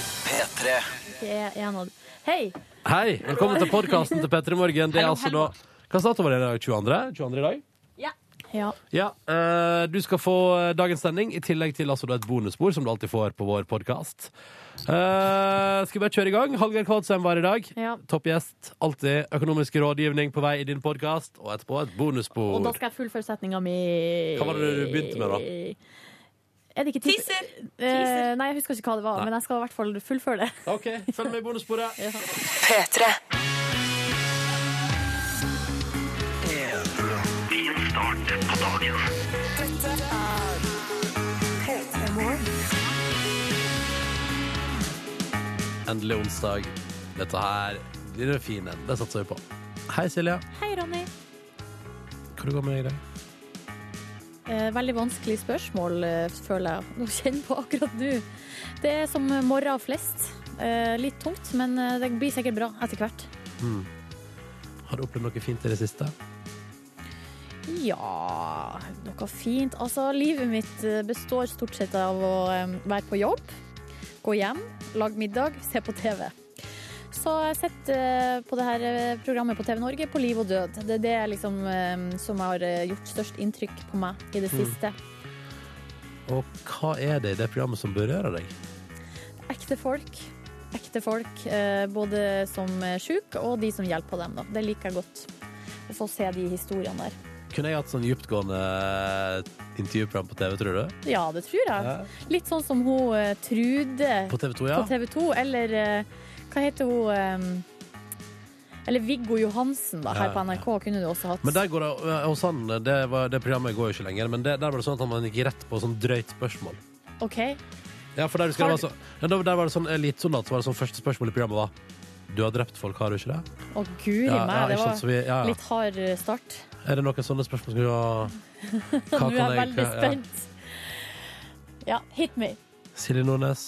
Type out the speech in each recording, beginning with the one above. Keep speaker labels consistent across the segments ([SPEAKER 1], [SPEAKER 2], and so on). [SPEAKER 1] P3.
[SPEAKER 2] Det er en av dem. Hei!
[SPEAKER 3] Hei, velkommen til podkasten til Petter i morgen. Det er altså da Hva dato var det i dag? 22.? 22. i dag?
[SPEAKER 2] Ja.
[SPEAKER 3] Ja, eh, du skal få eh, dagens sending, i tillegg til altså da et bonusspor, som du alltid får på vår podkast. skal vi bare kjøre i gang? Hallgeir Kvalsheim var i dag.
[SPEAKER 2] Ja.
[SPEAKER 3] Toppgjest. Alltid økonomisk rådgivning på vei i din podkast, og etterpå et bonusspor.
[SPEAKER 2] Og da skal jeg fullføre setninga mi.
[SPEAKER 3] Hva var det du begynte med, da?
[SPEAKER 2] Er det ikke tis-
[SPEAKER 4] Teaser!
[SPEAKER 2] Eh, nei, jeg husker ikke hva det var, men jeg skal i hvert fall fullføre det.
[SPEAKER 3] OK, følg med i bonussporet.
[SPEAKER 4] P3.
[SPEAKER 3] Endelig onsdag. Dette her blir en fin en. Det satser vi på. Hei, Silje.
[SPEAKER 2] Hei, Ronny.
[SPEAKER 3] Hva går med i dag?
[SPEAKER 2] Eh, veldig vanskelig spørsmål, eh, føler jeg. Nå kjenner på akkurat nå. Det er som morgen flest. Eh, litt tungt, men eh, det blir sikkert bra etter hvert.
[SPEAKER 3] Har du opplevd noe fint i det siste?
[SPEAKER 2] Ja, noe fint. Altså, livet mitt eh, består stort sett av å eh, være på jobb, gå hjem, lage middag, se på TV. Så jeg sitter eh, på det her eh, programmet på TV Norge på liv og død. Det er det liksom, eh, som har eh, gjort størst inntrykk på meg i det siste.
[SPEAKER 3] Og hva er det i det programmet som berører deg?
[SPEAKER 2] Ekte folk. Ekte folk, eh, både som er sjuk og de som hjelper dem. Da. Det liker jeg godt. Å få se de historiene der.
[SPEAKER 3] Kunne jeg hatt sånn dyptgående intervjuprogram på TV, tror du?
[SPEAKER 2] Ja, det tror jeg. Litt sånn som hun eh, Trude
[SPEAKER 3] På TV 2, ja?
[SPEAKER 2] på TV 2, eller eh, hva heter hun eh, Eller Viggo Johansen, da, her
[SPEAKER 3] Ja,
[SPEAKER 2] på NRK, kunne du også hatt.
[SPEAKER 3] Men der går det, eh, hos han, det, var, det programmet går jo ikke lenger, men det, der var det sånn at han gikk rett på sånn drøyt spørsmål.
[SPEAKER 2] OK.
[SPEAKER 3] Ja, for der, husker
[SPEAKER 2] Har
[SPEAKER 3] jeg det var sånn, ja, da- der var det sånn elitesoldat, så var det sånn første spørsmål i programmet var Du har drept folk, har du ikke det?
[SPEAKER 2] Å, guri
[SPEAKER 3] Ja,
[SPEAKER 2] meg,
[SPEAKER 3] ja,
[SPEAKER 2] det
[SPEAKER 3] ikke sant, så
[SPEAKER 2] var
[SPEAKER 3] vi, ja, ja.
[SPEAKER 2] litt hard eh, start.
[SPEAKER 3] Er det noen sånne spørsmål som du har
[SPEAKER 2] Nå er jeg veldig
[SPEAKER 3] hva- ja.
[SPEAKER 2] spent. Ja, hit me.
[SPEAKER 3] Silje Nordnes,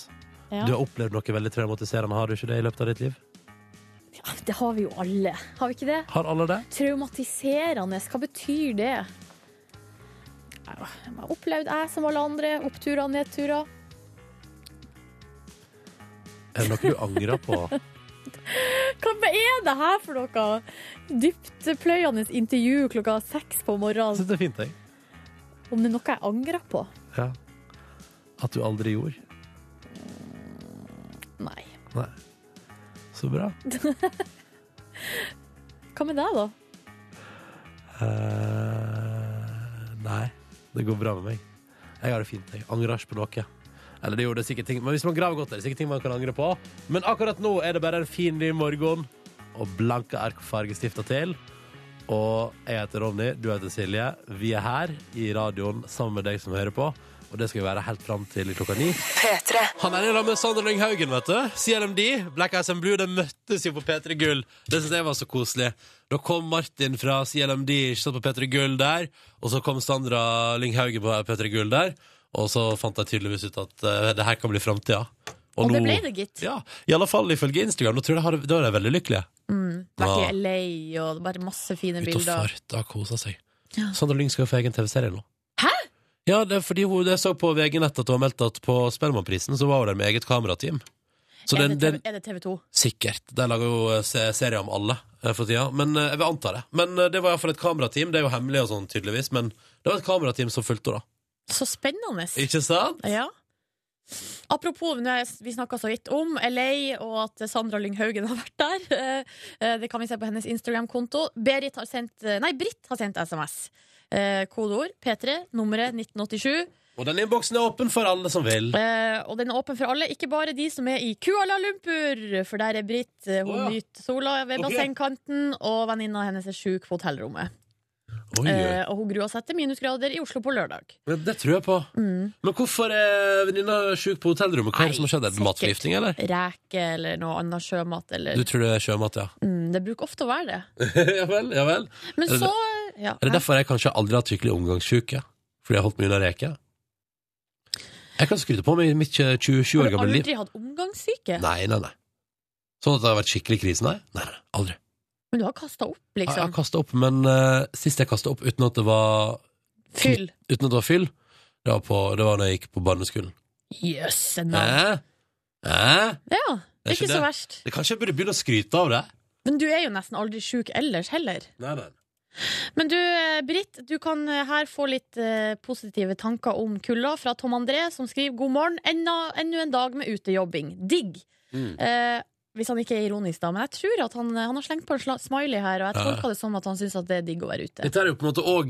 [SPEAKER 2] Ja.
[SPEAKER 3] du har opplevd noe veldig traumatiserende, har du ikke det i løpet av ditt liv?
[SPEAKER 2] Ja, Det har vi jo alle, har vi ikke det?
[SPEAKER 3] Har alle det?
[SPEAKER 2] Traumatiserende, hva betyr det? Ja, Opplevde jeg som alle andre oppturer og nedturer?
[SPEAKER 3] Er det noe du angrer på?
[SPEAKER 2] Hva er det her for noe? Dyptpløyende intervju klokka seks på
[SPEAKER 3] Jeg
[SPEAKER 2] morgenen.
[SPEAKER 3] syns det er fint, jeg.
[SPEAKER 2] Om det er noe jeg angrer på?
[SPEAKER 3] Ja. At du aldri gjorde.
[SPEAKER 2] Nei.
[SPEAKER 3] Nei. Så bra.
[SPEAKER 2] Hva med deg, da?
[SPEAKER 3] Eh, nei, det går bra med meg. Jeg har det fint. Jeg angrer ikke på noe. Eller det gjorde sikkert ting Men Hvis man graver godt, er det sikkert ting man kan angre på. Men akkurat nå er det bare en fin, ny morgen og blanke arkfargestifter til. Og jeg heter Ronny, du heter Silje. Vi er her i radioen sammen med deg som hører på. Og det skal vi være helt fram til klokka ni.
[SPEAKER 4] P3.
[SPEAKER 3] Han er i lag med Sander Lyng Haugen, vet du. CLMD, Black Eyes and Blue, de møttes jo på P3 Gull. Det syns jeg var så koselig. Da kom Martin fra CLMD ikke sant, på P3 Gull der, og så kom Sandra Lyng Haugen på P3 Gull der, og så fant de tydeligvis ut at eh, det her kan bli framtida.
[SPEAKER 2] Og det ble det, gitt.
[SPEAKER 3] Ja, i alle fall ifølge Instagram. Nå tror jeg de har det- Da er de veldig lykkelige.
[SPEAKER 2] Vært i
[SPEAKER 3] Ja.
[SPEAKER 2] LA og bare masse fine
[SPEAKER 3] Ute og
[SPEAKER 2] bilder.
[SPEAKER 3] farta og kosa seg. Sandra Lyng skal jo få egen TV-serie nå. Hæ? Ja, det er fordi hun, jeg så på VG Nett at hun har meldt at på Spellemannprisen så var hun der med eget kamerateam. Så
[SPEAKER 2] Er
[SPEAKER 3] den,
[SPEAKER 2] det,
[SPEAKER 3] den,
[SPEAKER 2] TV, er det TV 2?
[SPEAKER 3] Sikkert. De lager jo eh, se- serier om alle eh, for tida. Men eh, jeg vil anta det. Men eh, det var iallfall et kamerateam. Det er jo hemmelig og sånn, tydeligvis, men det var et kamerateam som fulgte henne, da.
[SPEAKER 2] Så spennende.
[SPEAKER 3] Ikke sant?
[SPEAKER 2] Ja. Apropos, nå er- vi snakka så vidt om LA og at Sandra Lyng Haugen har vært der. Eh, eh, Det kan vi se på hennes Instagram-konto. Berit har sendt eh, Nei, Britt har sendt SMS. Eh, Kodeord P3, nummeret 1987.
[SPEAKER 3] Og den innboksen er åpen for alle som vil.
[SPEAKER 2] Eh, og den er åpen for alle, ikke bare de som er i Kuala Lumpur, for der er Britt. eh, Hun
[SPEAKER 3] Å, ja.
[SPEAKER 2] nyter sola ved
[SPEAKER 3] Ok.
[SPEAKER 2] bassengkanten, og venninna hennes er sjuk på hotellrommet.
[SPEAKER 3] Oi, oi.
[SPEAKER 2] Eh, og hun gruer seg til minusgrader i Oslo på lørdag. Mm.
[SPEAKER 3] Men det tror jeg på. Men hvorfor er venninna sjuk på hotellrommet? Hva er det som har skjedd? Er det
[SPEAKER 2] Nei,
[SPEAKER 3] matforgiftning, eller?
[SPEAKER 2] Reke eller noe annet sjømat. Eller,
[SPEAKER 3] Du tror det er sjømat, ja?
[SPEAKER 2] mm, det bruker ofte å være det.
[SPEAKER 3] ja vel, ja vel.
[SPEAKER 2] Men
[SPEAKER 3] Er det-
[SPEAKER 2] så ja,
[SPEAKER 3] Er det derfor jeg kanskje aldri har hatt skikkelig omgangssjuke? Fordi jeg har holdt meg unna reker? Jeg kan skryte på meg i mitt eh, 20
[SPEAKER 2] Har
[SPEAKER 3] år
[SPEAKER 2] du
[SPEAKER 3] gamle liv.
[SPEAKER 2] aldri hatt omgangssyke?
[SPEAKER 3] Nei, nei, nei. Sånn at det har vært skikkelig krise? Nei, nei, nei aldri.
[SPEAKER 2] Men du har kasta opp,
[SPEAKER 3] Jeg har
[SPEAKER 2] liksom?
[SPEAKER 3] kastet opp, men eh, sist jeg kastet opp uten at det var,
[SPEAKER 2] Fyll.
[SPEAKER 3] uten at det var fyll, det var, på, det var når jeg gikk på barneskolen.
[SPEAKER 2] Jøsse navn.
[SPEAKER 3] Hæ? Hæ?
[SPEAKER 2] Ja. Det er ikke
[SPEAKER 1] det.
[SPEAKER 2] så verst.
[SPEAKER 1] Det Kanskje jeg burde begynne å skryte av det?
[SPEAKER 2] Men du er jo nesten aldri sjuk ellers heller.
[SPEAKER 3] Nei, nei.
[SPEAKER 2] Men du, eh, Britt, du kan eh, her få litt eh, positive tanker om kulda fra Tom André, som skriver 'God morgen, enda, enda en dag med utejobbing. Digg'.
[SPEAKER 3] Mm.
[SPEAKER 2] Eh, hvis han ikke er ironisk, da. Men jeg tror at han, eh, han har slengt på en sla- smiley her, og
[SPEAKER 1] Ja.
[SPEAKER 2] jeg tolker det som at han syns det er digg å være ute.
[SPEAKER 3] Dette er jo på en måte òg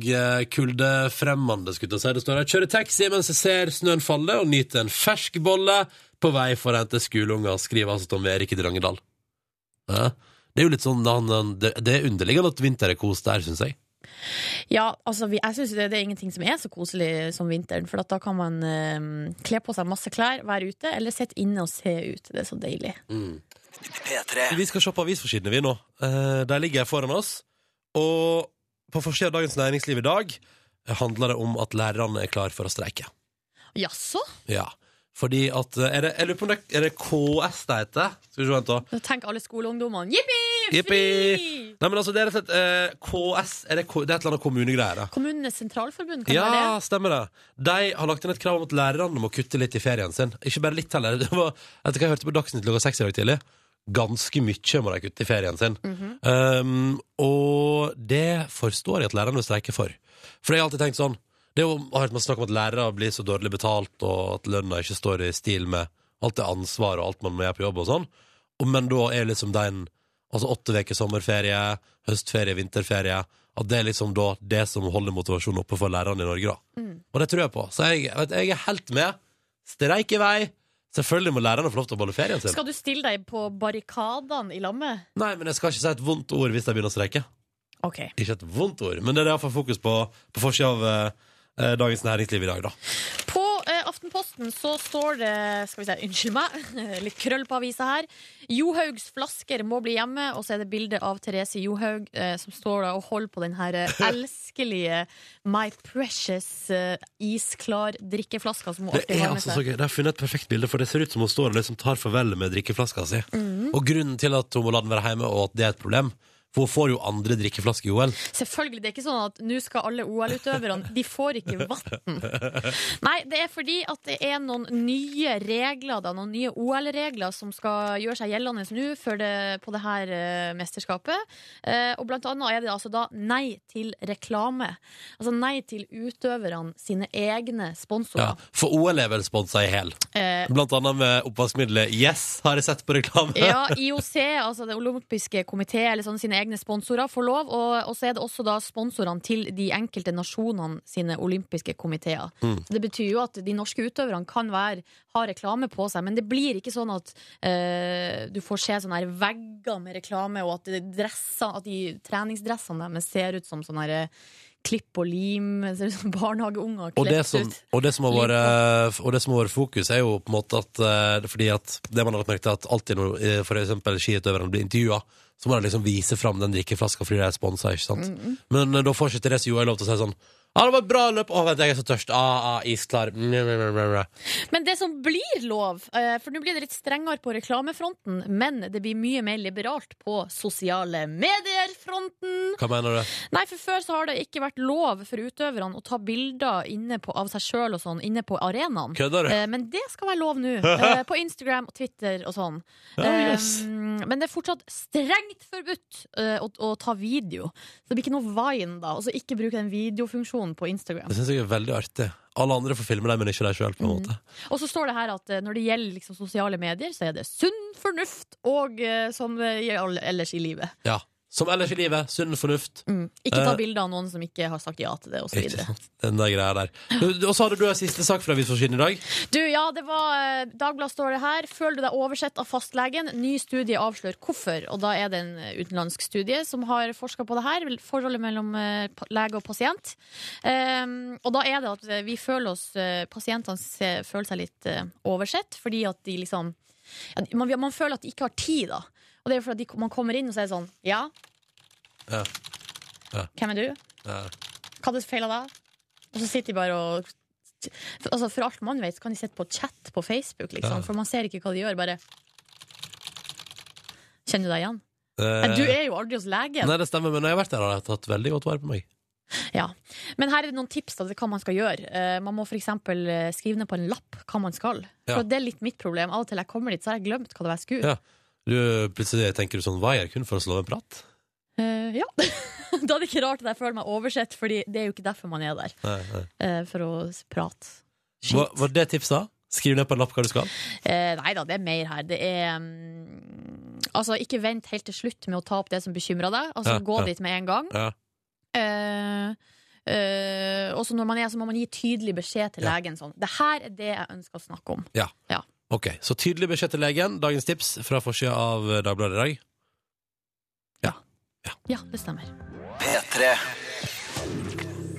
[SPEAKER 3] kuldefremmende, skulle jeg si. Det står her 'Kjøre taxi mens jeg ser snøen falle, og nyte en fersk bolle' på vei for å hente skoleunger, skriver altså Tom Erik i Drangedal. Ja. Det er jo litt sånn han- han- Det det er underliggende at vinter er kos der, syns jeg.
[SPEAKER 2] Ja, altså, vi, jeg syns det, det er ingenting som er så koselig som vinteren, for at da kan man eh, kle på seg masse klær, være ute, eller sitte inne og se ut. Det er så deilig.
[SPEAKER 1] P3.
[SPEAKER 3] Mm. Vi skal se på avisforsidene, vi nå. Eh, de ligger her foran oss. Og på forsida av Dagens Næringsliv i dag handler det om at lærerne er klar for å streike.
[SPEAKER 2] Jaså?
[SPEAKER 3] Ja. Fordi at eh, Er det, jeg lurer på om det er det KS det heter? Skal vi se, vent, da.
[SPEAKER 2] Da tenker alle skoleungdommene jippi,
[SPEAKER 3] Jippi!
[SPEAKER 2] fri!
[SPEAKER 3] Nei, men altså, det er rett og slett eh, KS er det, K- det er et eller annet kommunegreier. da.
[SPEAKER 2] Kommunenes sentralforbund kan være det.
[SPEAKER 3] Ja, stemmer det. De har lagt inn et krav om at lærerne må kutte litt i ferien sin. Ikke bare litt heller. Det var, etter hva jeg hørte på Dagsnytt klokka seks i dag tidlig, ganske mye må de kutte i ferien sin. um, og det forstår jeg at lærerne vil streike for. For jeg har alltid tenkt sånn Det er jo, jeg har hørt man snakke om at lærere blir så dårlig betalt, og at lønna ikke står i stil med alt det ansvaret og alt man må gjøre på jobb og sånn. Og, men da er liksom den Altså åtte uker sommerferie, høstferie, vinterferie. At det er liksom da det som holder motivasjonen oppe for lærerne i Norge, da. Og det tror jeg på. Så jeg, vet, du, jeg er helt med. Streik i vei. Selvfølgelig må lærerne få lov til å beholde ferien sin.
[SPEAKER 2] Skal du stille deg på barrikadene i lammet?
[SPEAKER 3] Nei, men jeg skal ikke si et vondt ord hvis de begynner å streike.
[SPEAKER 2] Ok.
[SPEAKER 3] Ikke et vondt ord, men det er det jeg får fokus på på forsida av eh, Dagens Næringsliv i dag, da.
[SPEAKER 2] På eh, Aftenposten så står det Skal vi se, unnskyld meg, litt krøll på avisa her. Johaugs flasker må bli hjemme, og så er det bilde av Therese Johaug eh, som står da og holder på den her eh, elskelige My Precious eh, isklar drikkeflaska som hun
[SPEAKER 3] Det
[SPEAKER 2] alltid
[SPEAKER 3] er
[SPEAKER 2] har med
[SPEAKER 3] altså så
[SPEAKER 2] seg.
[SPEAKER 3] gøy. De har funnet et perfekt bilde, for det ser ut som hun står og liksom tar farvel med drikkeflaska si. Og grunnen til at hun må la den være hjemme, og at det er et problem For hun får jo andre drikkeflasker i OL.
[SPEAKER 2] Selvfølgelig, det er ikke sånn at nå skal alle OL-utøverne De får ikke vann. Nei, det er fordi at det er noen nye regler, da, noen nye OL-regler som skal gjøre seg gjeldende nå før det, på det her eh, mesterskapet. Eh, og blant annet er det altså da nei til reklame. Altså nei til utøverne sine egne
[SPEAKER 3] Ja,
[SPEAKER 2] sponsorer.
[SPEAKER 3] for OL er vel sponsa i hæl.
[SPEAKER 2] Eh,
[SPEAKER 3] Blant annet med oppvaskmiddelet Yes, har jeg sett på reklame.
[SPEAKER 2] Ja, IOC, altså det olympiske komité, eller sånn sine egne sponsorer, får lov. Og, og så er det også da sponsorene til de enkelte nasjonene sine olympiske komiteer.
[SPEAKER 3] Mm.
[SPEAKER 2] Så Det betyr jo at de norske utøverne kan være, ha reklame på seg, men det blir ikke sånn at eh, du får se sånne her vegger med reklame, og at, dresser, at de treningsdressene deres ser ut som sånne her eh, klipp og lim, ser ut som barnehageunger
[SPEAKER 3] Og det,
[SPEAKER 2] klept
[SPEAKER 3] som,
[SPEAKER 2] ut.
[SPEAKER 3] og, det som har vært, eh, og det som har vært fokus, er jo på en måte at eh, Fordi at det man har lagt merke til, at alltid når eh, for eksempel skiutøverne blir intervjua, så må de liksom vise fram den drikkeflaska fordi de er sponsa, ikke
[SPEAKER 2] Mm,
[SPEAKER 3] sant? Men eh, da får ikke Therese Johaug lov til å si sånn Ja, det var et bra løp! Å, vent, jeg er så tørst! Ah, ah, isklar. Mm, mm, mm, mm, mm.
[SPEAKER 2] Men det som blir lov, eh, for nå blir det litt strengere på reklamefronten, men det blir mye mer liberalt på sosiale medier-fronten.
[SPEAKER 3] Hva mener du?
[SPEAKER 2] Nei, for før så har det ikke vært lov for utøverne å ta bilder inne på, av seg sjøl og sånn inne på arenaen.
[SPEAKER 3] Kødder du?
[SPEAKER 2] Eh, Men det skal være lov nå, eh, på Instagram og Twitter og sånn.
[SPEAKER 3] Ja, yes.
[SPEAKER 2] Eh, Men det er fortsatt strengt forbudt eh, å, å ta video. Så det blir ikke noe Vine, da. Og så ikke bruke den videofunksjonen på Instagram.
[SPEAKER 3] Det syns jeg er veldig artig. Alle andre får filme dem, men ikke deg sjøl, på en måte.
[SPEAKER 2] Og så står det her at eh, når det gjelder liksom, sosiale medier, så er det sunn fornuft og eh, som eh, i all- ellers i livet.
[SPEAKER 3] Ja. Som ellers i livet. Sunn fornuft.
[SPEAKER 2] Ikke ta
[SPEAKER 3] Eh.
[SPEAKER 2] bilde av noen som ikke har sagt ja til det, osv.
[SPEAKER 3] Ikke sant? Den der greia der. Du- Og så hadde du en siste sak fra Avisforsiden i dag.
[SPEAKER 2] Du, ja, det var eh, Dagbladet står det her. Føler du deg oversett av fastlegen? Ny studie avslører hvorfor. Og da er det en eh, utenlandsk studie som har forska på det her. Forholdet mellom eh, pa- lege og pasient. Ehm, og da er det at eh, vi føler oss eh, Pasientene se- føler seg litt eh, oversett, fordi at de liksom ja, de- man, man føler at de ikke har tid, da. Og det er fordi at de, man kommer inn og så er det sånn Ja,
[SPEAKER 3] Ja. Ja.
[SPEAKER 2] hvem er du?
[SPEAKER 3] Ja.
[SPEAKER 2] Hva hadde feila deg? Og så sitter de bare og altså For alt man vet, så kan de sitte på chat på Facebook, liksom,
[SPEAKER 3] Ja.
[SPEAKER 2] for man ser ikke hva de gjør. Bare Kjenner du deg igjen?
[SPEAKER 3] Eh,
[SPEAKER 2] Nei, du er jo aldri hos legen.
[SPEAKER 3] Nei, det stemmer, men når jeg har vært der, har jeg tatt veldig godt vare på meg.
[SPEAKER 2] Ja. Men her er det noen tips da, til hva man skal gjøre. Eh, man må f.eks. skrive ned på en lapp hva man skal.
[SPEAKER 3] Ja.
[SPEAKER 2] For Det er litt mitt problem. Av og til jeg kommer dit, så har jeg glemt hva det var jeg skulle.
[SPEAKER 3] Ja. Du, plutselig tenker du sånn Hva gjør jeg kun for å slå av en prat?
[SPEAKER 2] Eh, ja. da er det ikke rart at jeg føler meg oversett, Fordi det er jo ikke derfor man er der.
[SPEAKER 3] Nei, nei.
[SPEAKER 2] eh, for å s- prate. Shit.
[SPEAKER 3] Var, var det tipsa? Skriv ned på en lapp hva du skal.
[SPEAKER 2] Eh, nei da, det er mer her. Det er mm, Altså, ikke vent helt til slutt med å ta opp det som bekymrer deg. Altså,
[SPEAKER 3] Ja,
[SPEAKER 2] Gå
[SPEAKER 3] ja.
[SPEAKER 2] dit med en gang.
[SPEAKER 3] Ja.
[SPEAKER 2] Eh, eh, og så når man er, så må man gi tydelig beskjed til
[SPEAKER 3] Ja.
[SPEAKER 2] legen sånn. Det her er det jeg ønsker å snakke om.
[SPEAKER 3] Ok, Så tydelig beskjed til legen. Dagens tips fra forsida av Dagbladet i dag.
[SPEAKER 2] Ja, det stemmer.
[SPEAKER 1] P3.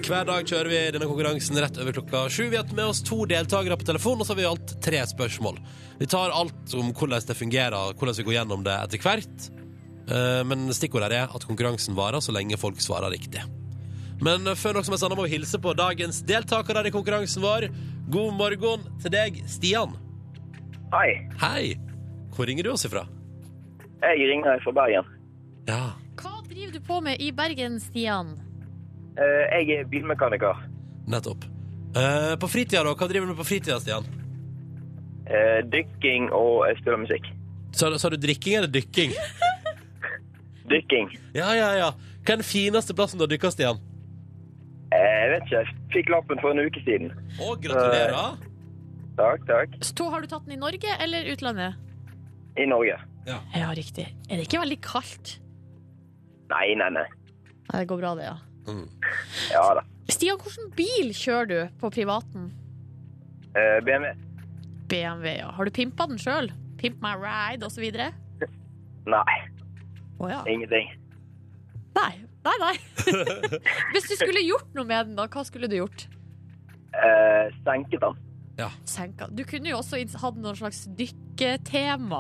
[SPEAKER 3] Hver dag kjører vi denne konkurransen rett over klokka sju. Vi har hatt med oss to deltakere på telefon, og så har vi valgt tre spørsmål. Vi tar alt om hvordan det fungerer, hvordan vi går gjennom det etter hvert. Eh, Men stikkordet her er at konkurransen varer så lenge folk svarer riktig. Men før noe som helst annet må vi hilse på dagens deltakere i konkurransen vår. God morgen til deg, Stian.
[SPEAKER 4] Hei,
[SPEAKER 3] Hei! Hvor ringer du oss ifra?
[SPEAKER 4] jeg ringer fra Bergen.
[SPEAKER 3] Ja,
[SPEAKER 2] Hva driver du på med i Bergen, Stian?
[SPEAKER 4] Eh, Jeg er bilmekaniker.
[SPEAKER 3] nettopp. Eh, på fritida, da? Hva driver du med på fritida, Stian?
[SPEAKER 4] Eh, Dykking og jeg spiller musikk.
[SPEAKER 3] Sa, sa du drikking eller dykking?
[SPEAKER 4] Dykking.
[SPEAKER 3] Ja, ja, ja. Hva er den fineste plassen du har dykka, Stian?
[SPEAKER 4] Eh, Jeg vet ikke, jeg fikk lappen for en uke siden.
[SPEAKER 3] Å, gratulerer.
[SPEAKER 4] Takk, takk.
[SPEAKER 2] Stå, har du tatt den i Norge eller utlandet?
[SPEAKER 4] I Norge.
[SPEAKER 2] Ja, riktig. Er det ikke veldig kaldt?
[SPEAKER 4] Nei, nei, nei.
[SPEAKER 2] Nei, det går bra, det, ja.
[SPEAKER 3] Mm.
[SPEAKER 4] Ja da.
[SPEAKER 2] Stian, hvilken bil kjører du på privaten?
[SPEAKER 4] Eh, BMW?
[SPEAKER 2] BMW, ja. Har du pimpa den sjøl? Pimp my ride, osv.?
[SPEAKER 4] Nei,
[SPEAKER 2] Å ja.
[SPEAKER 4] ingenting.
[SPEAKER 2] Nei. Nei, nei. Hvis du skulle gjort noe med den, da, hva skulle du gjort?
[SPEAKER 4] Eh, Senket den.
[SPEAKER 2] Senka. Du kunne jo også ins- hatt noe slags dykketema.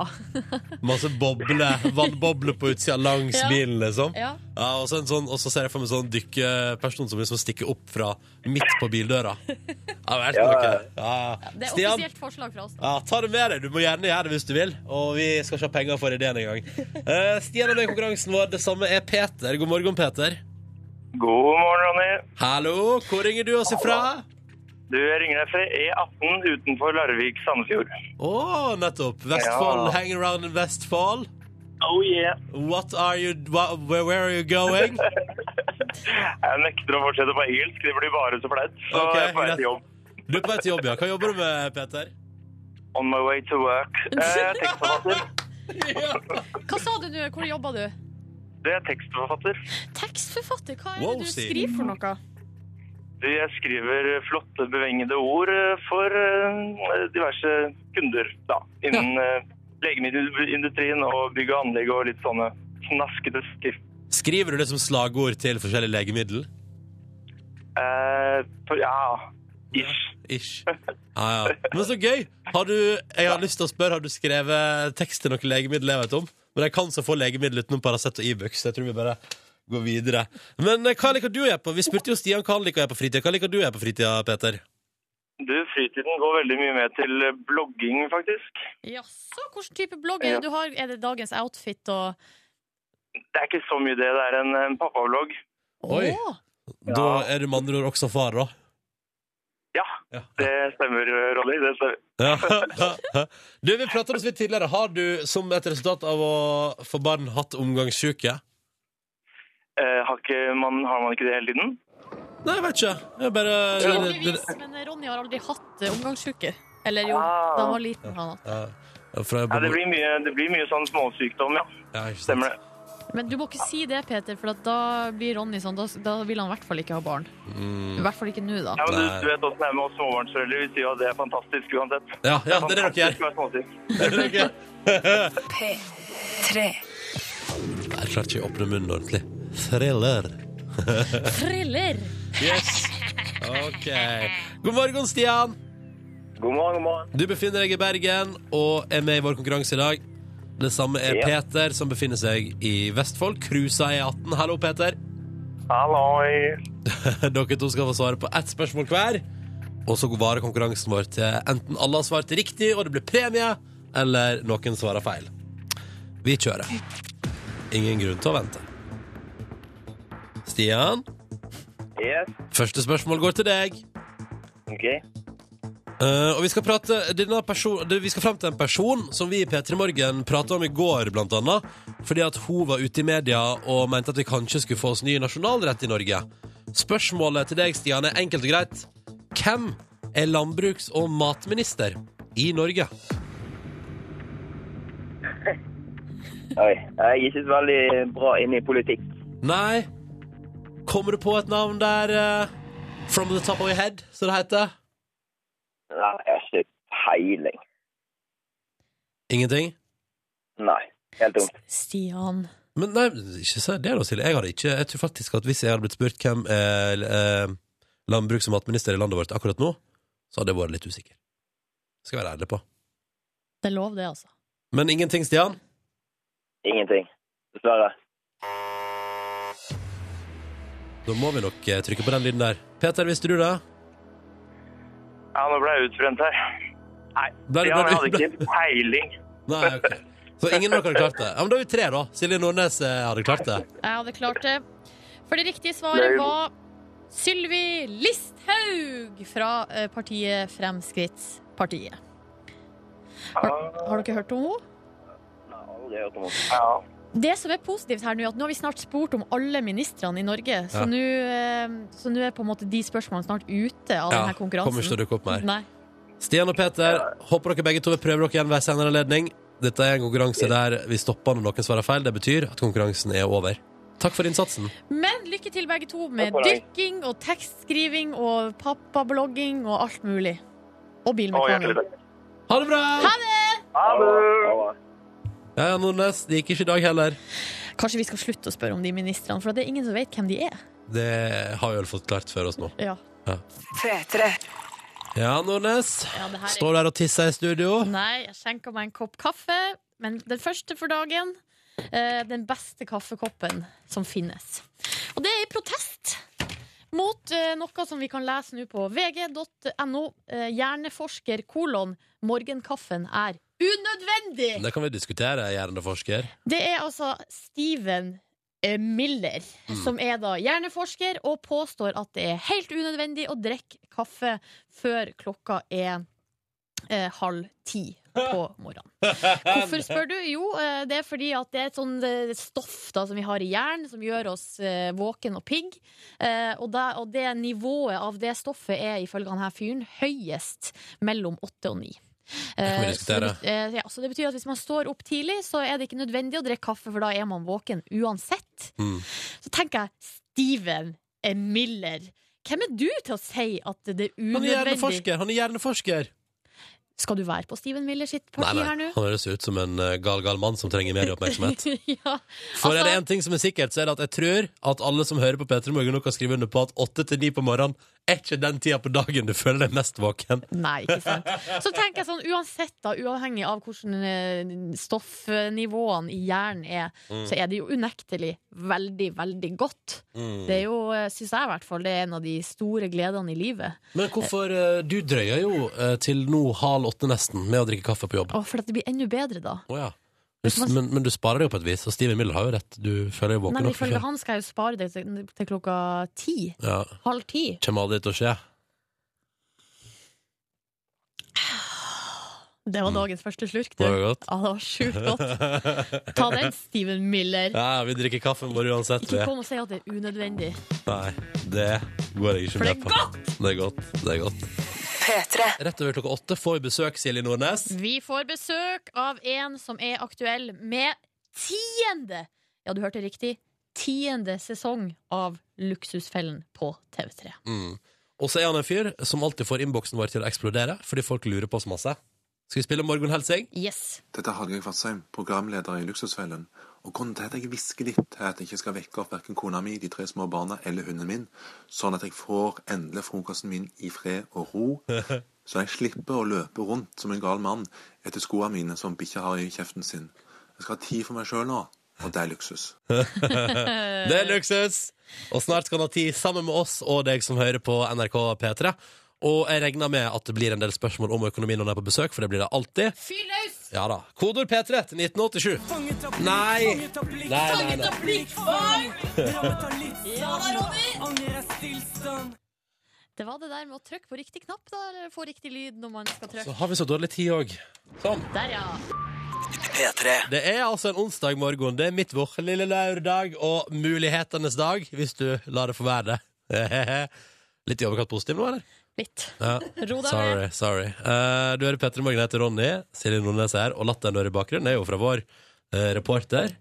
[SPEAKER 3] Masse bobler, vannbobler på utsida langs
[SPEAKER 2] Ja.
[SPEAKER 3] bilen, liksom.
[SPEAKER 2] Ja.
[SPEAKER 3] Ja, og, så en sånn, og så ser jeg for meg en sånn dykkeperson som liksom stikker opp fra midt på bildøra. Ja, vel,
[SPEAKER 4] Ja.
[SPEAKER 3] ok. ja.
[SPEAKER 2] Det er
[SPEAKER 3] Stian,
[SPEAKER 2] offisielt forslag fra oss.
[SPEAKER 3] ja, ta det med deg. Du må gjerne gjøre det hvis du vil. Og vi skal ikke ha penger for ideen engang. Uh, Stian er med i konkurransen vår. Det samme er Peter. God morgen, Peter.
[SPEAKER 5] God morgen, Ronny.
[SPEAKER 3] Hallo, hvor ringer du oss ifra?
[SPEAKER 5] Du jeg ringer deg fra E18 utenfor Larvik, Sandefjord.
[SPEAKER 3] Å, nettopp. Vestfold,
[SPEAKER 5] Ja.
[SPEAKER 3] hang around in Vestfold.
[SPEAKER 5] Oh yeah.
[SPEAKER 3] What are you wha- where, where are you going?
[SPEAKER 5] Jeg nekter å fortsette på engelsk, det blir bare så flaut. Så
[SPEAKER 3] Ok,
[SPEAKER 5] jeg er på vei
[SPEAKER 3] greit.
[SPEAKER 5] til jobb.
[SPEAKER 3] Du er på vei til jobb, ja. Hva jobber du med, Peter?
[SPEAKER 5] On my way to work. Eh, tekstforfatter.
[SPEAKER 2] Hva sa du nå? Hvor jobba du?
[SPEAKER 5] Det er tekstforfatter.
[SPEAKER 2] Tekstforfatter? Hva er
[SPEAKER 3] Wow,
[SPEAKER 2] det du
[SPEAKER 3] Siv.
[SPEAKER 2] skriver for noe?
[SPEAKER 5] Du, jeg skriver flotte, bevengede ord eh, for eh, diverse kunder, da. Innen eh, legemiddelindustrien og bygg og anlegg og litt sånne snaskete skrift.
[SPEAKER 3] Skriver du det som slagord til forskjellige legemiddel?
[SPEAKER 5] Eh, for, ja, ish.
[SPEAKER 3] Ish. Ah, Ja, ja. Men så gøy! Har du, jeg har lyst til å spørre, har du skrevet tekst til noen legemiddel jeg vet om? Men jeg kan så få legemiddel utenom Paracet og Ibux, så jeg tror vi bare går videre. Men eh, hva liker du å gjøre på? Vi spurte jo Stian hva han liker å gjøre på fritida. Hva liker du å gjøre på fritida, Peter?
[SPEAKER 5] Du, fritiden går veldig mye med til eh, blogging, faktisk.
[SPEAKER 2] Jaså, hvilken type blogg er det du har? Er det dagens outfit og
[SPEAKER 5] Det er ikke så mye det. Det er en, en pappablogg.
[SPEAKER 3] Oi.
[SPEAKER 2] Å,
[SPEAKER 3] Da er du med andre ord også far, da.
[SPEAKER 5] Ja,
[SPEAKER 3] Ja.
[SPEAKER 5] det stemmer, Ronny. Det stemmer.
[SPEAKER 3] Ja. Du, vi pratet oss litt tidligere. Har du som et resultat av å få barn hatt omgangssyke?
[SPEAKER 5] Eh, har, ikke man, har man ikke det hele tiden?
[SPEAKER 3] Nei, jeg vet ikke. Jeg bare
[SPEAKER 2] Tydeligvis, men Ronny har aldri hatt eh, omgangsuke. Eller jo,
[SPEAKER 5] Ah.
[SPEAKER 2] da han var liten. Han.
[SPEAKER 3] Ja, fra jeg
[SPEAKER 5] Ja,
[SPEAKER 3] bor-
[SPEAKER 5] det, blir mye, det blir mye sånn småsykdom, ja.
[SPEAKER 3] Ja, ikke sant.
[SPEAKER 5] Stemmer det.
[SPEAKER 2] Men du må ikke si det, Peter, for at da blir Ronny sånn. Da, da vil han i hvert fall ikke ha barn.
[SPEAKER 3] Mm.
[SPEAKER 2] I hvert fall ikke nå, da.
[SPEAKER 5] Ja, men du,
[SPEAKER 3] Nei.
[SPEAKER 5] du vet åssen det er med oss småbarnsforeldre. Vi sier jo at det er fantastisk uansett.
[SPEAKER 3] Ja, ja, det er det dere gjør.
[SPEAKER 5] Fantastisk å være småsyk.
[SPEAKER 3] Det er det dere gjør.
[SPEAKER 6] P3.
[SPEAKER 3] Jeg klarte ikke å åpne munnen ordentlig. Thriller.
[SPEAKER 2] Thriller!
[SPEAKER 3] Yes. OK. God morgen, Stian.
[SPEAKER 4] God morgen, god morgen.
[SPEAKER 3] Du befinner deg i Bergen og er med i vår konkurranse i dag. Det samme er
[SPEAKER 4] Ja.
[SPEAKER 3] Peter, som befinner seg i Vestfold. Cruisa i 18. Hallo, Peter.
[SPEAKER 5] Halloi.
[SPEAKER 3] Dere to skal få svare på ett spørsmål hver. Og så varer konkurransen vår til enten alle har svart riktig, og det blir premie, eller noen svarer feil. Vi kjører. Ingen grunn til å vente. Stian,
[SPEAKER 4] Yes,
[SPEAKER 3] Første spørsmål går til deg.
[SPEAKER 4] ok.
[SPEAKER 3] Eh, og vi skal, prate, denne person, det- vi skal frem til en person som vi i P3 Morgen pratet om i går, blant annet. Fordi at hun var ute i media og mente at vi kanskje skulle få oss ny nasjonalrett i Norge. Spørsmålet til deg, Stian, er enkelt og greit. Hvem er landbruks- og matminister i Norge?
[SPEAKER 4] Oi, jeg er ikke så veldig bra inne i politikk.
[SPEAKER 3] Nei. Kommer du på et navn der eh, From the top of your head, som det heter?
[SPEAKER 4] Nei, jeg har ikke peiling.
[SPEAKER 3] Ingenting?
[SPEAKER 4] Nei, helt dumt.
[SPEAKER 2] Stian.
[SPEAKER 3] Men nei, ikke si det da, Silje. Jeg, hadde ikke, jeg tror faktisk at hvis jeg hadde blitt spurt hvem er eh, landbruks- og matminister i landet vårt akkurat nå, så hadde jeg vært litt usikker. Skal jeg være ærlig på.
[SPEAKER 2] Det er lov, det, altså.
[SPEAKER 3] Men ingenting, Stian.
[SPEAKER 4] Ingenting. Dessverre.
[SPEAKER 3] Da må vi nok eh, trykke på den lyden der. Peter, visste du det?
[SPEAKER 5] Ja, nå ble jeg utbrent her.
[SPEAKER 3] Ble,
[SPEAKER 5] Ja, men jeg
[SPEAKER 3] ble-
[SPEAKER 5] hadde
[SPEAKER 3] ble-
[SPEAKER 5] ikke peiling.
[SPEAKER 3] Nei, ok. Så ingen av dere hadde klart det. Ja, men da er vi tre, da. Silje Nordnes eh, hadde klart det.
[SPEAKER 2] Jeg hadde klart det. For det riktige svaret
[SPEAKER 5] Nei.
[SPEAKER 2] var Sylvi Listhaug fra eh, partiet Fremskrittspartiet. Har, har dere hørt om henne?
[SPEAKER 4] Nei, aldri hørt om det.
[SPEAKER 5] Ja.
[SPEAKER 2] Det som er positivt her nå, er at nå har vi snart spurt om alle ministrene i Norge. Så
[SPEAKER 3] Ja.
[SPEAKER 2] nå eh, så nå er på en måte de spørsmålene snart ute av
[SPEAKER 3] Ja,
[SPEAKER 2] denne konkurransen.
[SPEAKER 3] kommer ikke til å dukke opp mer.
[SPEAKER 2] Nei.
[SPEAKER 3] Stian og Peter, håper dere begge to vil prøve dere igjen ved senere anledning. Dette er en konkurranse der vi stopper når noen svarer feil. Det betyr at konkurransen er over. Takk for innsatsen.
[SPEAKER 2] Men lykke til begge to med
[SPEAKER 4] Takk for deg.
[SPEAKER 2] dykking og tekstskriving og pappablogging og alt mulig. Og
[SPEAKER 5] Å, hjertelig
[SPEAKER 2] bilmekaning.
[SPEAKER 5] takk.
[SPEAKER 3] Ha det bra!
[SPEAKER 5] Ha det!
[SPEAKER 4] Ha det.
[SPEAKER 3] Ja, ja, Nordnes, det gikk ikke i dag heller.
[SPEAKER 2] Kanskje vi skal slutte å spørre om de ministrene, for det er ingen som vet hvem de er.
[SPEAKER 3] Det har vi vel fått klart før oss nå.
[SPEAKER 2] Ja.
[SPEAKER 6] P3.
[SPEAKER 3] Ja, Nordnes.
[SPEAKER 2] Ja, det her er-
[SPEAKER 3] Står der og tisser i studio.
[SPEAKER 2] Nei, jeg skjenka meg en kopp kaffe, men den første for dagen. eh, Den beste kaffekoppen som finnes. Og det er i protest mot eh, noe som vi kan lese nå på vg.no. eh, Hjerneforsker kolon morgenkaffen er unødvendig!
[SPEAKER 3] Det kan vi diskutere, hjerneforsker.
[SPEAKER 2] Det er altså Steven eh, Miller, som er da hjerneforsker, og påstår at det er helt unødvendig å drikke kaffe før klokka er eh, halv ti på morgenen. Hvorfor spør du? Jo, eh, det er fordi at det er et sånn eh, stoff da, som vi har i hjernen, som gjør oss eh, våken og pigg. Eh, og, da, og det nivået av det stoffet er ifølge han her fyren høyest mellom åtte og ni.
[SPEAKER 3] kan vi
[SPEAKER 2] Eh, så, det
[SPEAKER 3] diskutere.
[SPEAKER 2] bet- eh, ja, så det betyr at hvis man står opp tidlig, så er det ikke nødvendig å drikke kaffe, for da er man våken uansett.
[SPEAKER 3] Mm.
[SPEAKER 2] Så tenker jeg Steven Miller. Hvem er du til å si at det er
[SPEAKER 3] Han er
[SPEAKER 2] unødvendig?
[SPEAKER 3] hjerneforsker! Han er hjerneforsker!
[SPEAKER 2] Skal du være på Steven Miller sitt
[SPEAKER 3] Nei,
[SPEAKER 2] parti
[SPEAKER 3] nei.
[SPEAKER 2] her nå?
[SPEAKER 3] Han Altså- høres ut som en eh, gal, gal mann som trenger medieoppmerksomhet.
[SPEAKER 2] ja.
[SPEAKER 3] For er det
[SPEAKER 2] Altså-
[SPEAKER 3] en ting som er sikkert, så er det at jeg tror at alle som hører på P3 Morgen, nå kan skrive under på at åtte til ni på morgenen er ikke den tida på dagen du føler deg mest våken.
[SPEAKER 2] Nei, ikke sant. Så tenker jeg sånn, uansett da, uavhengig av hvordan eh, stoffnivåene i hjernen er,
[SPEAKER 3] Mm.
[SPEAKER 2] så er det jo unektelig veldig, veldig godt.
[SPEAKER 3] Mm.
[SPEAKER 2] Det er jo, syns jeg i hvert fall, det er en av de store gledene i livet.
[SPEAKER 3] Men hvorfor eh, Du drøyer jo eh, til nå halv åtte nesten med å drikke kaffe på jobb.
[SPEAKER 2] Og for at det blir enda bedre da.
[SPEAKER 3] Å ja. Du, s- men, men du sparer deg jo på et vis, og Steven Miller har jo rett. Du føler deg
[SPEAKER 2] Nei,
[SPEAKER 3] våken
[SPEAKER 2] men
[SPEAKER 3] nok fra
[SPEAKER 2] ifølge
[SPEAKER 3] før.
[SPEAKER 2] han skal jeg jo spare det til, til klokka ti.
[SPEAKER 3] Ja.
[SPEAKER 2] Halv ti.
[SPEAKER 3] Kommer aldri til å skje.
[SPEAKER 2] Det var dagens første slurk.
[SPEAKER 3] Mm. Det var godt.
[SPEAKER 2] Ja, det var sjukt godt. Ta den, Steven Miller.
[SPEAKER 3] Ja, vi drikker kaffe vår uansett.
[SPEAKER 2] Ikke
[SPEAKER 3] Vi.
[SPEAKER 2] kom og si at det er unødvendig.
[SPEAKER 3] Nei, det går jeg ikke
[SPEAKER 2] For det er
[SPEAKER 3] med på. Det er godt. Det er godt.
[SPEAKER 6] P3.
[SPEAKER 3] Rett over klokka åtte får vi besøk, Silje Nordnes.
[SPEAKER 2] Vi får besøk av en som er aktuell med tiende Ja, du hørte riktig. Tiende sesong av Luksusfellen på TV3.
[SPEAKER 3] Mm. Og så er han en fyr som alltid får innboksen vår til å eksplodere, fordi folk lurer på oss masse. Skal vi spille Morgen Helsing?
[SPEAKER 2] Yes.
[SPEAKER 7] Dette er Hallgeir Kvartsheim, programleder i Luksusfellen. Og grunnen til at jeg hvisker litt, er at jeg ikke skal vekke opp hverken kona mi, de tre små barna eller hunden min, sånn at jeg får endelig frokosten min i fred og ro, så jeg slipper å løpe rundt som en gal mann etter skoene mine som bikkja har i kjeften sin. Jeg skal ha tid for meg sjøl nå, og det er luksus.
[SPEAKER 3] Det er luksus! Og snart skal han ha tid sammen med oss og deg som hører på NRK P3. Og jeg regner med at det blir en del spørsmål om økonomi når han er på besøk, for det blir det alltid.
[SPEAKER 2] Fyr løs!
[SPEAKER 3] Ja da. Kodord P3 til 1987. Nei! Nei, nei, nei.
[SPEAKER 2] Blikkfang! Ja da, Ronny! Det var det der med å trykke på riktig knapp da, eller få riktig lyd når man skal
[SPEAKER 3] Så
[SPEAKER 2] trykke.
[SPEAKER 3] har vi så dårlig tid òg. Sånn.
[SPEAKER 2] Der, ja.
[SPEAKER 1] P3.
[SPEAKER 3] Det er altså en onsdag morgen. Det er mitt vår lille lørdag og mulighetenes dag, hvis du lar det få være det. Litt i overkant positiv nå, eller?
[SPEAKER 2] Litt.
[SPEAKER 3] Ja.
[SPEAKER 2] Ro deg ned.
[SPEAKER 3] Sorry. sorry. Eh, du hører Petter i morgen, jeg heter Ronny. Silje Nordnes er her. Og latteren du hører i bakgrunnen, er jo fra vår eh, reporter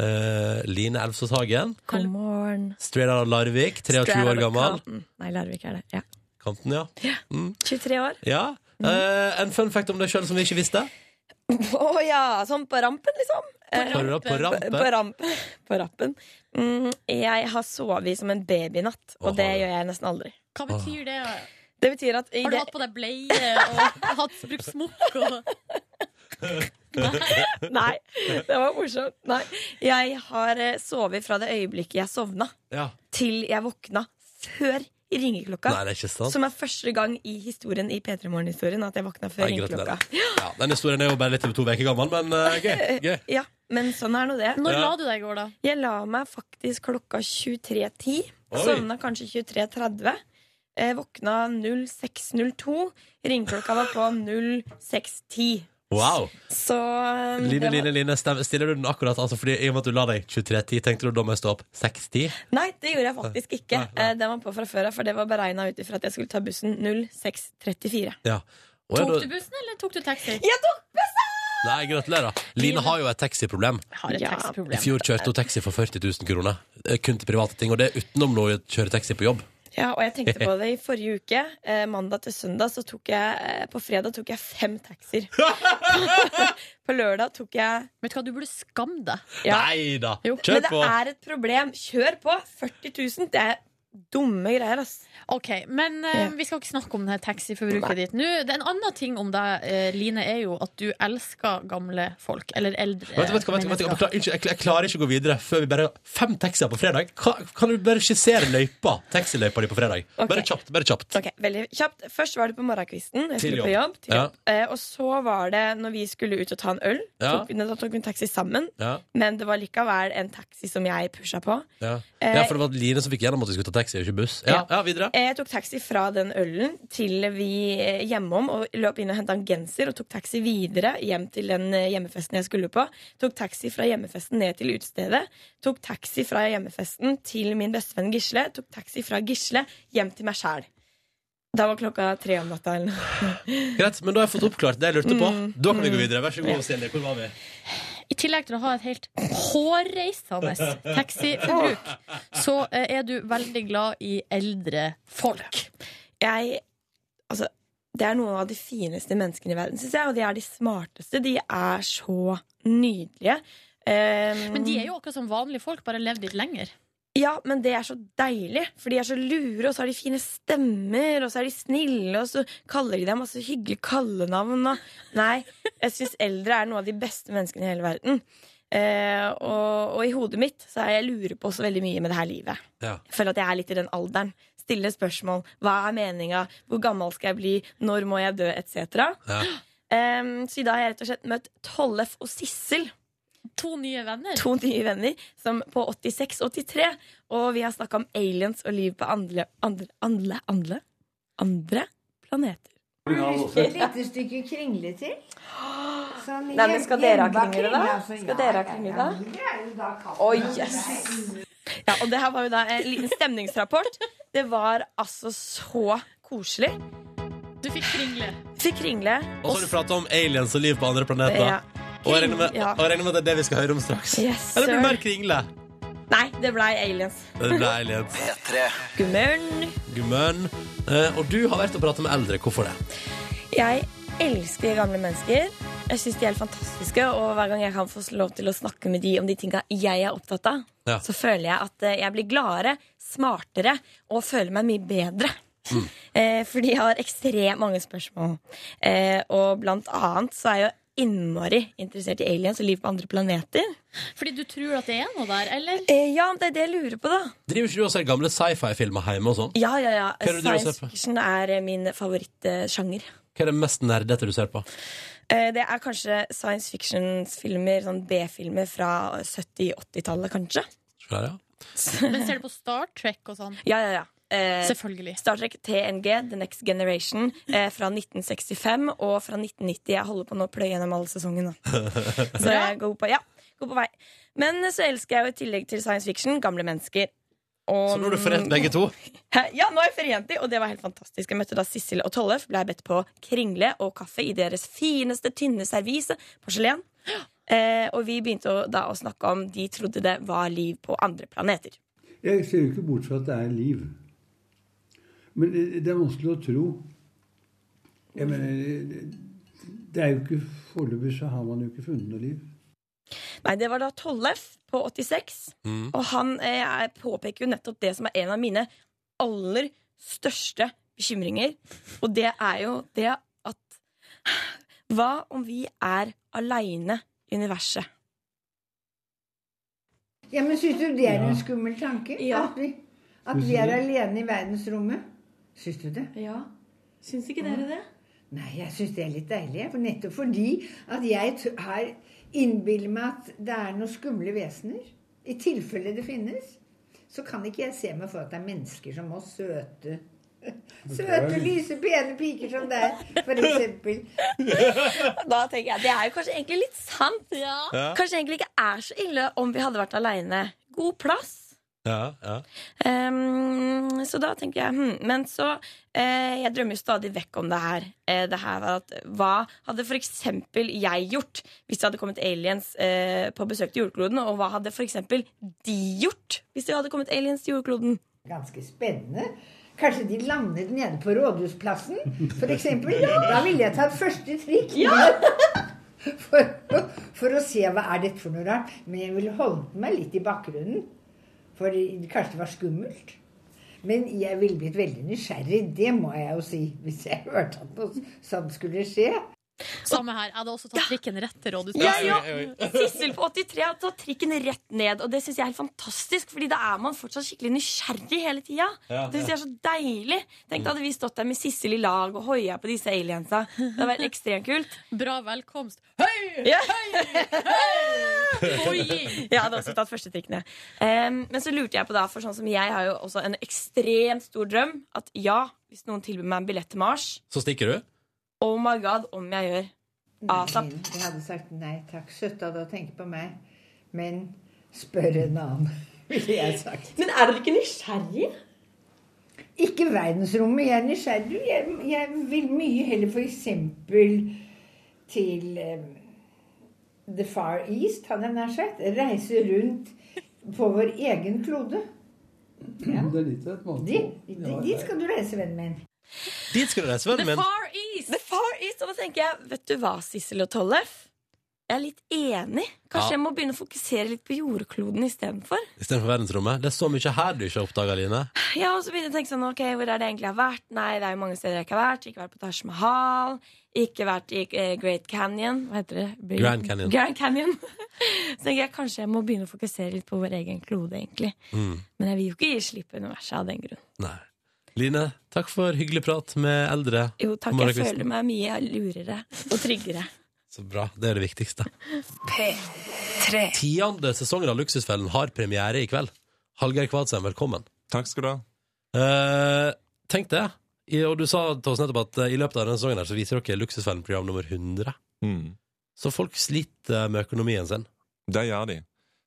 [SPEAKER 3] eh, Line Elfsås Hagen.
[SPEAKER 8] God morgen.
[SPEAKER 3] Straight out av Larvik, 23 år gammel.
[SPEAKER 8] Nei, Larvik er det. Ja.
[SPEAKER 3] Kanten, ja.
[SPEAKER 8] 23 år.
[SPEAKER 3] ja. Eh, en fun fact om deg sjøl som vi ikke visste.
[SPEAKER 8] Å ja! Sånn på rampen, liksom. Eh,
[SPEAKER 3] Hører du da på
[SPEAKER 8] På, på,
[SPEAKER 3] rampe?
[SPEAKER 8] ramp, på rappen. Mm, jeg har sovet som en baby i natt,
[SPEAKER 3] Å,
[SPEAKER 8] og det
[SPEAKER 3] har du?
[SPEAKER 8] gjør jeg nesten aldri.
[SPEAKER 2] Hva betyr det?
[SPEAKER 8] Det betyr at i
[SPEAKER 2] Har du
[SPEAKER 8] det,
[SPEAKER 2] hatt på deg bleie og hatt brukt smokk og
[SPEAKER 8] Nei, det var morsomt. Nei. Jeg har eh, sovet fra det øyeblikket jeg sovna,
[SPEAKER 3] Ja.
[SPEAKER 8] til jeg våkna før ringeklokka.
[SPEAKER 3] Nei, det er ikke sant.
[SPEAKER 8] Som er første gang i historien i P3 Morgen-historien at jeg våkna før
[SPEAKER 3] Nei,
[SPEAKER 8] ringeklokka.
[SPEAKER 3] gratulerer. Ja, den historien er jo bare litt over to uker gammel, men eh, gøy. gøy.
[SPEAKER 8] Ja, men sånn er nå det.
[SPEAKER 2] Når
[SPEAKER 3] Ja.
[SPEAKER 2] la du deg i går, da?
[SPEAKER 8] Jeg la meg faktisk klokka 23.10.
[SPEAKER 3] Oi.
[SPEAKER 8] Sovna kanskje 23.30. Eh, våkna 06.02. Ringeklokka var på 06.10.
[SPEAKER 3] Wow.
[SPEAKER 8] Så eh, det
[SPEAKER 3] Line,
[SPEAKER 8] var-
[SPEAKER 3] Line, Line, stem- stiller du den akkurat? Altså, fordi I og med at du la deg 23.10, tenkte du da må jeg stå opp 6.10?
[SPEAKER 8] Nei, det gjorde jeg faktisk ikke.
[SPEAKER 3] Nei, nei.
[SPEAKER 8] Eh, Den var på fra før av, for det var beregna ut ifra at jeg skulle ta bussen 0634.
[SPEAKER 3] Ja. Å, ja,
[SPEAKER 2] Tok du
[SPEAKER 3] da-
[SPEAKER 2] bussen, eller tok du taxi?
[SPEAKER 8] Jeg tok
[SPEAKER 3] Nei, gratulerer. Line har jo et taxiproblem.
[SPEAKER 2] Jeg har et
[SPEAKER 8] Ja.
[SPEAKER 3] I
[SPEAKER 2] taxiproblem.
[SPEAKER 3] fjor kjørte hun taxi for 40 000 kroner. Eh, Kun til private ting, og det er utenom nå å kjøre taxi på jobb.
[SPEAKER 8] Ja, og jeg tenkte på det i forrige uke. Eh, mandag til søndag så tok jeg eh, På fredag tok jeg fem taxier. på lørdag tok jeg
[SPEAKER 2] Vet du hva, du burde skamme deg.
[SPEAKER 8] Ja.
[SPEAKER 3] Nei da!
[SPEAKER 2] Jo.
[SPEAKER 8] Men
[SPEAKER 3] Kjør
[SPEAKER 8] det
[SPEAKER 3] på!
[SPEAKER 8] er et problem. Kjør på! 40 000, det er dumme greier, ass.
[SPEAKER 2] Ok, Men eh,
[SPEAKER 8] Ja.
[SPEAKER 2] vi skal ikke snakke om det her taxiforbruket ditt nå. Det er En annen ting om deg, eh, Line, er jo at du elsker gamle folk. Eller eldre.
[SPEAKER 3] Vent, vent, vent, vent, jeg,
[SPEAKER 2] mennesker.
[SPEAKER 3] klarer, ikke- jeg, jeg klarer ikke å gå videre før vi bare har fem taxier på fredag. Kan, kan du bare skissere løypa? Taxiløypa di på fredag.
[SPEAKER 8] Ok.
[SPEAKER 3] Bare kjapt. bare kjapt
[SPEAKER 8] Ok, veldig kjapt Først var det på morgenkvisten. Jeg
[SPEAKER 3] Til
[SPEAKER 8] skulle på jobb. Til
[SPEAKER 3] Ja.
[SPEAKER 8] jobb. Eh, og så var det når vi skulle ut og ta en øl.
[SPEAKER 3] Ja.
[SPEAKER 8] Tok vi, da tok vi en taxi sammen.
[SPEAKER 3] Ja,
[SPEAKER 8] Men det var likevel en taxi som jeg pusha på.
[SPEAKER 3] ja.
[SPEAKER 8] Eh,
[SPEAKER 3] ja, for det var Line som fikk gjennom at vi skulle ta taxi, og ikke buss. Ja, ja videre.
[SPEAKER 8] Eh, Jeg tok taxi fra den ølen til vi eh, hjemom og løp inn og henta en genser. Og tok taxi videre hjem til den eh, hjemmefesten jeg skulle på. Tok taxi fra hjemmefesten ned til utestedet. Tok taxi fra hjemmefesten til min bestevenn Gisle. Tok taxi fra Gisle hjem til meg sjæl. Da var klokka tre om natta. eller noe.
[SPEAKER 3] Greit, men da har jeg fått oppklart det jeg lurte på. Da kan vi gå videre. Vær så god, Silje. Hvor var vi?
[SPEAKER 2] I tillegg til å ha et helt hårreisende taxiforbruk, så eh, er du veldig glad i eldre folk.
[SPEAKER 8] Jeg Altså, det er noen av de fineste menneskene i verden, syns jeg. Og de er de smarteste. De er så nydelige. Eh,
[SPEAKER 2] Men de er jo akkurat som vanlige folk, bare levd litt lenger.
[SPEAKER 8] Ja, men det er så deilig, for de er så lure, og så har de fine stemmer, og så er de snille, og så kaller de deg masse hyggelige kallenavn. Og... Nei, jeg syns eldre er noen av de beste menneskene i hele verden. Eh, og, og i hodet mitt så er jeg lurer på også veldig mye med det her livet.
[SPEAKER 3] Ja.
[SPEAKER 8] Jeg føler at jeg er litt i den alderen. Stille spørsmål. Hva er meninga? Hvor gammel skal jeg bli? Når må jeg dø? Etc.
[SPEAKER 3] Ja.
[SPEAKER 8] Em, så i dag har jeg rett og slett møtt Tollef og Sissel
[SPEAKER 2] To nye venner.
[SPEAKER 8] to nye venner som på 86-83. Og vi har snakka om aliens og liv på andre andre, andre, andre, andre planeter.
[SPEAKER 9] Et lite stykke kringle til. Sånn
[SPEAKER 8] Nei, men skal dere ha kringle, da?
[SPEAKER 9] hjemmebakt
[SPEAKER 8] Skal dere ha kringle, da?
[SPEAKER 9] Ja, ja, ja, men det er jo da kaffe.
[SPEAKER 8] Å, yes! Ja, og det her var jo da en liten stemningsrapport. Det var altså så koselig.
[SPEAKER 2] Du fikk kringle.
[SPEAKER 8] Fikk kringle.
[SPEAKER 3] Og så har du prata om aliens og liv på andre planeter.
[SPEAKER 8] Ja.
[SPEAKER 3] Og jeg regner med,
[SPEAKER 8] Ja.
[SPEAKER 3] og jeg regner med at det er det vi skal høre om straks.
[SPEAKER 8] Yes,
[SPEAKER 3] Eller blir det
[SPEAKER 8] sir.
[SPEAKER 3] mer kringle?
[SPEAKER 8] Nei, det blei aliens.
[SPEAKER 3] Det blir aliens.
[SPEAKER 1] P3.
[SPEAKER 8] God morgen.
[SPEAKER 3] Gummen. Eh, og du har vært og prata med eldre. Hvorfor det?
[SPEAKER 8] Jeg elsker gamle mennesker. Jeg syns de er helt fantastiske, og hver gang jeg kan få lov til å snakke med de om de tinga jeg er opptatt av,
[SPEAKER 3] Ja.
[SPEAKER 8] så føler jeg at eh, jeg blir gladere, smartere og føler meg mye bedre.
[SPEAKER 3] Mm.
[SPEAKER 8] Eh, for de har ekstremt mange spørsmål. Eh, og blant annet så er jeg jo innmari interessert i aliens og liv på andre planeter.
[SPEAKER 2] Fordi du tror at det er noe der, eller?
[SPEAKER 8] Eh, ja, det er det jeg lurer på, da.
[SPEAKER 3] Driver ikke du og ser gamle sci-fi-filmer hjemme og sånn?
[SPEAKER 8] Ja, ja, ja.
[SPEAKER 3] Hva er det du driver og
[SPEAKER 8] Science
[SPEAKER 3] ser på?
[SPEAKER 8] fiction er eh, min eh, favorittsjanger.
[SPEAKER 3] Hva er det mest nerdete du ser på?
[SPEAKER 8] Eh, Det er kanskje science fiction-filmer, sånn B-filmer fra 70-80-tallet, kanskje.
[SPEAKER 3] Skal vi lære, ja?
[SPEAKER 2] Men ser du på Star Trek og sånn?
[SPEAKER 8] Ja, ja, ja. eh,
[SPEAKER 2] Selvfølgelig.
[SPEAKER 8] Star Trek TNG, The Next Generation, eh, fra 1965 og fra 1990. Jeg holder på nå å pløye gjennom all sesongen. Da. Så jeg går på, ja, går på vei. Men så elsker jeg jo i tillegg til science fiction gamle mennesker. Og,
[SPEAKER 3] Så nå er du forent begge to.
[SPEAKER 8] Hæ? Ja, nå er jeg forent i, og det var helt fantastisk. Jeg møtte da Sissel og Tollef, ble jeg bedt på kringle og kaffe i deres fineste, tynne servise, porselen. Eh, og vi begynte å, da å snakke om de trodde det var liv på andre planeter.
[SPEAKER 10] Jeg ser jo ikke bort fra at det er liv. Men det det er vanskelig å tro. Jeg mener, det- det er jo ikke Foreløpig så har man jo ikke funnet noe liv.
[SPEAKER 8] Nei, det var da Tollef på 86. Og han eh, er- påpeker jo nettopp det som er en av mine aller største bekymringer. Og det er jo det at Hva om vi er aleine i universet?
[SPEAKER 9] Ja, men syns du det er
[SPEAKER 8] Ja.
[SPEAKER 9] en skummel tanke?
[SPEAKER 8] Ja.
[SPEAKER 9] At vi, at
[SPEAKER 8] Synes
[SPEAKER 9] vi er
[SPEAKER 8] du det?
[SPEAKER 9] alene i verdensrommet? Syns du det?
[SPEAKER 8] Ja. Syns ikke
[SPEAKER 9] dere
[SPEAKER 8] det?
[SPEAKER 9] Nei, jeg syns det er litt deilig. jeg. For nettopp fordi at jeg t- har innbiller meg at det er noen skumle vesener. I tilfelle det finnes. Så kan ikke jeg se meg for at det er mennesker som oss, søte Søte, lyse, pene piker som deg, for eksempel.
[SPEAKER 8] Da tenker jeg, Det er jo kanskje egentlig litt sant.
[SPEAKER 3] Ja.
[SPEAKER 8] Kanskje egentlig ikke er så ille om vi hadde vært aleine. God plass.
[SPEAKER 3] Ja, ja.
[SPEAKER 8] Ehm, så da tenker jeg hm, Men så eh, Jeg drømmer jo stadig vekk om det her. Eh, det her var at Hva hadde for eksempel jeg gjort hvis det hadde kommet aliens eh, på besøk til jordkloden? Og hva hadde for eksempel de gjort hvis det hadde kommet aliens til jordkloden?
[SPEAKER 9] Ganske spennende. Kanskje de landet nede på Rådhusplassen, for eksempel. Da ville jeg tatt første trikk. For, for å se hva er dette for noe rart. Men jeg ville holdt meg litt i bakgrunnen. For det- kanskje det var skummelt. Men jeg ville blitt veldig nysgjerrig, det må jeg jo si. Hvis jeg hørte at noe sånt skulle skje.
[SPEAKER 2] Samme her. Jeg hadde også tatt trikken rett til
[SPEAKER 8] Ja,
[SPEAKER 2] Rådhusplassen.
[SPEAKER 8] ja. Sissel på 83 har tatt trikken rett ned, og det syns jeg er helt fantastisk. Fordi da er man fortsatt skikkelig nysgjerrig hele tida.
[SPEAKER 3] Ja,
[SPEAKER 8] det syns jeg er så deilig. Tenk, da hadde vi stått der med Sissel i lag og hoia på disse aliensa. Det hadde vært ekstremt kult.
[SPEAKER 2] Bra velkomst. Hei!
[SPEAKER 8] Ja.
[SPEAKER 2] Hoiing!
[SPEAKER 8] Jeg hadde også tatt første trikk ned. Em, Ehm, men så lurte jeg på da, for sånn som jeg har jo også en ekstremt stor drøm, at ja, hvis noen tilbyr meg en billett til Mars,
[SPEAKER 3] Så stikker du?
[SPEAKER 8] oh my god, om jeg gjør asap.
[SPEAKER 9] Nei, Jeg hadde sagt nei takk. Søtt av deg å tenke på meg. Men spør en annen, ville jeg sagt.
[SPEAKER 8] Men er dere ikke nysgjerrige?
[SPEAKER 9] Ikke verdensrommet. Jeg er nysgjerrig. Jeg, jeg vil mye heller f.eks. til eh, The Far East, hadde jeg nær sagt. Reise rundt på vår egen klode.
[SPEAKER 10] Det er litt av et måte.
[SPEAKER 9] Dit, dit skal du reise, vennen min.
[SPEAKER 3] Dit skal du reise, vennen min.
[SPEAKER 2] Far East!
[SPEAKER 8] The Far East. Og da tenker jeg, vet du hva, Sissel og Tollef? Jeg er litt enig.
[SPEAKER 3] Ja.
[SPEAKER 8] Kanskje jeg må begynne å fokusere litt på jordkloden istedenfor.
[SPEAKER 3] Istedenfor verdensrommet. Det er så mye her du ikke har oppdaga, Line.
[SPEAKER 8] Ja, og så begynner jeg å tenke sånn, ok, hvor er det egentlig jeg har vært? Nei, det er jo mange steder jeg ikke har vært. Ikke vært på Taj Mahal. Ikke vært i eh, Great Canyon. Hva heter det? Big-
[SPEAKER 3] Grand Canyon.
[SPEAKER 8] Grand Canyon. så tenker jeg kanskje jeg må begynne å fokusere litt på vår egen klode, egentlig.
[SPEAKER 3] Mm.
[SPEAKER 8] Men jeg vil jo ikke gi slipp universet av den grunn.
[SPEAKER 3] Nei. Line, takk for hyggelig prat med eldre.
[SPEAKER 8] Jo,
[SPEAKER 3] på
[SPEAKER 8] takk. Jeg
[SPEAKER 3] morgenkvisten.
[SPEAKER 8] føler meg mye lurere og tryggere.
[SPEAKER 3] Så bra. Det er det viktigste.
[SPEAKER 11] P3.
[SPEAKER 3] Tiende sesongen av Luksusfellen har premiere i kveld. Hallgeir Kvadsheim, velkommen.
[SPEAKER 12] Takk skal du ha.
[SPEAKER 3] Eh, tenk det. I, og du sa til oss nettopp at eh, i løpet av denne sesongen her så viser dere Luksusfellen program nummer 100. Så folk sliter eh, med økonomien sin.
[SPEAKER 12] Mm, Det gjør de.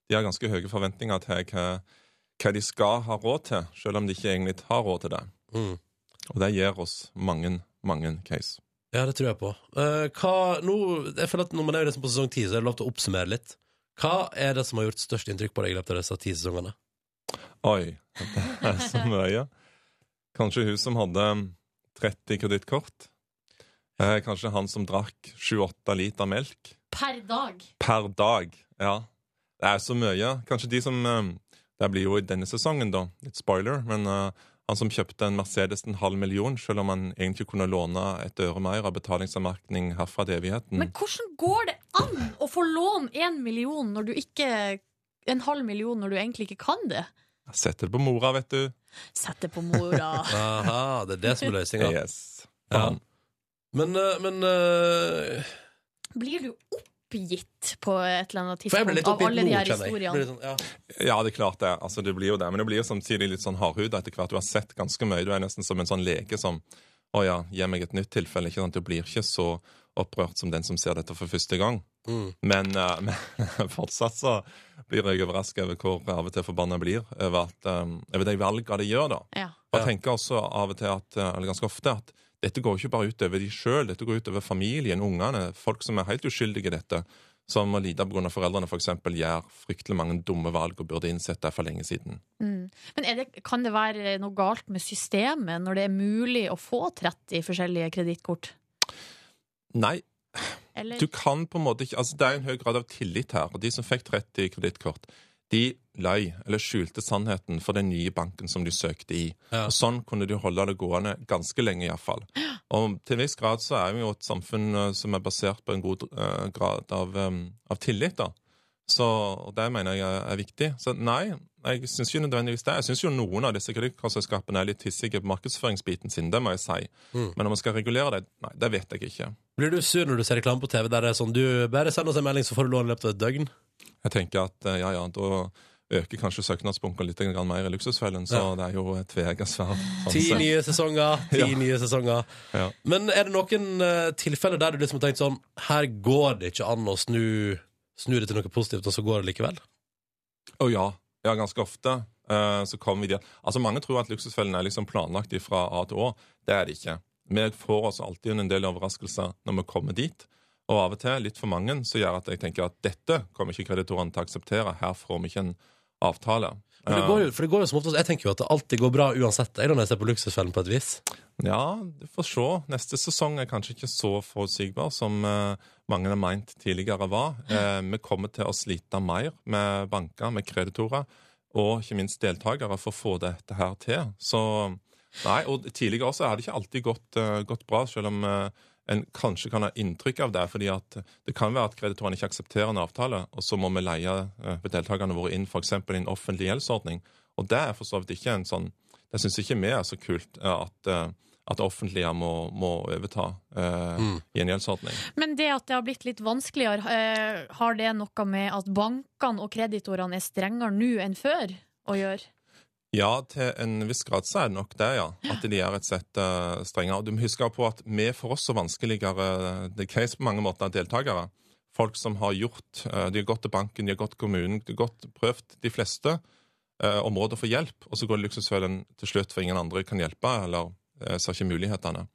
[SPEAKER 12] De har ganske høye forventninger til hva, hva de skal ha råd til, selv om de ikke egentlig har råd til det. Og det gir oss mange, mange case.
[SPEAKER 3] Ja, det tror jeg på. Eh, hva, nå, jeg føler at når man er liksom på sesong 10, så er det lov til å oppsummere litt. Hva er det som har gjort størst inntrykk på deg i løpet av disse ti sesongene?
[SPEAKER 12] Oi, det er så mye. Kanskje hun som hadde 30 kredittkort. Eh, kanskje han som drakk 7-8 liter melk
[SPEAKER 2] Per dag.
[SPEAKER 12] per dag. Ja. Det er så mye. Kanskje de som eh, Det blir jo i denne sesongen, da. Litt spoiler. Men eh, han som kjøpte en Mercedes til en halv million, selv om han egentlig kunne låne et øre mer av betalingsanmerkning herfra til evigheten.
[SPEAKER 2] Men hvordan går det an å få låne en million når du ikke En halv million når du egentlig ikke kan det?
[SPEAKER 12] Sett det på mora, vet du.
[SPEAKER 2] Sett det på mora.
[SPEAKER 3] Aha, det er det som er løsninga.
[SPEAKER 12] Yes.
[SPEAKER 3] Ja. Men, eh, men eh,
[SPEAKER 2] Blir du oppgitt på et eller annet
[SPEAKER 12] For jeg ble
[SPEAKER 2] tidspunkt
[SPEAKER 12] litt
[SPEAKER 2] av
[SPEAKER 12] oppgitt
[SPEAKER 2] alle de
[SPEAKER 12] nå,
[SPEAKER 2] her
[SPEAKER 12] kjenner jeg.
[SPEAKER 2] historiene.
[SPEAKER 12] Ble litt sånn, Ja, det er klart det. Altså, det blir jo det. Men det blir jo samtidig litt sånn hardhuda etter hvert. Du har sett ganske mye. Du er nesten som en sånn lege som Å ja, gi meg et nytt tilfelle. Ikke sant? Du blir ikke så opprørt som den som ser dette for første gang.
[SPEAKER 13] Mm.
[SPEAKER 12] Men, eh, men fortsatt så blir jeg overraska over hvor av og til forbanna jeg blir over, at, eh, over de valga de gjør, da.
[SPEAKER 2] Ja.
[SPEAKER 12] Og jeg tenker også av og til at, eh, eller ganske ofte at dette går jo ikke bare ut over de sjøl, dette går ut over familien, ungene, folk som er helt uskyldige i dette. Som må lide pga. foreldrene, f.eks. eksempel gjør fryktelig mange dumme valg og burde innsett det for lenge siden.
[SPEAKER 2] Mm. Men er det, kan det være noe galt med systemet når det er mulig å få 30 forskjellige kredittkort?
[SPEAKER 12] Nei,
[SPEAKER 2] Eller-
[SPEAKER 12] du kan på en måte ikke altså Det er en høy grad av tillit her. og De som fikk 30 kredittkort, de løy eller skjulte sannheten for den nye banken som de søkte i. Og Sånn kunne de holde det gående ganske lenge, iallfall. Og til en viss grad så er vi jo et samfunn eh, som er basert på en god eh, grad av, eh, av tillit, da. Så og Det mener jeg er er viktig. Så nei, jeg syns ikke nødvendigvis det. Jeg syns jo noen av disse kredittkortselskapene er litt hissige på markedsføringsbiten sin, det må jeg si.
[SPEAKER 13] Mm.
[SPEAKER 12] Men om vi skal regulere det, nei, det vet jeg ikke.
[SPEAKER 13] Blir du sur når du ser reklame på TV der det er sånn du bare send oss en melding, så får du lån i løpet av et døgn?
[SPEAKER 12] Jeg tenker at eh, ja, ja, da øker kanskje søknadsbunken litt grann mer i luksusfellen, så
[SPEAKER 13] Ja.
[SPEAKER 12] det er jo et tveegget sverd. sånn
[SPEAKER 13] Ti
[SPEAKER 12] sett.
[SPEAKER 13] nye sesonger, ti
[SPEAKER 12] Ja.
[SPEAKER 13] nye sesonger.
[SPEAKER 12] Ja.
[SPEAKER 13] Men er det noen eh, tilfeller der du liksom har tenkt sånn Her går det ikke an å snu, snu det til noe positivt, og så går det likevel?
[SPEAKER 12] Å ja. Ja, ganske ofte. eh, så kommer vi der. Altså, Mange tror at luksusfellen er liksom planlagt fra A til Å. Det er det ikke. Vi får oss alltid en del overraskelser når vi kommer dit. Og av og til litt for mange som gjør at jeg tenker at dette kommer ikke kreditorene til å akseptere. Her får vi ikke en avtale.
[SPEAKER 13] Men det
[SPEAKER 12] Eh,
[SPEAKER 13] går jo, for det går jo som oftest Jeg tenker jo at det alltid går bra uansett, jeg, da, når jeg ser på Luksusfellen på et vis.
[SPEAKER 12] Ja, vi får se. Neste sesong er kanskje ikke så forutsigbar som eh, mange har meint tidligere var. Eh, vi kommer til å slite mer med banker, med kreditorer og ikke minst deltakere for å få dette her til. Så nei, og tidligere også har det ikke alltid gått, eh, gått bra, selv om eh, en kanskje kan ha inntrykk av det, fordi at det kan være at kreditorene ikke aksepterer en avtale, og så må vi leie eh, deltakerne våre inn f.eks. i en offentlig gjeldsordning. Og det er for så vidt ikke en sånn Det syns ikke vi er så kult eh, at, eh, at det offentlige må, må overta eh, i en gjeldsordning.
[SPEAKER 2] Men det at det har blitt litt vanskeligere, eh, har det noe med at bankene og kreditorene er strengere nå enn før å gjøre?
[SPEAKER 12] Ja, til en viss grad så er det nok det, ja. At de er rett og slett eh, strengere. Og du må huske på at vi for oss er vanskeligere eh, det case på mange måter deltakere. Folk som har gjort eh, De har gått til banken, de har gått til kommunen, de har gått, prøvd de fleste eh, områder for hjelp, og så går luksusfellen til slutt, for ingen andre kan hjelpe, eller eh, ser ikke mulighetene.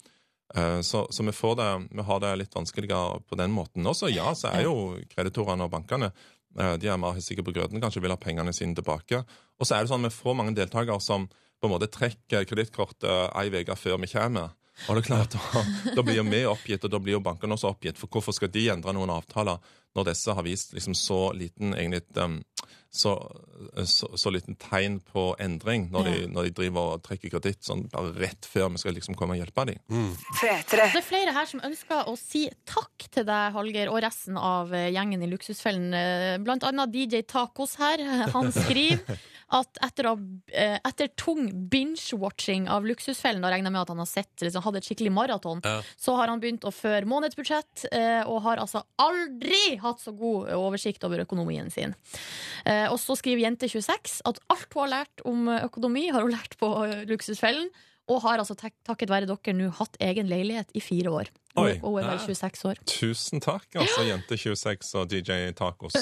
[SPEAKER 12] Eh, Så, så vi, får det, vi har det litt vanskeligere på den måten. Også ja, så er jo kreditorene og bankene eh, de er mer hissige på grøten, kanskje vil ha pengene sine tilbake. Og så er det sånn vi får mange deltakere som på en måte trekker kredittkortet ei uke før vi kommer. Og det er klart, da, da blir jo vi oppgitt, og da blir jo bankene også oppgitt. For hvorfor skal de endre noen avtaler når disse har vist liksom så liten egentlig, em, så, så, så liten tegn på endring når de, når de driver og trekker kreditt sånn bare rett før vi skal liksom komme og hjelpe dem?
[SPEAKER 2] Det er flere her som ønsker å si takk til deg, Hallgeir, og resten av eh, gjengen i Luksusfellen. Eh, Blant annet DJ Tacos her. Han skriver at etter, å, eh, etter tung binge-watching av Luksusfellen, da regner jeg med at han har sett, liksom, hatt et skikkelig maraton,
[SPEAKER 13] Ja.
[SPEAKER 2] så har han begynt å føre månedsbudsjett, eh, og har altså aldri hatt så god eh, oversikt over økonomien sin. Eh, Og så skriver Jente26 at alt hun har lært om eh, økonomi, har hun lært på eh, Luksusfellen. Og har altså tak takket være dere nå hatt egen leilighet i fire år. Og
[SPEAKER 12] Oi.
[SPEAKER 2] og hun er vel
[SPEAKER 12] Ja.
[SPEAKER 2] 26 år.
[SPEAKER 12] Tusen takk, altså, Jente26 og DJ Tacos.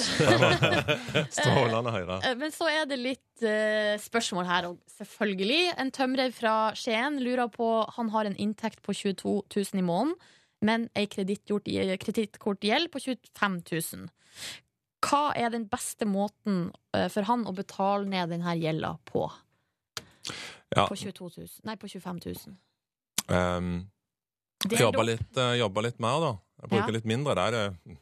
[SPEAKER 12] Strålende å høre.
[SPEAKER 2] Eh, Men så er det litt eh, spørsmål her òg, selvfølgelig. En tømrer fra Skien lurer på Han har en inntekt på 22 000 i måneden, men ei kredittgjort- eh, kredittkortgjeld på 25 000. Hva er den beste måten eh, for han å betale ned denne gjelda på?
[SPEAKER 12] Ja.
[SPEAKER 2] På 22 000. Nei, på 25 000.
[SPEAKER 12] Um,
[SPEAKER 2] Det er
[SPEAKER 12] jobbe,
[SPEAKER 2] dumt.
[SPEAKER 12] litt, eh, jobbe litt mer, da. Bruke
[SPEAKER 2] Ja.
[SPEAKER 12] litt mindre. Det er det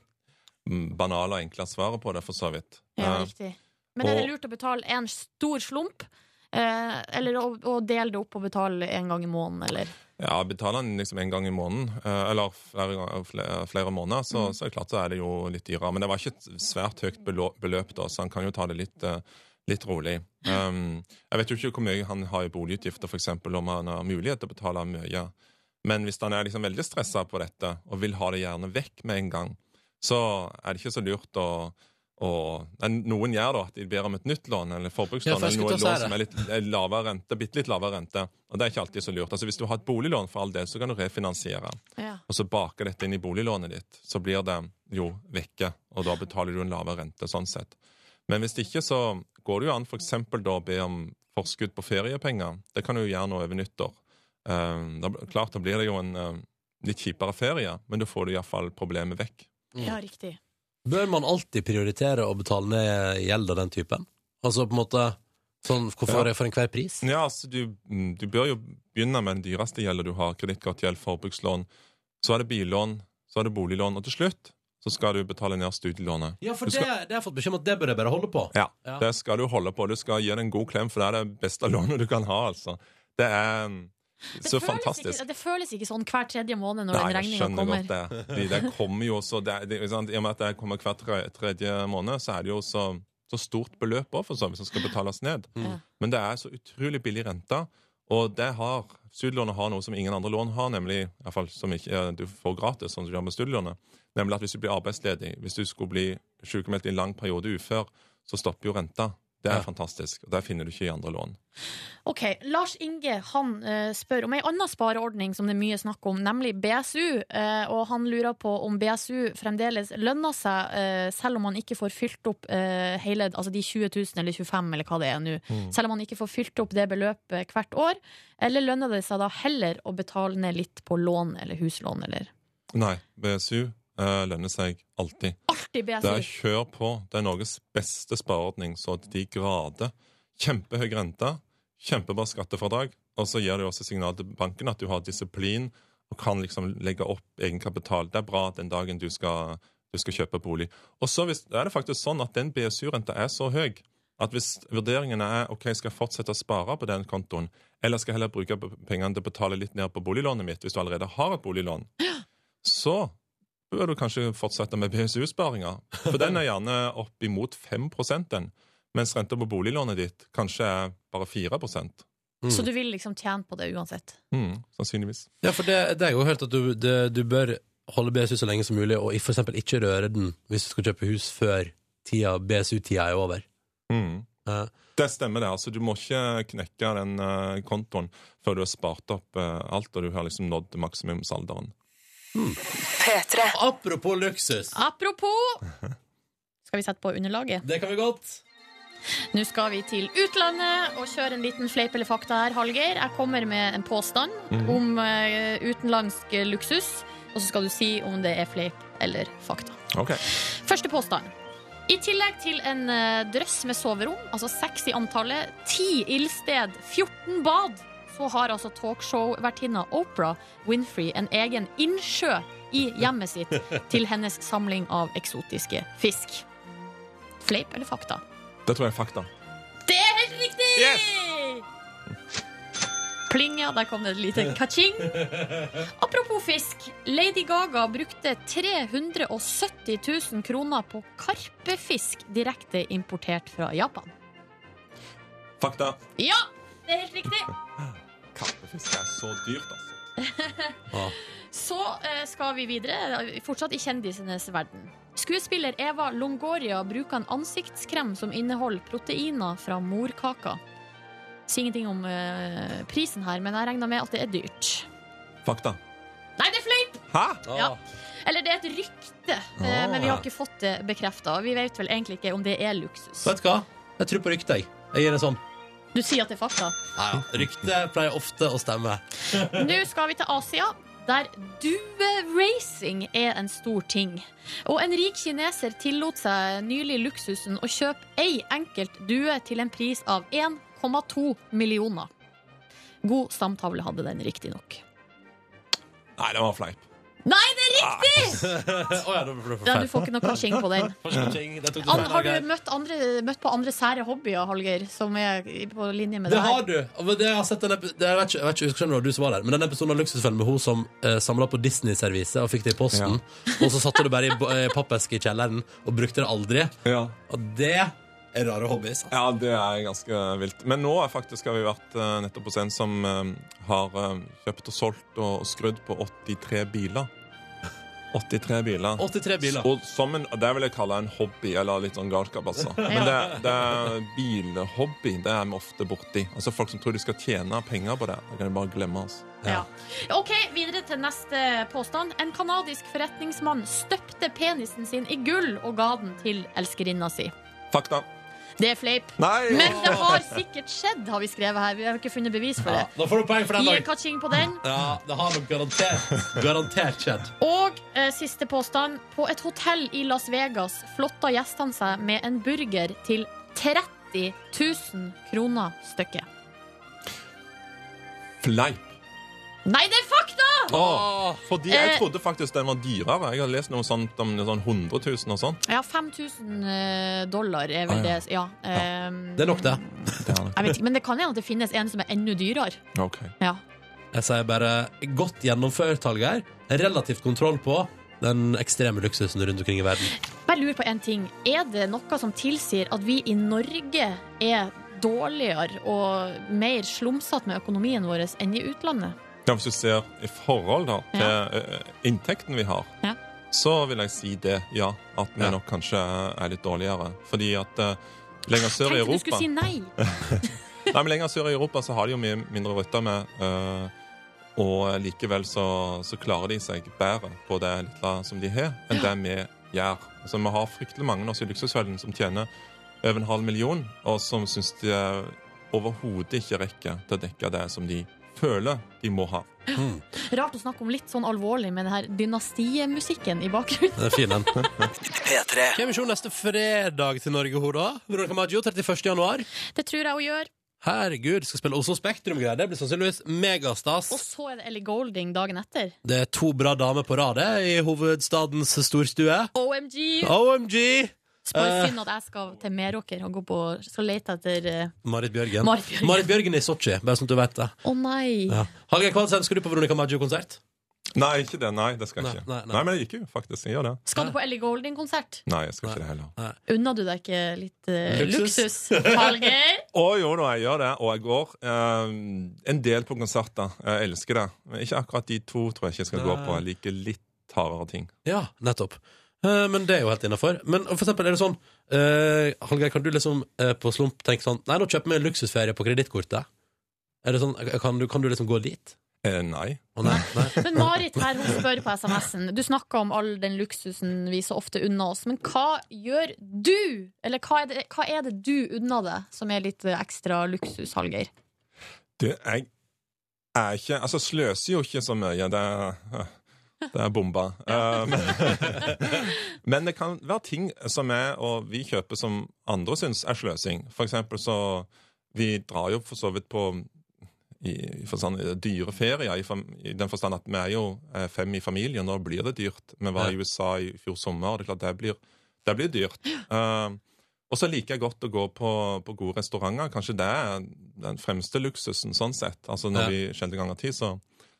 [SPEAKER 12] mm, banale og enkle svaret på det, for så vidt.
[SPEAKER 2] Ja,
[SPEAKER 12] Eh,
[SPEAKER 2] riktig. Men er det
[SPEAKER 12] og-
[SPEAKER 2] lurt å betale en stor slump, eh, eller å, å dele det opp og betale en gang i måneden, eller?
[SPEAKER 12] Ja, Betaler en liksom en gang i måneden, eh, eller flere, gang- fle- eh, flere måneder, så, så er det klart så er det jo litt dyrere. Men det var ikke et svært høyt belå- beløp, da, så han kan jo ta det litt, eh, litt rolig. Um, jeg vet jo ikke hvor mye han har i boligutgifter, f.eks., om han har mulighet til å betale mye. Men hvis han er liksom veldig stressa på dette og vil ha det gjerne vekk med en gang, så er det ikke så lurt å og nei, Noen gjør da at de ber om et nytt lån eller
[SPEAKER 3] Ja,
[SPEAKER 12] forbrukslån.
[SPEAKER 3] for jeg skulle
[SPEAKER 12] eller noe
[SPEAKER 3] til å
[SPEAKER 12] lån
[SPEAKER 3] si
[SPEAKER 12] som er litt eh, lavere rente, bitte litt lavere rente. Og det er ikke alltid så lurt. Altså Hvis du har et boliglån, for all del, så kan du refinansiere.
[SPEAKER 2] Ja.
[SPEAKER 12] Og så baker dette inn i boliglånet ditt. Så blir det jo vekke, og da betaler du en lavere rente sånn sett. Men hvis ikke, så går det jo an for eksempel da å be om forskudd på feriepenger. Det kan du jo gjøre nå over nyttår. Eh, da, klart, da blir det jo en eh, litt kjipere ferie, men da får du iallfall problemet vekk.
[SPEAKER 2] Ja, riktig.
[SPEAKER 3] Bør man alltid prioritere å betale ned gjeld av den typen? Altså på en måte sånn hvorfor
[SPEAKER 12] Ja.
[SPEAKER 3] for enhver pris?
[SPEAKER 12] Ja, altså du, mm, du bør jo begynne med den dyreste gjelda du har. Kredittkortgjeld, forbrukslån. Så er det billån, så er det boliglån. Og til slutt så skal du betale ned studielånet.
[SPEAKER 3] Ja, for
[SPEAKER 12] Du
[SPEAKER 3] det,
[SPEAKER 12] skal-
[SPEAKER 3] det har jeg fått beskjed om at det bør jeg bare holde på.
[SPEAKER 12] Ja,
[SPEAKER 3] Ja.
[SPEAKER 12] det skal du holde på. Du skal gi det en god klem, for det er det beste lånet du kan ha, altså. Det er mm, så fantastisk.
[SPEAKER 2] Ikke, det føles ikke sånn hver tredje måned når
[SPEAKER 12] Nei,
[SPEAKER 2] den
[SPEAKER 12] jeg
[SPEAKER 2] regninga
[SPEAKER 12] skjønner
[SPEAKER 2] kommer.
[SPEAKER 12] godt det. De der kommer jo også det, er- det, er sant, I og med at det kommer hver tre, tredje måned, så er det jo så, så stort beløp også, for så vidt, som skal betales ned.
[SPEAKER 3] Ja.
[SPEAKER 12] Men det er så utrolig billig rente. Og det har, studielånet har noe som ingen andre lån har, nemlig i hvert fall som ikke, eh, du får gratis, sånn som du gjør med studielånet. Nemlig at hvis du blir arbeidsledig, hvis du skulle bli sykemeldt i en lang periode ufør, så stopper jo renta. Det er fantastisk. og Det finner du ikke i andre lån.
[SPEAKER 2] Ok, Lars Inge han eh, spør om ei anna spareordning som det er mye snakk om, nemlig BSU. eh, og han lurer på om BSU fremdeles lønner seg, eh, selv om man ikke får fylt opp eh, hele, altså de 20 000 eller 25 eller hva det er nå.
[SPEAKER 14] Mm.
[SPEAKER 2] Selv om man ikke får fylt opp det beløpet hvert år. Eller lønner det seg da heller å betale ned litt på lån eller huslån eller
[SPEAKER 12] Nei, BSU eh, lønner seg alltid.
[SPEAKER 2] Artig
[SPEAKER 12] Det er
[SPEAKER 2] BSU!
[SPEAKER 12] kjør på. Det er Norges beste spareordning, så til de grader. Kjempehøy rente, kjempebra skattefradrag, og så gir det jo også signal til banken at du har disiplin og kan liksom legge opp egenkapital. Det er bra den dagen du skal, du skal kjøpe bolig. Og så hvis, er det faktisk sånn at den BSU-renta er så høy at hvis vurderingene er ok, skal jeg fortsette å spare på den kontoen, eller skal jeg heller bruke pengene til å betale litt ned på boliglånet mitt, hvis du allerede har et boliglån, så bør du kanskje fortsette med BSU-sparinga. For den er gjerne opp imot 5 den, mens renta på boliglånet ditt kanskje er bare 4
[SPEAKER 2] Så du vil liksom tjene på det uansett?
[SPEAKER 12] mm, Sannsynligvis.
[SPEAKER 3] Ja, for det, det har jeg jo hørt at du, det, du bør holde BSU så lenge som mulig, og i- for eksempel ikke røre den hvis du skal kjøpe hus før tida, BSU-tida er over.
[SPEAKER 12] Mm. Det stemmer, det. altså Du må ikke knekke den eh, kontoen før du har spart opp eh, alt og du har liksom nådd maksimumsalderen.
[SPEAKER 3] Apropos luksus.
[SPEAKER 2] Apropos Skal vi sette på underlaget?
[SPEAKER 3] Det kan vi godt.
[SPEAKER 2] Nå skal vi til utlandet og kjøre en liten fleip eller fakta her, Hallgeir. Jeg kommer med en påstand
[SPEAKER 14] Mhm.
[SPEAKER 2] om eh, utenlandsk eh, luksus, og så skal du si om det er fleip eller fakta.
[SPEAKER 12] Ok.
[SPEAKER 2] Første påstand. I tillegg til en eh, drøss med soverom, altså seks i antallet, ti ildsted, 14 bad, så har altså talkshow-vertinna Oprah Winfrey en egen innsjø i hjemmet sitt til hennes samling av eksotiske fisk. Fleip eller fakta?
[SPEAKER 12] Det tror jeg er fakta.
[SPEAKER 2] Det er helt riktig! Pling, ja. Der kom det et lite ka-ching. Apropos fisk. Lady Gaga brukte 370 000 kroner på karpefisk direkte importert fra Japan.
[SPEAKER 12] Fakta.
[SPEAKER 2] Ja! Det er helt riktig.
[SPEAKER 12] Karpefisk er så dyrt, altså.
[SPEAKER 2] Så eh, skal vi videre, Eh, fortsatt i kjendisenes verden. Skuespiller Eva Longoria bruker en ansiktskrem som inneholder proteiner fra morkaka. Sier ingenting om eh, prisen her, men jeg regner med at det er dyrt.
[SPEAKER 12] Fakta.
[SPEAKER 2] Nei, det er fleip!
[SPEAKER 12] Hæ?
[SPEAKER 2] Ja. Eller det er et rykte, eh,
[SPEAKER 3] Ah.
[SPEAKER 2] men vi har ikke fått det bekrefta. Vi vet vel egentlig ikke om det er luksus.
[SPEAKER 3] Vet du hva? Jeg tror på ryktet, jeg. Jeg gir det sånn.
[SPEAKER 2] Du sier at det er fakta.
[SPEAKER 3] Ja, ja. Rykte pleier ofte å stemme.
[SPEAKER 2] Nå skal vi til Asia, der dueracing er en stor ting. Og en rik kineser tillot seg nylig luksusen å kjøpe ei enkelt due til en pris av 1,2 millioner. God stamtavle hadde den, riktignok.
[SPEAKER 12] Nei, det var fleip. Ah.
[SPEAKER 2] Nei, det er riktig!
[SPEAKER 3] oh, ja, da ble det for
[SPEAKER 2] Ja,
[SPEAKER 3] feil.
[SPEAKER 2] du får ikke noe ka-ching på den.
[SPEAKER 3] Får ikke ka-ching. Det tok du
[SPEAKER 2] An,
[SPEAKER 3] feil,
[SPEAKER 2] har
[SPEAKER 3] Geir.
[SPEAKER 2] du møtt, andre, møtt på andre sære hobbyer, Hallgeir, som er i- på linje med det,
[SPEAKER 3] Det har
[SPEAKER 2] her?
[SPEAKER 3] du. Og Det jeg, har sett en epi- det, jeg, vet ikke, jeg vet ikke jeg skjønner om det var du som var der, men den episoden av Luksusfellen med hun som eh, samla på Disney-serviset og fikk det i posten, og så satte du bare i bo- eh, pappeske i kjelleren og brukte det aldri. Og det er rare hobbyer. altså.
[SPEAKER 12] Ja, det er ganske vilt. Men nå er faktisk har vi vært eh, nettopp hos en som eh, har eh, kjøpt og solgt og, og skrudd på 83 biler. 83 biler.
[SPEAKER 3] 83 biler.
[SPEAKER 12] Og som en, det vil jeg kalle en hobby, eller litt sånn galskap, altså. Men det, det er bilhobby det er vi ofte borti. Altså Folk som tror de skal tjene penger på det, det kan de bare glemme. altså.
[SPEAKER 2] Ja. OK, videre til neste påstand. En kanadisk forretningsmann støpte penisen sin i gull og ga den til elskerinna si.
[SPEAKER 12] Fakta.
[SPEAKER 2] Det er fleip.
[SPEAKER 12] Nei.
[SPEAKER 2] Men det har sikkert skjedd, har vi skrevet her. Vi har ikke funnet bevis for det.
[SPEAKER 3] Da får du poeng for den
[SPEAKER 2] Gi
[SPEAKER 3] dagen.
[SPEAKER 2] kaching på den.
[SPEAKER 3] Ja, det har nok garantert, garantert skjedd.
[SPEAKER 2] Og eh, siste påstand. På et hotell i Las Vegas flotta gjestene seg med en burger til 30 000 kroner stykket.
[SPEAKER 12] Fleip.
[SPEAKER 2] Nei, det er fakta!
[SPEAKER 12] Åh, fordi jeg
[SPEAKER 2] Eh.
[SPEAKER 12] trodde faktisk den var dyrere. Jeg har lest noe sånt om noe sånn 100 000 og sånt.
[SPEAKER 2] Ja, 5000 eh, dollar er vel
[SPEAKER 12] Ah, ja.
[SPEAKER 2] det. Ja. ehm,
[SPEAKER 3] Det er nok, det.
[SPEAKER 2] Jeg vet ikke, men det kan hende at det finnes en som er enda dyrere.
[SPEAKER 12] Ok.
[SPEAKER 2] Ja.
[SPEAKER 3] Jeg sier bare godt gjennomført, Hallgeir. Relativt kontroll på den ekstreme luksusen rundt omkring i verden.
[SPEAKER 2] Bare lurer på en ting. Er det noe som tilsier at vi i Norge er dårligere og mer slumsete med økonomien vår enn i utlandet?
[SPEAKER 12] Ja, hvis du ser i forhold da, til eh, inntekten vi har,
[SPEAKER 2] Ja.
[SPEAKER 12] så vil jeg si det, ja. At vi nok kanskje er litt dårligere. Fordi at eh, lenger sør
[SPEAKER 2] Tenkte
[SPEAKER 12] i
[SPEAKER 2] du
[SPEAKER 12] Europa
[SPEAKER 2] skulle si nei.
[SPEAKER 12] Nei, men lenger sør i Europa så har de jo mye mindre røtter med. eh, og likevel så, så klarer de seg bedre på det lille som de har, enn det vi gjør. Altså, vi har fryktelig mange av oss i luksusfellen som tjener over en halv million, og som syns de overhodet ikke rekker til å dekke det som de føler de må ha.
[SPEAKER 2] Rart å snakke om litt sånn alvorlig med den her dynastiemusikken i bakgrunnen.
[SPEAKER 3] Den er fin, den. Hvem kommer neste fredag til Norge, hun da? Veronica Maggio, 31. januar.
[SPEAKER 2] Det tror jeg hun gjør.
[SPEAKER 3] Herregud, skal spille Oslo Spektrum-greier. Det blir sannsynligvis megastas.
[SPEAKER 2] Og så er det Ellie Golding dagen etter.
[SPEAKER 3] Det er to bra damer på rad det, i hovedstadens storstue.
[SPEAKER 2] OMG!
[SPEAKER 3] OMG!
[SPEAKER 2] Bare
[SPEAKER 3] Eh,
[SPEAKER 2] synd at jeg skal til Meråker og gå på skal lete etter eh,
[SPEAKER 3] Marit Bjørgen.
[SPEAKER 2] Marit Bjørgen.
[SPEAKER 3] i Sotsji, bare sånn at du vet det.
[SPEAKER 2] Å nei!
[SPEAKER 3] Ja. Hallgeir Kvalsheim, skal du på Veronica Maggio-konsert?
[SPEAKER 12] Nei, ikke det. Nei, det skal jeg
[SPEAKER 3] Nei,
[SPEAKER 12] ikke.
[SPEAKER 3] nei,
[SPEAKER 12] Nei,
[SPEAKER 3] nei.
[SPEAKER 12] men jeg gikk jo faktisk. Jeg gjør det.
[SPEAKER 2] Skal du på Ellie Golding-konsert?
[SPEAKER 12] Nei, jeg skal ikke det heller.
[SPEAKER 2] Unner du deg ikke litt eh, luksus?
[SPEAKER 12] Luksus.
[SPEAKER 2] Hallgeir?
[SPEAKER 12] Å jo da, jeg gjør det. Og jeg går eh, en del på konserter. Jeg elsker det. Men ikke akkurat de to tror jeg ikke jeg skal gå på. Jeg liker litt hardere ting.
[SPEAKER 3] Ja, nettopp. Eh, men det er jo helt innafor. Men for eksempel, er det sånn eh, Hallgeir, kan du liksom eh, på slump tenke sånn Nei, nå kjøper vi en luksusferie på kredittkortet. Er det sånn, kan du, kan du liksom gå dit?
[SPEAKER 12] Eh, nei.
[SPEAKER 3] nei, nei.
[SPEAKER 2] Men Marit her, hun spør på SMS-en. Du snakker om all den luksusen vi så ofte unner oss. Men hva gjør du? Eller hva er det, hva er det du unner deg som er litt eh, ekstra luksus, Hallgeir?
[SPEAKER 12] Du, jeg er ikke Altså, sløser jo ikke så mye. Det er, det er bomba. Eh, men, men det kan være ting som er, og vi kjøper som andre syns er sløsing. For eksempel så Vi drar jo for så vidt på i, i forstand, dyre ferier, i, fam- i den forstand at vi er jo eh, fem i familien, og da blir det dyrt. Vi var i USA i fjor sommer, og det er klart det blir, det blir dyrt. Eh, og så liker jeg godt å gå på, på gode restauranter. Kanskje det er den fremste luksusen sånn sett. Altså Når
[SPEAKER 3] Ja.
[SPEAKER 12] vi sjelden ganger tid, så,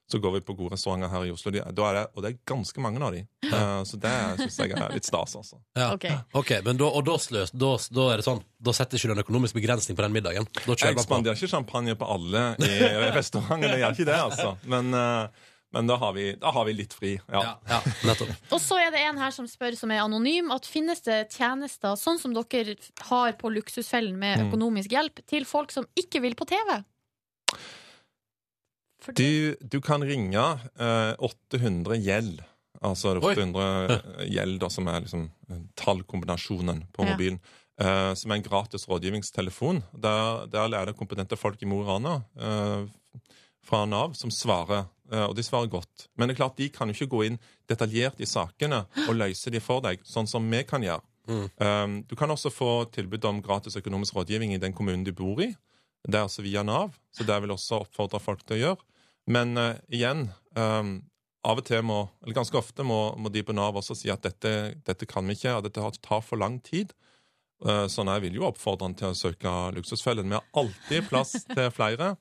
[SPEAKER 12] så går vi på gode restauranter her i Oslo. De, da er det, og det er ganske mange av de. Eh, så det syns jeg er litt stas, altså.
[SPEAKER 3] Ja.
[SPEAKER 2] Ok.
[SPEAKER 3] men da, og da, sløs, da, da er det sånn Da setter ikke du en økonomisk begrensning på den middagen. Da kjører
[SPEAKER 12] Jeg
[SPEAKER 3] jeg bare på.
[SPEAKER 12] ekspanderer ikke champagne på alle i restauranten. Jeg gjør ikke det, altså. Men, eh, men da, har vi, da har vi litt fri. Ja.
[SPEAKER 3] nettopp.
[SPEAKER 2] Og så er det en her som spør, som er anonym, at finnes det tjenester, sånn som dere har på Luksusfellen med
[SPEAKER 12] Mm.
[SPEAKER 2] økonomisk hjelp, til folk som ikke vil på TV?
[SPEAKER 12] Du, du kan ringe eh, 800 gjeld. Altså det er 800 gjeld, da, som er liksom eh, tallkombinasjonen på
[SPEAKER 15] Ja.
[SPEAKER 12] mobilen. eh, som er en gratis rådgivningstelefon. Der, der lærer kompetente folk i Mo i Rana eh, fra Nav som svarer. eh, og de svarer godt. Men det er klart, de kan jo ikke gå inn detaljert i sakene og løse de for deg, sånn som vi kan gjøre. Um, du kan også få tilbud om gratis økonomisk rådgivning i den kommunen du bor i. Det er altså via Nav, så det vil jeg også oppfordre folk til å gjøre. Men eh, igjen, um, av og til må, eller ganske ofte må, må de på Nav også si at dette, dette kan vi ikke, og dette har- tar for lang tid. Eh, Så nei, jeg vil jo oppfordre han til å søke Luksusfellen. Vi har alltid plass til flere.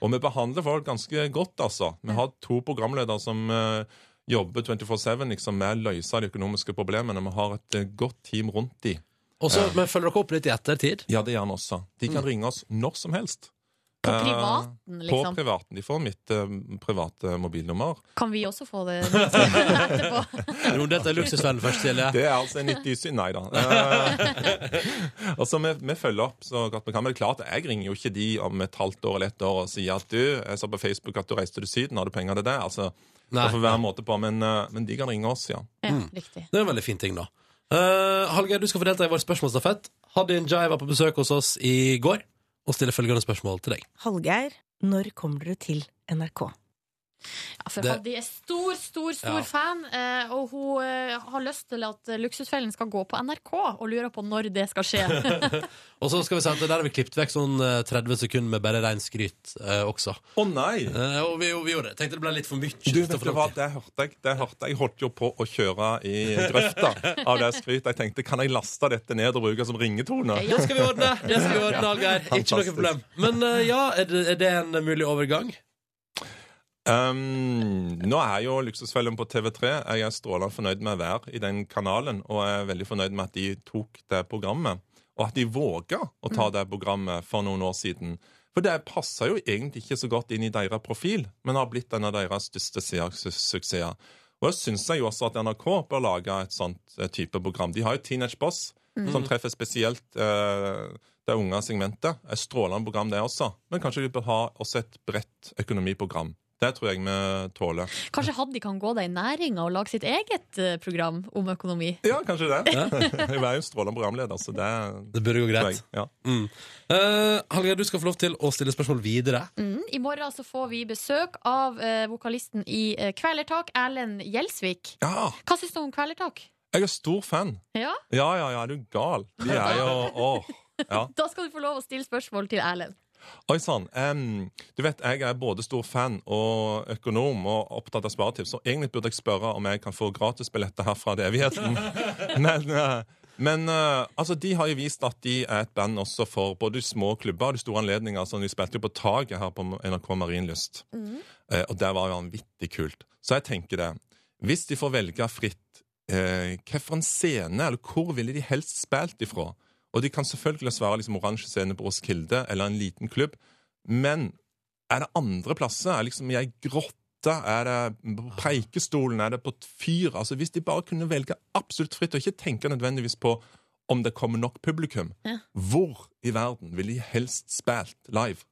[SPEAKER 12] Og vi behandler folk ganske godt, altså. Vi har to programledere som eh, jobber 24-7 liksom, med å løse de økonomiske problemene. Vi har et eh, godt team rundt de.
[SPEAKER 3] Og så- men følger dere opp litt i ettertid?
[SPEAKER 12] Ja, det gjør vi også. De kan
[SPEAKER 3] Mm.
[SPEAKER 12] ringe oss når som helst.
[SPEAKER 2] På
[SPEAKER 10] Eh,
[SPEAKER 2] privaten, liksom?
[SPEAKER 10] På privaten. De får mitt eh, private mobilnummer.
[SPEAKER 2] Kan vi også få det?
[SPEAKER 10] Jo, dette er luksusvennen først, Silje. Det er altså en 97 Nei da. Eh, og så vi, vi følger opp så godt vi kan. Men det er klart, jeg ringer jo ikke de om et halvt år eller et år og sier at du, jeg så på Facebook at du reiste til Syden, har du penger til det? Altså,
[SPEAKER 3] Nei.
[SPEAKER 10] det får være en måte på, men, eh, men de kan ringe oss, ja.
[SPEAKER 3] Mm.
[SPEAKER 2] Riktig.
[SPEAKER 3] Det er en veldig fin ting, da. Eh, Hallgeir, du skal få delta i vår spørsmålsstafett. Hadin Jai var på besøk hos oss i går og stiller følgende spørsmål til deg.
[SPEAKER 8] Hallgeir, når kommer dere til NRK?
[SPEAKER 2] Ja, for
[SPEAKER 3] Det-
[SPEAKER 2] Haddy er stor, stor, stor
[SPEAKER 3] Ja.
[SPEAKER 2] fan, eh, og hun eh, har lyst til at eh, Luksusfellen skal gå på NRK, og lurer på når det skal skje.
[SPEAKER 3] Og så skal vi si at der har vi klippet vekk sånn eh, 30 sekunder med bare rein skryt eh, også.
[SPEAKER 10] Å nei!
[SPEAKER 3] og vi, vi gjorde det. Tenkte det ble litt Eh, for mye.
[SPEAKER 10] Du, vet du hva, det hørte jeg. Det hørte jeg. jeg holdt jo på å kjøre i grøfta av det skrytet. Jeg tenkte, kan jeg laste dette ned og bruke det som ringetone?
[SPEAKER 3] Det skal vi ordne, det skal vi ordne Hallgeir. Ikke noe
[SPEAKER 10] Fantastisk.
[SPEAKER 3] problem. Men eh, ja, er det, er det en mulig overgang?
[SPEAKER 10] Um, nå er jo Luksusfellen på TV3. Jeg er strålende fornøyd med hver i den kanalen. Og jeg er veldig fornøyd med at de tok det programmet. Og at de våga å ta det programmet for noen år siden. For det passer jo egentlig ikke så godt inn i deres profil, men har blitt en av deres største seersuksesser. Og jeg syns jeg jo også at NRK bør lage et sånt eh, type program. De har jo Teenage Boss,
[SPEAKER 3] Mm.
[SPEAKER 10] som treffer spesielt eh, det unge segmentet. Et strålende program, det også. Men kanskje de bør ha også et bredt økonomiprogram. Det tror jeg vi tåler.
[SPEAKER 2] Kanskje Haddy kan gå deg i næringa og lage sitt eget eh, program om økonomi?
[SPEAKER 10] Ja, kanskje det. Jeg er jo en strålende programleder, så det
[SPEAKER 3] Det burde gå
[SPEAKER 10] tror
[SPEAKER 3] greit.
[SPEAKER 10] jeg, Ja.
[SPEAKER 3] Mm. Eh, Hallgeir, du skal få lov til å stille spørsmål videre.
[SPEAKER 2] Mm, I morgen så får vi besøk av eh, vokalisten i eh, Kvelertak, Erlend Gjelsvik.
[SPEAKER 10] Ja,
[SPEAKER 2] Hva syns du om Kvelertak?
[SPEAKER 10] jeg er stor fan.
[SPEAKER 2] Ja?
[SPEAKER 10] Ja, ja, ja, er du gal? De er jo Åh. Ja.
[SPEAKER 2] Da skal du få lov å stille spørsmål til Erlend.
[SPEAKER 10] Oi sann. em, du vet, jeg er både stor fan og økonom og opptatt av sparetips, så egentlig burde jeg spørre om jeg kan få gratisbilletter herfra til evigheten. Men, eh, men eh, altså, de har jo vist at de er et band også for både små klubber og de store anledninger. Sånn, de spilte jo på taket her på NRK Marienlyst. Eh, og det var jo vanvittig kult. Så jeg tenker det. Hvis de får velge fritt eh, hvilken scene, eller hvor ville de helst spilt ifra? Og de kan selvfølgelig svare liksom oransje scene på Roskilde eller en liten klubb, men er det andre plasser? Er liksom i ei grotte? Er det på Preikestolen? Er det på et fyr? Altså, hvis de bare kunne velge absolutt fritt, og ikke tenke nødvendigvis på om det kommer nok publikum,
[SPEAKER 2] Ja.
[SPEAKER 10] hvor i verden ville de helst spilt live?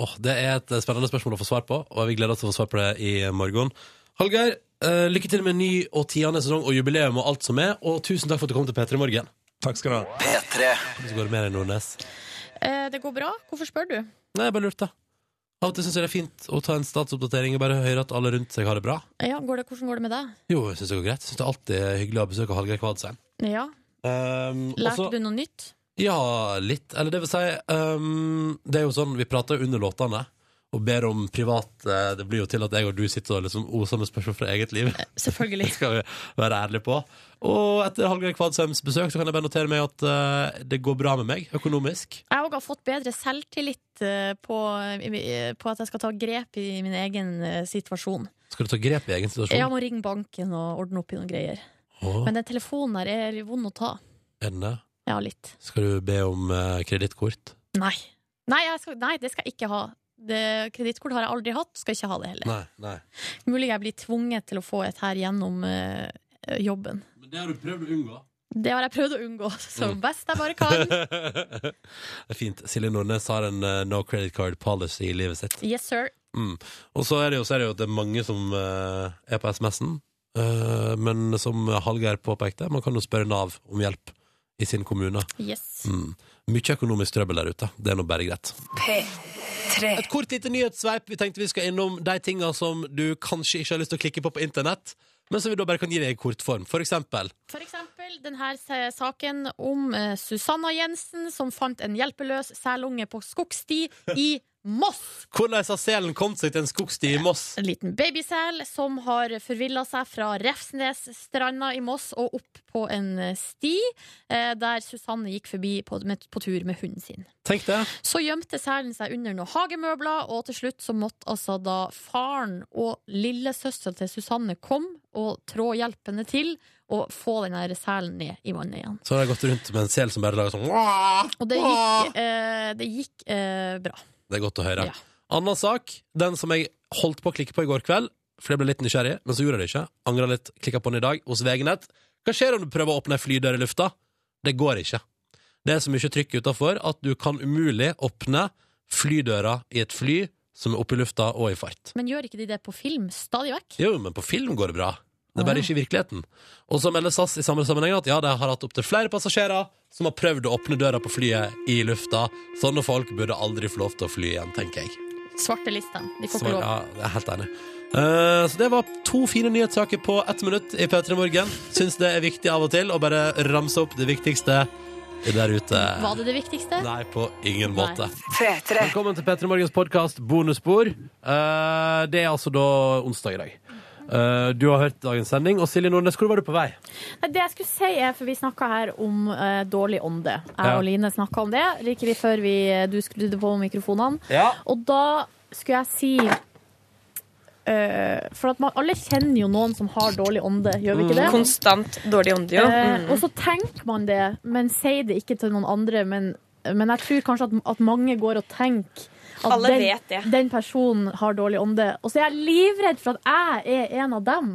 [SPEAKER 3] Åh, det er et eh, spennende spørsmål å få svar på, og vi gleder oss til å få svar på det i morgen. Hallgeir, eh, lykke til med ny og tiende sesong og jubileum og alt som er, og tusen takk for at du kom til P3 Morgen.
[SPEAKER 10] Takk skal du ha.
[SPEAKER 3] P3. Hvordan går det med deg, Nordnes?
[SPEAKER 2] Eh, det går bra. Hvorfor spør du?
[SPEAKER 3] Nei, jeg bare lurte. Av og til syns jeg det er fint å ta en statsoppdatering og bare høre at alle rundt seg har det bra.
[SPEAKER 2] Ja, går det, hvordan går det med deg?
[SPEAKER 3] Jo, jeg syns det går greit. Syns det alltid er hyggelig å ha besøk av Hallgeir Kvadsheim.
[SPEAKER 2] Ja.
[SPEAKER 3] Um,
[SPEAKER 2] Lærte du noe nytt?
[SPEAKER 3] Ja, litt. Eller det vil si ehm, Det er jo sånn, vi prater under låtene og ber om privat eh, Det blir jo til at jeg og du sitter og liksom oser med spørsmål fra eget liv.
[SPEAKER 2] Selvfølgelig.
[SPEAKER 3] det skal vi være ærlige på. Og etter Hallgeir Kvadshems besøk så kan jeg bare notere meg at eh, det går bra med meg økonomisk.
[SPEAKER 2] Jeg òg har fått bedre selvtillit eh, på, eh, på at jeg skal ta grep i min egen eh, situasjon.
[SPEAKER 3] Skal du ta grep i egen situasjon?
[SPEAKER 2] Jeg må ringe banken og ordne opp i noen greier.
[SPEAKER 3] Åh,
[SPEAKER 2] Men den telefonen her er vond å ta.
[SPEAKER 3] er den det?
[SPEAKER 2] Ja, litt.
[SPEAKER 3] Skal du be om uh, kredittkort?
[SPEAKER 2] Nei. Nei, jeg skal, nei, det skal jeg ikke ha. Det- Kredittkort har jeg aldri hatt, skal ikke ha det heller.
[SPEAKER 3] Nei. nei.
[SPEAKER 2] Mulig jeg blir tvunget til å få et her gjennom eh, jobben.
[SPEAKER 3] Men det har du prøvd å unngå.
[SPEAKER 2] Det har jeg prøvd å unngå så
[SPEAKER 3] Mm.
[SPEAKER 2] best jeg bare kan.
[SPEAKER 3] det er fint. Silje Nordnes har en eh, no credit card policy i livet sitt.
[SPEAKER 2] Yes, sir.
[SPEAKER 3] Mm. Og så er det jo, så er det jo at det er mange som eh, er på SMS-en. Eh, men som Hallgeir påpekte, man kan jo spørre Nav om hjelp i sin kommune.
[SPEAKER 2] Yes.
[SPEAKER 3] Mm. Mye økonomisk trøbbel der ute. Det er nå bare greit.
[SPEAKER 16] P3.
[SPEAKER 3] Et kort lite nyhetssveip. Vi tenkte vi skal innom de tinga som du kanskje ikke har lyst til å klikke på på internett, men som vi da bare kan gi deg i kort form. For eksempel.
[SPEAKER 2] For eksempel denne saken om eh, Susanna Jensen som fant en hjelpeløs selunge på skogsti i Moss.
[SPEAKER 3] Hvordan har selen kommet seg til en skogsti i Moss?
[SPEAKER 2] En liten babysel som har forvilla seg fra Refsnesstranda i Moss og opp på en eh, sti, eh, der Susanne gikk forbi på, med, på tur med hunden sin.
[SPEAKER 3] Tenk det.
[SPEAKER 2] Så gjemte selen seg under noen hagemøbler, og til slutt så måtte altså da faren og lillesøstera til Susanne kom og trå hjelpende til og få den her selen ned i vannet igjen.
[SPEAKER 3] Så har jeg gått rundt med en sel som bare lager sånn
[SPEAKER 2] Og det gikk, eh, det gikk eh, bra.
[SPEAKER 3] Det er godt å høre. Anna sak, den som jeg holdt på å klikke på i går kveld, for jeg ble litt nysgjerrig, men så gjorde jeg det ikke. Angra litt, klikka på den i dag, hos VG-nett. Hva skjer om du prøver å åpne ei flydør i lufta? Det går ikke. Det er så mye trykk utafor at du kan umulig åpne flydøra i et fly som er oppe i lufta og i fart.
[SPEAKER 2] Men gjør ikke de det på film stadig vekk?
[SPEAKER 3] Jo, men på film går det bra. Det er bare ikke i virkeligheten. Og så melder SAS i samme sammenheng at ja, de har hatt opptil flere passasjerer som har prøvd å åpne døra på flyet i lufta. Sånne folk burde aldri få lov til å fly igjen, tenker jeg.
[SPEAKER 2] Svarte listen. De får
[SPEAKER 3] Så-
[SPEAKER 2] ikke
[SPEAKER 3] ja,
[SPEAKER 2] lov.
[SPEAKER 3] jeg er helt enig. Eh, så det var to fine nyhetssaker på ett minutt i P3 Morgen. Syns det er viktig av og til å bare ramse opp det viktigste der ute.
[SPEAKER 2] Var det det viktigste?
[SPEAKER 3] Nei, på ingen
[SPEAKER 2] Nei.
[SPEAKER 3] måte. Velkommen til P3 Morgens podkast Bonusspor. Eh, det er altså da onsdag i dag. Eh, du har hørt dagens sending. Og Silje Nordnes, hvor var du på vei?
[SPEAKER 2] Nei, Det jeg skulle si er, for vi snakka her om eh, dårlig ånde. Jeg
[SPEAKER 3] Ja.
[SPEAKER 2] og Line snakka om det like vi før vi, eh, du skrudde på mikrofonene. Og da skulle jeg si eh, For at man, alle kjenner jo noen som har dårlig ånde, gjør vi ikke det?
[SPEAKER 8] Konstant dårlig ånde, jo.
[SPEAKER 2] Eh,
[SPEAKER 8] Mm.
[SPEAKER 2] og så tenker man det, men sier det ikke til noen andre. Men, men jeg tror kanskje at, at mange går og tenker at
[SPEAKER 8] Alle
[SPEAKER 2] den,
[SPEAKER 8] vet det.
[SPEAKER 2] den personen har dårlig ånde. Og så er jeg livredd for at jeg er en av dem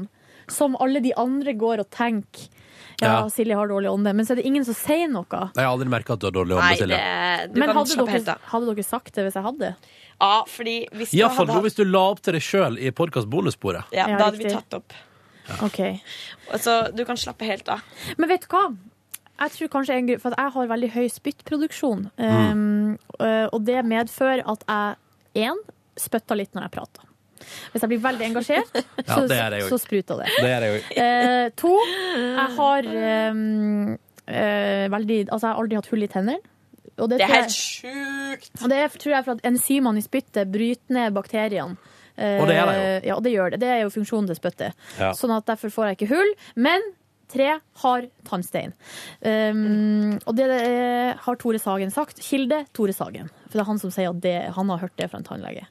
[SPEAKER 2] som alle de andre går og tenker. Ja,
[SPEAKER 3] Ja.
[SPEAKER 2] Silje har dårlig ånde, men så er det ingen som sier noe.
[SPEAKER 3] Jeg har aldri merka at du har dårlig ånde, Silje.
[SPEAKER 8] du
[SPEAKER 2] men
[SPEAKER 8] kan
[SPEAKER 2] hadde
[SPEAKER 8] slappe helt
[SPEAKER 2] dere, hadde dere sagt det hvis jeg hadde?
[SPEAKER 8] Ja, fordi hvis du
[SPEAKER 3] Iallfall
[SPEAKER 8] hadde
[SPEAKER 3] nå
[SPEAKER 8] hatt-
[SPEAKER 3] hvis du la opp til deg sjøl i podkast-bonussporet.
[SPEAKER 8] ja,
[SPEAKER 2] Ja,
[SPEAKER 8] Da hadde vi
[SPEAKER 2] riktig.
[SPEAKER 8] tatt opp.
[SPEAKER 2] Ok.
[SPEAKER 8] Så du kan slappe helt av.
[SPEAKER 2] Men vet du hva? Jeg tror kanskje en grunn, for at jeg har veldig høy spyttproduksjon.
[SPEAKER 17] Mm.
[SPEAKER 2] Um, øh, og det medfører at jeg én spytter litt når jeg prater. Hvis jeg blir veldig engasjert,
[SPEAKER 17] Ja,
[SPEAKER 2] så,
[SPEAKER 17] det er jeg jo.
[SPEAKER 2] så spruter det.
[SPEAKER 17] Det er jeg jo.
[SPEAKER 2] Eh, to, jeg har um, eh, veldig Altså, jeg har aldri hatt hull i tennene. Og
[SPEAKER 8] Det er
[SPEAKER 2] tror jeg-
[SPEAKER 8] helt sjukt!
[SPEAKER 2] og det er, tror jeg er for at enzymene i spyttet bryter ned bakteriene. Eh,
[SPEAKER 8] Og det gjør det
[SPEAKER 2] Ja, og det gjør det. Det er jo funksjonen til spyttet.
[SPEAKER 8] Ja.
[SPEAKER 2] Sånn at derfor får jeg ikke hull. Men tre har tannstein. Um, og det eh, har Tore Sagen sagt. Kilde Tore Sagen. For det er han som sier at det, han har hørt det fra en tannlege.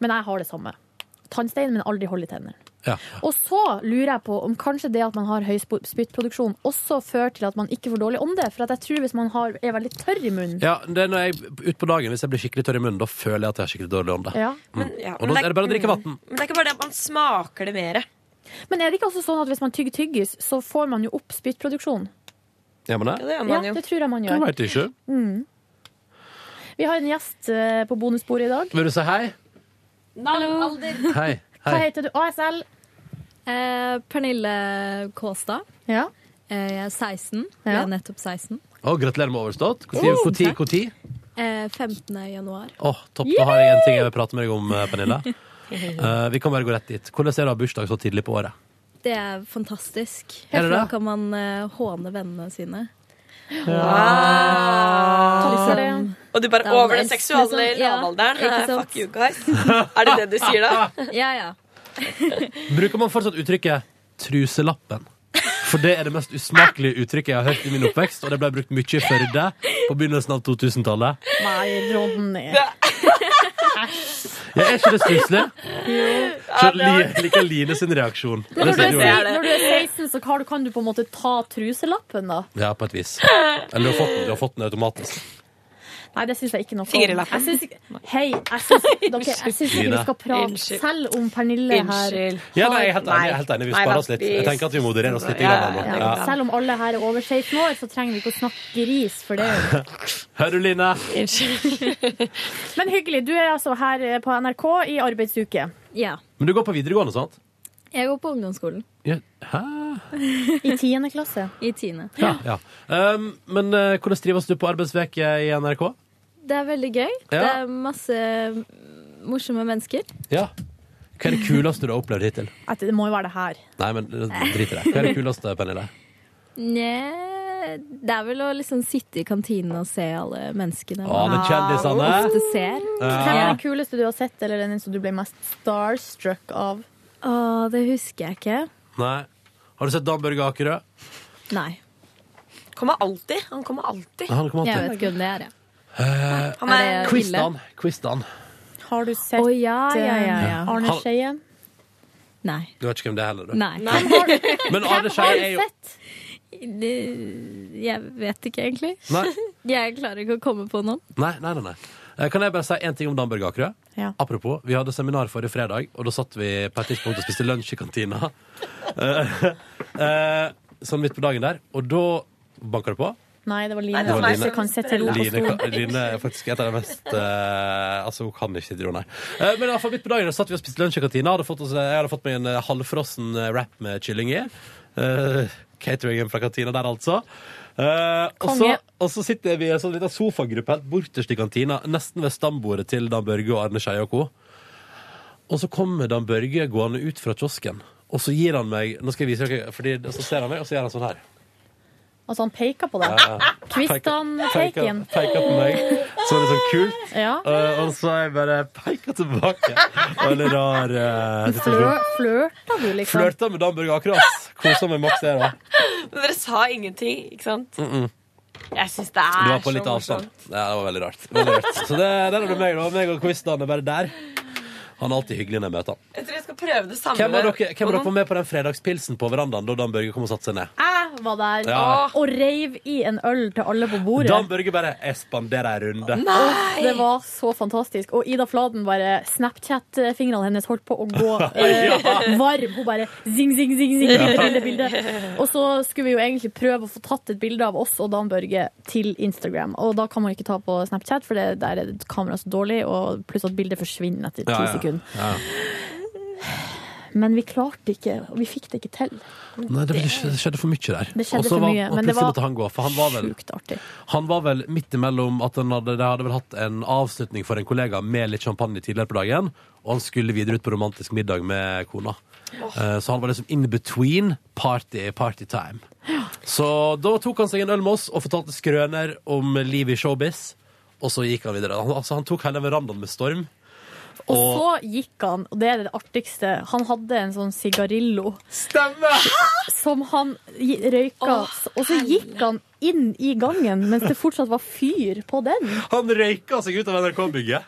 [SPEAKER 2] Men jeg har det samme. Tannstein, men aldri hold i tennene.
[SPEAKER 3] Ja.
[SPEAKER 2] Og så lurer jeg på om kanskje det at man har høy sp- spyttproduksjon også fører til at man ikke får dårlig ånde. For at jeg tror hvis man har, er veldig tørr i munnen
[SPEAKER 3] Ja, det er når jeg, ut på dagen, Hvis jeg blir skikkelig tørr i munnen, da føler jeg at jeg har skikkelig dårlig ånde.
[SPEAKER 2] Ja.
[SPEAKER 3] Mm.
[SPEAKER 8] Ja,
[SPEAKER 3] Og
[SPEAKER 8] men
[SPEAKER 3] da er det bare å drikke
[SPEAKER 8] mm.
[SPEAKER 3] vann.
[SPEAKER 8] Men det er ikke bare det at man smaker det mer.
[SPEAKER 2] Men er det ikke også sånn at hvis man tygger tyggis, så får man jo opp spyttproduksjon?
[SPEAKER 3] Ja, men det.
[SPEAKER 2] Ja, det tror jeg man
[SPEAKER 3] Jeg
[SPEAKER 2] gjør.
[SPEAKER 3] vet ikke.
[SPEAKER 2] Mm. Vi har en gjest eh, på bonusbordet i dag.
[SPEAKER 3] Vil du si hei?
[SPEAKER 2] Hallo.
[SPEAKER 3] Hei.
[SPEAKER 2] Hva heter du? ASL?
[SPEAKER 10] Eh, Pernille Kåstad. Eh, jeg er 16. Jeg er nettopp 16.
[SPEAKER 3] Å, gratulerer med overstått. Når?
[SPEAKER 10] Oh,
[SPEAKER 3] Når?
[SPEAKER 10] takk.
[SPEAKER 3] Når?
[SPEAKER 10] Eh, 15. januar.
[SPEAKER 3] Åh, topp. Da har jeg en ting jeg vil prate med deg om, eh, Pernille. Eh, vi kan bare gå rett dit. Hvordan er det å ha bursdag så tidlig på året?
[SPEAKER 10] Det er fantastisk.
[SPEAKER 3] Er det
[SPEAKER 10] For da
[SPEAKER 3] det?
[SPEAKER 10] kan man eh, håne vennene sine.
[SPEAKER 8] Liksom- Og du bare
[SPEAKER 10] Da er man
[SPEAKER 8] over den
[SPEAKER 10] ens-
[SPEAKER 8] seksuelle
[SPEAKER 10] liksom- ja,
[SPEAKER 8] lavalderen.
[SPEAKER 10] ikke
[SPEAKER 8] eh,
[SPEAKER 10] sant?
[SPEAKER 8] Fuck you guys. Er det det du sier da?
[SPEAKER 10] Ja, ja.
[SPEAKER 3] Bruker man fortsatt uttrykket 'truselappen'? For det er det mest usmakelige uttrykket jeg har hørt i min oppvekst, og det ble brukt mye i Førde på begynnelsen av 2000-tallet.
[SPEAKER 2] Nei, Ronny.
[SPEAKER 3] Ja, er ikke det stusslig? Så li, liker Line sin reaksjon.
[SPEAKER 2] Men når, du
[SPEAKER 3] synes
[SPEAKER 2] er,
[SPEAKER 3] jeg
[SPEAKER 2] se-
[SPEAKER 3] jo-
[SPEAKER 2] når du er 16, så kan du, kan du på en måte ta truselappen, da?
[SPEAKER 3] Ja, på et vis. Eller du har fått den, du har fått den automatisk.
[SPEAKER 2] Nei, det syns jeg ikke noe om.
[SPEAKER 8] Fingerlappen.
[SPEAKER 2] Jeg synes ikke- Hei, jeg syns dere- jeg syns ikke vi
[SPEAKER 3] Line.
[SPEAKER 2] skal prate
[SPEAKER 8] Unnskyld.
[SPEAKER 2] selv om Pernille her
[SPEAKER 8] Unnskyld.
[SPEAKER 3] Ja, nei, jeg er helt enig. Jeg er
[SPEAKER 2] Nei.
[SPEAKER 3] helt enig. Vi
[SPEAKER 2] Nei,
[SPEAKER 3] sparer
[SPEAKER 2] da,
[SPEAKER 3] oss litt.
[SPEAKER 2] vi-
[SPEAKER 3] Jeg tenker at vi modererer oss litt. i
[SPEAKER 2] Ja,
[SPEAKER 3] grann nå.
[SPEAKER 2] ja,
[SPEAKER 3] Ja.
[SPEAKER 2] Selv om alle her er over 16 år, så trenger vi ikke å snakke gris for det.
[SPEAKER 3] Hører du, Line?
[SPEAKER 2] Men hyggelig. Du er altså her på NRK i arbeidsuke.
[SPEAKER 10] Ja.
[SPEAKER 3] Men du går på videregående, sant?
[SPEAKER 10] Jeg går på ungdomsskolen.
[SPEAKER 3] Ja. Hæ?
[SPEAKER 2] I tiende klasse.
[SPEAKER 10] I tiende.
[SPEAKER 3] Ja. ja. Um, men eh, hvordan trives du på arbeidsveke i NRK?
[SPEAKER 10] Det er veldig gøy.
[SPEAKER 3] Ja.
[SPEAKER 10] Det er masse morsomme mennesker.
[SPEAKER 3] Ja. Hva er det kuleste du har opplevd hittil?
[SPEAKER 2] At det må jo være det her.
[SPEAKER 3] Nei, men eh, drit i det. Hva er det kuleste, Pernille?
[SPEAKER 10] Nja Det er vel å liksom sitte i kantinen og se alle menneskene
[SPEAKER 3] Alle kjendisene.
[SPEAKER 10] man ofte ser.
[SPEAKER 3] Ja.
[SPEAKER 2] Hvem er den kuleste du har sett, eller den som du ble mest starstruck av?
[SPEAKER 10] Å, det husker jeg ikke.
[SPEAKER 3] Nei. Har du sett Dan Børge Akerø?
[SPEAKER 10] Nei.
[SPEAKER 8] Kommer alltid. Han kommer alltid.
[SPEAKER 3] Han kommer alltid.
[SPEAKER 10] Jeg vet ikke hvem det er, jeg.
[SPEAKER 3] Eh,
[SPEAKER 10] Han er
[SPEAKER 3] Quiz
[SPEAKER 10] ille.
[SPEAKER 3] Dan. Quiz Dan.
[SPEAKER 2] Har du sett
[SPEAKER 10] Å, ja, ja, ja, ja.
[SPEAKER 2] eh, Arne
[SPEAKER 3] Han-
[SPEAKER 2] Skeien?
[SPEAKER 10] Nei.
[SPEAKER 3] Du vet ikke hvem det er heller, du?
[SPEAKER 10] Nei.
[SPEAKER 3] Men Arne Skei er jo
[SPEAKER 10] Det, jeg vet ikke, egentlig.
[SPEAKER 3] Nei.
[SPEAKER 10] Jeg klarer ikke å komme på noen.
[SPEAKER 3] Nei, nei, nei. nei. Eh, Kan jeg bare si en ting om Dan Børge Akerø?
[SPEAKER 2] Ja.
[SPEAKER 3] Apropos, vi hadde seminar forrige fredag, og da satt vi på et tidspunkt og spiste lunsj i kantina. Eh, eh, Sånn midt på dagen der. Og da banka det på.
[SPEAKER 2] Nei, det var Line.
[SPEAKER 3] Nei, det var Line.
[SPEAKER 2] som kan sette ro på
[SPEAKER 3] Line,
[SPEAKER 2] stolen.
[SPEAKER 3] kan- Line er faktisk et av de mest eh, Altså, hun kan ikke sitte i ro, nei. Eh, men i alle fall midt på dagen da satt vi og spiste lunsj i kantina. Hadde fått oss, jeg hadde fått meg en eh, halvfrossen eh, wrap med kylling i. Eh, cateringen fra kantina der, altså. Eh, og, så,
[SPEAKER 13] Konge.
[SPEAKER 3] og så sitter vi i en sånn liten sofagruppe helt borterst i kantina, nesten ved stambordet til Dan Børge og Arne Skeie og co. Og så kommer Dan Børge gående ut fra kiosken, og så gir han meg Nå skal jeg vise dere, fordi, og så ser han meg, og så gjør han sånn her.
[SPEAKER 2] Altså, han peker på det.
[SPEAKER 3] Ja, ja.
[SPEAKER 2] Kvistan-teiken.
[SPEAKER 3] Peker- peker på meg. Så det er sånn kult.
[SPEAKER 2] Ja.
[SPEAKER 3] Eh, og så har jeg bare peka tilbake. Veldig rar eh, situasjon.
[SPEAKER 2] Flør, flørta du, liksom?
[SPEAKER 3] Flørta med Dan Børge Akerø, ass. Kosa med Max der, da.
[SPEAKER 8] Men dere sa ingenting, ikke sant?
[SPEAKER 3] Mm -mm.
[SPEAKER 8] Jeg syns det er
[SPEAKER 3] Du var på litt
[SPEAKER 8] så
[SPEAKER 3] avstand.
[SPEAKER 8] morsomt.
[SPEAKER 3] Ja, det var veldig rart. Veldig rart. Så det, der er det meg, da. Meg og quizen er bare der. Han er alltid hyggelig når jeg møter han.
[SPEAKER 8] Jeg tror jeg skal prøve det samme.
[SPEAKER 3] Hvem var dere, hvem var dere med på den fredagspilsen på verandaen da Dan Børge kom og satte seg ned?
[SPEAKER 2] Jeg var der
[SPEAKER 3] Ja.
[SPEAKER 2] og reiv i en øl til alle på bordet.
[SPEAKER 3] Dan Børge bare 'Jeg spanderer ei runde'.
[SPEAKER 2] Åh, Det var så fantastisk. Og Ida Fladen bare Snapchat-fingrene hennes holdt på å gå eh,
[SPEAKER 3] Ja.
[SPEAKER 2] varm. Hun bare zing, zing, zing, zing
[SPEAKER 3] Ja.
[SPEAKER 2] bilde, bilde. Og så skulle vi jo egentlig prøve å få tatt et bilde av oss og Dan Børge til Instagram. Og da kan man ikke ta på Snapchat, for det, der er kameraet så dårlig, og pluss at bildet forsvinner etter ti
[SPEAKER 3] Ja, ja.
[SPEAKER 2] sekunder.
[SPEAKER 3] Ja.
[SPEAKER 2] Men vi klarte ikke, og vi fikk det ikke til.
[SPEAKER 3] Nei, det, ble, det skjedde for mye der.
[SPEAKER 2] Det skjedde
[SPEAKER 3] Og så
[SPEAKER 2] for
[SPEAKER 3] var-
[SPEAKER 2] mye,
[SPEAKER 3] og
[SPEAKER 2] men det
[SPEAKER 3] plutselig
[SPEAKER 2] var
[SPEAKER 3] måtte han gå, for han var vel,
[SPEAKER 2] sjukt artig.
[SPEAKER 3] Han var vel midt imellom at han hadde, de hadde vel hatt en avslutning for en kollega med litt champagne tidligere på dagen, og han skulle videre ut på romantisk middag med kona. Eh, Så han var liksom in between party, party time. Så da tok han seg en øl med oss og fortalte skrøner om livet i showbiz, og så gikk han videre. Han, altså, han tok hele verandaen med storm.
[SPEAKER 2] Og så gikk han, og det er det artigste, han hadde en sånn sigarillo.
[SPEAKER 3] Stemmer!
[SPEAKER 2] Som han gi- røyka. og så gikk han inn i gangen mens det fortsatt var fyr på den.
[SPEAKER 3] han røyka seg ut av NRK-bygget.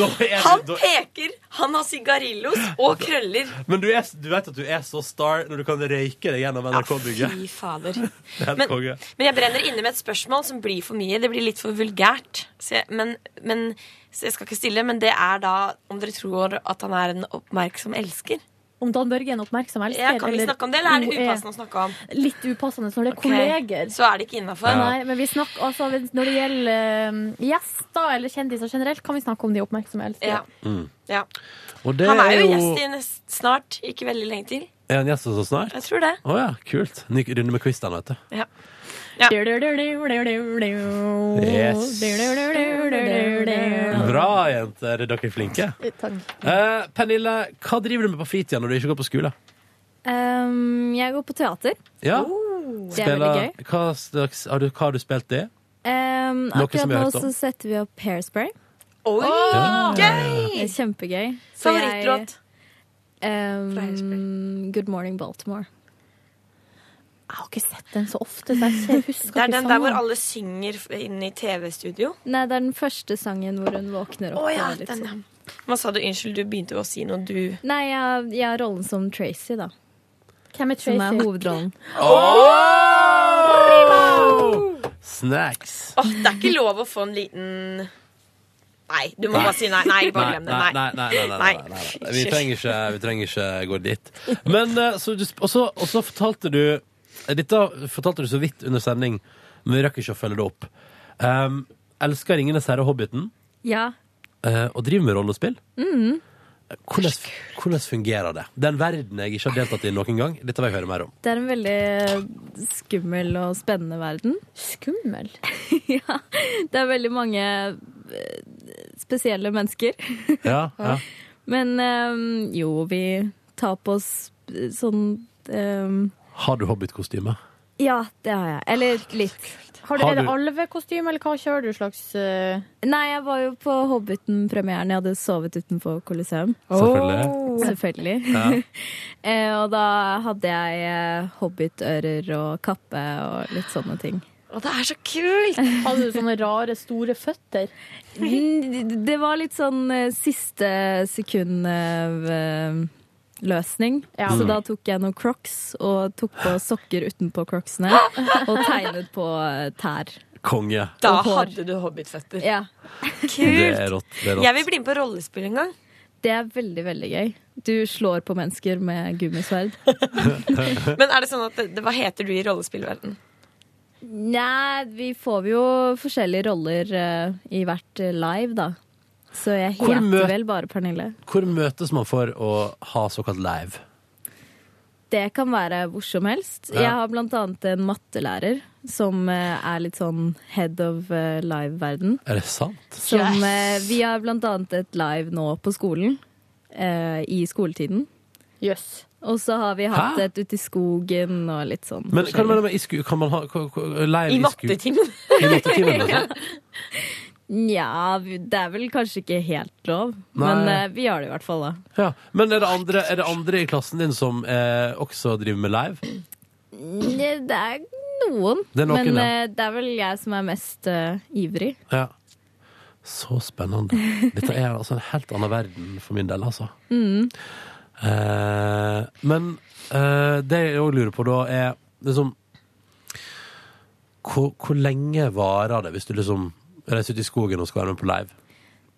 [SPEAKER 3] Da er det-
[SPEAKER 8] Han
[SPEAKER 3] da-
[SPEAKER 8] peker, han har sigarillos og krøller.
[SPEAKER 3] Men du, er, du vet at du er så star når du kan røyke deg gjennom NRK-bygget.
[SPEAKER 8] Fy fader.
[SPEAKER 3] Det er helt
[SPEAKER 8] Men-
[SPEAKER 3] konge.
[SPEAKER 8] Men jeg brenner inne med et spørsmål som blir for mye. Det blir litt for vulgært. Så jeg, men, men, så jeg skal ikke stille, men det er da om dere tror at han er en oppmerksom elsker.
[SPEAKER 2] Om Dan Børge er en oppmerksom elsker?
[SPEAKER 8] Ja, kan vi snakke om det, eller er det upassende å snakke om?
[SPEAKER 2] Litt upassende når det er
[SPEAKER 8] Ok,
[SPEAKER 2] kolleger.
[SPEAKER 8] Så er det ikke innafor.
[SPEAKER 2] Nei, men vi snakker, altså, når det gjelder eh, gjester eller kjendiser generelt, kan vi snakke om de oppmerksomme elskere.
[SPEAKER 8] Ja.
[SPEAKER 3] Og Mm. det
[SPEAKER 8] han er
[SPEAKER 3] er
[SPEAKER 8] jo
[SPEAKER 3] jo-
[SPEAKER 8] gjest i nest, snart. Ikke veldig lenge til.
[SPEAKER 3] Er han gjest så snart?
[SPEAKER 8] Jeg tror det.
[SPEAKER 3] Å ja, kult. Ny runde med quiz, den, vet du.
[SPEAKER 8] Ja.
[SPEAKER 3] Yes. Bra, jenter. Dere er flinke.
[SPEAKER 10] Takk.
[SPEAKER 3] Eh, Pernille, hva driver du med på fritida når du ikke går på skole?
[SPEAKER 10] Um, jeg går på teater.
[SPEAKER 3] Ja?
[SPEAKER 10] Oh, Det er veldig
[SPEAKER 3] Spiller-
[SPEAKER 10] gøy.
[SPEAKER 3] Hva, slags, har, du, hva har du spilt det?
[SPEAKER 10] Um,
[SPEAKER 3] Noe
[SPEAKER 10] akkurat
[SPEAKER 3] som jeg har
[SPEAKER 10] nå
[SPEAKER 3] hørt om.
[SPEAKER 10] så setter vi opp Hairspray.
[SPEAKER 8] Oi,
[SPEAKER 3] Ja.
[SPEAKER 10] gøy! Det er kjempegøy. Så jeg-
[SPEAKER 8] Favorittlåt?
[SPEAKER 10] Um, Good Morning Baltimore.
[SPEAKER 2] Jeg har ikke sett den så ofte. Men jeg husker
[SPEAKER 8] Det er
[SPEAKER 2] ikke
[SPEAKER 8] den der hvor
[SPEAKER 2] sangen.
[SPEAKER 8] alle synger inn i TV-studio.
[SPEAKER 10] Nei, det er den første sangen hvor hun våkner opp.
[SPEAKER 8] Å ja,
[SPEAKER 10] og litt
[SPEAKER 8] den, ja.
[SPEAKER 10] sånn.
[SPEAKER 8] Hva sa du? Unnskyld, du begynte å si noe, du.
[SPEAKER 10] Nei, jeg, jeg har rollen som Tracy, da.
[SPEAKER 2] Hvem er
[SPEAKER 10] Som er
[SPEAKER 8] Tracy?
[SPEAKER 10] hovedrollen.
[SPEAKER 3] Snacks.
[SPEAKER 8] Åh, det er ikke lov å få en liten Nei, du må
[SPEAKER 3] Nei.
[SPEAKER 8] bare si nei. Nei, bare glem det.
[SPEAKER 3] Nei, nei, nei, nei, nei, nei, nei, nei. Vi, trenger ikke, vi trenger ikke gå dit. Men eh, så du, sp- og så og så fortalte du Dette fortalte du så vidt under sending, men vi rakk ikke å følge det opp. Um, elsker 'Ringenes herre' og 'Hobbiten'
[SPEAKER 10] Ja.
[SPEAKER 3] eh, og driver med rollespill.
[SPEAKER 10] Mm.
[SPEAKER 3] Hvordan, hvordan fungerer det? Den verden jeg ikke har deltatt i noen gang. Dette vil jeg høre mer om.
[SPEAKER 10] Det er en veldig skummel og spennende verden.
[SPEAKER 2] Skummel?
[SPEAKER 10] ja. Det er veldig mange eh, spesielle mennesker.
[SPEAKER 3] Ja, ja.
[SPEAKER 10] Men eh, jo, vi tar på oss eh, sånn eh,
[SPEAKER 3] Har du hobbitkostyme?
[SPEAKER 10] Ja, det har jeg. Eller litt.
[SPEAKER 2] Har du, er det alvekostyme, eller hva kjører du slags eh,
[SPEAKER 10] Nei, jeg var jo på Hobbiten-premieren. Jeg hadde sovet utenfor Colosseum.
[SPEAKER 2] Selvfølgelig.
[SPEAKER 10] Åh. Selvfølgelig.
[SPEAKER 2] Ja.
[SPEAKER 10] eh, og da hadde jeg eh, hobbitører og kappe og litt sånne ting.
[SPEAKER 8] Å, det er så kult!
[SPEAKER 2] Hadde du sånne rare, store føtter?
[SPEAKER 10] Mm, Det var litt sånn eh, siste eh, sekund-løsning.
[SPEAKER 2] Ja.
[SPEAKER 10] Så
[SPEAKER 2] Mm.
[SPEAKER 10] da tok jeg noen crocs og tok på sokker utenpå crocsene og tegnet på eh, tær.
[SPEAKER 3] Konge.
[SPEAKER 8] Da
[SPEAKER 10] Og hår.
[SPEAKER 8] hadde du hobbitføtter.
[SPEAKER 10] Ja.
[SPEAKER 8] Kult!
[SPEAKER 3] Det er rått, det er rått.
[SPEAKER 8] Jeg vil bli med på rollespill en gang.
[SPEAKER 10] Det er veldig, veldig gøy. Du slår på mennesker med gummisverd.
[SPEAKER 8] Men er det sånn at det, det, hva heter du i rollespillverden?
[SPEAKER 10] Nei, vi får jo forskjellige roller eh, i hvert eh, live, da. Så jeg
[SPEAKER 3] Hvor mø-
[SPEAKER 10] heter vel bare Pernille.
[SPEAKER 3] Hvor møtes man for å ha såkalt live?
[SPEAKER 10] Det kan være hvor som helst.
[SPEAKER 3] Ja.
[SPEAKER 10] Jeg har blant annet en mattelærer som eh, er litt sånn head of eh, live-verden.
[SPEAKER 3] Er det sant?
[SPEAKER 10] Som eh, Vi har blant annet et live nå på skolen. eh, I skoletiden. Og så har vi hatt
[SPEAKER 3] Hæ?
[SPEAKER 10] et ute i skogen og litt sånn.
[SPEAKER 3] Men hva
[SPEAKER 10] forskjellig.
[SPEAKER 3] mener du med i sku... Kan man ha k- k- live
[SPEAKER 10] I
[SPEAKER 3] sku-
[SPEAKER 10] mattetimen.
[SPEAKER 3] I mattetimen, altså?
[SPEAKER 10] Nja, vi- det er vel kanskje ikke helt lov.
[SPEAKER 3] Nei.
[SPEAKER 10] Men eh, vi har det i hvert fall, da.
[SPEAKER 3] Ja. Men er det, andre, er det andre i klassen din som eh, også driver med live?
[SPEAKER 10] Nja, Det er noen.
[SPEAKER 3] Det er noen,
[SPEAKER 10] men
[SPEAKER 3] ja.
[SPEAKER 10] eh, det er vel jeg som er mest eh, ivrig.
[SPEAKER 3] Ja. Så spennende. Dette er altså en helt annen verden for min del, altså.
[SPEAKER 10] Mm.
[SPEAKER 3] Eh, men eh, det jeg òg lurer på da, er liksom hvor, hvor lenge varer det hvis du liksom reiser ut i skogen og skal være med på live?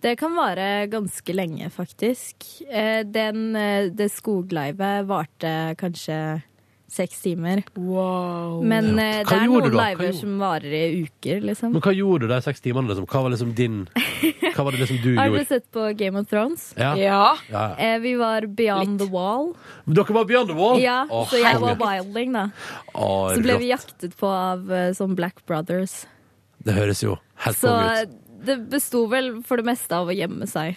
[SPEAKER 10] Det kan vare ganske lenge, faktisk. Eh, Den, eh, det skoglivet varte kanskje seks timer.
[SPEAKER 8] Wow.
[SPEAKER 10] Men
[SPEAKER 3] Ja.
[SPEAKER 10] eh,
[SPEAKER 3] Hva
[SPEAKER 10] det er
[SPEAKER 3] gjorde du
[SPEAKER 10] noen
[SPEAKER 3] da? Hva
[SPEAKER 10] liver
[SPEAKER 3] gjorde-
[SPEAKER 10] som varer i uker, liksom.
[SPEAKER 3] Men hva gjorde du de seks timene? Liksom? Hva var liksom din Hva var det liksom du
[SPEAKER 10] Har dere
[SPEAKER 3] gjorde?
[SPEAKER 10] sett på Game of Thrones?
[SPEAKER 3] Ja. Ja. Ja.
[SPEAKER 10] Eh, Vi var Beyond the Wall.
[SPEAKER 3] Men Dere var Beyond the Wall!
[SPEAKER 10] Ja,
[SPEAKER 3] Å,
[SPEAKER 10] så jeg var
[SPEAKER 3] herregud.
[SPEAKER 10] wildling, da.
[SPEAKER 3] Å,
[SPEAKER 10] Så ble vi
[SPEAKER 3] rått.
[SPEAKER 10] jaktet på av eh, sånn Black Brothers.
[SPEAKER 3] Det høres jo helt
[SPEAKER 10] Så eh,
[SPEAKER 3] konge ut.
[SPEAKER 10] det besto vel for det meste av å gjemme seg.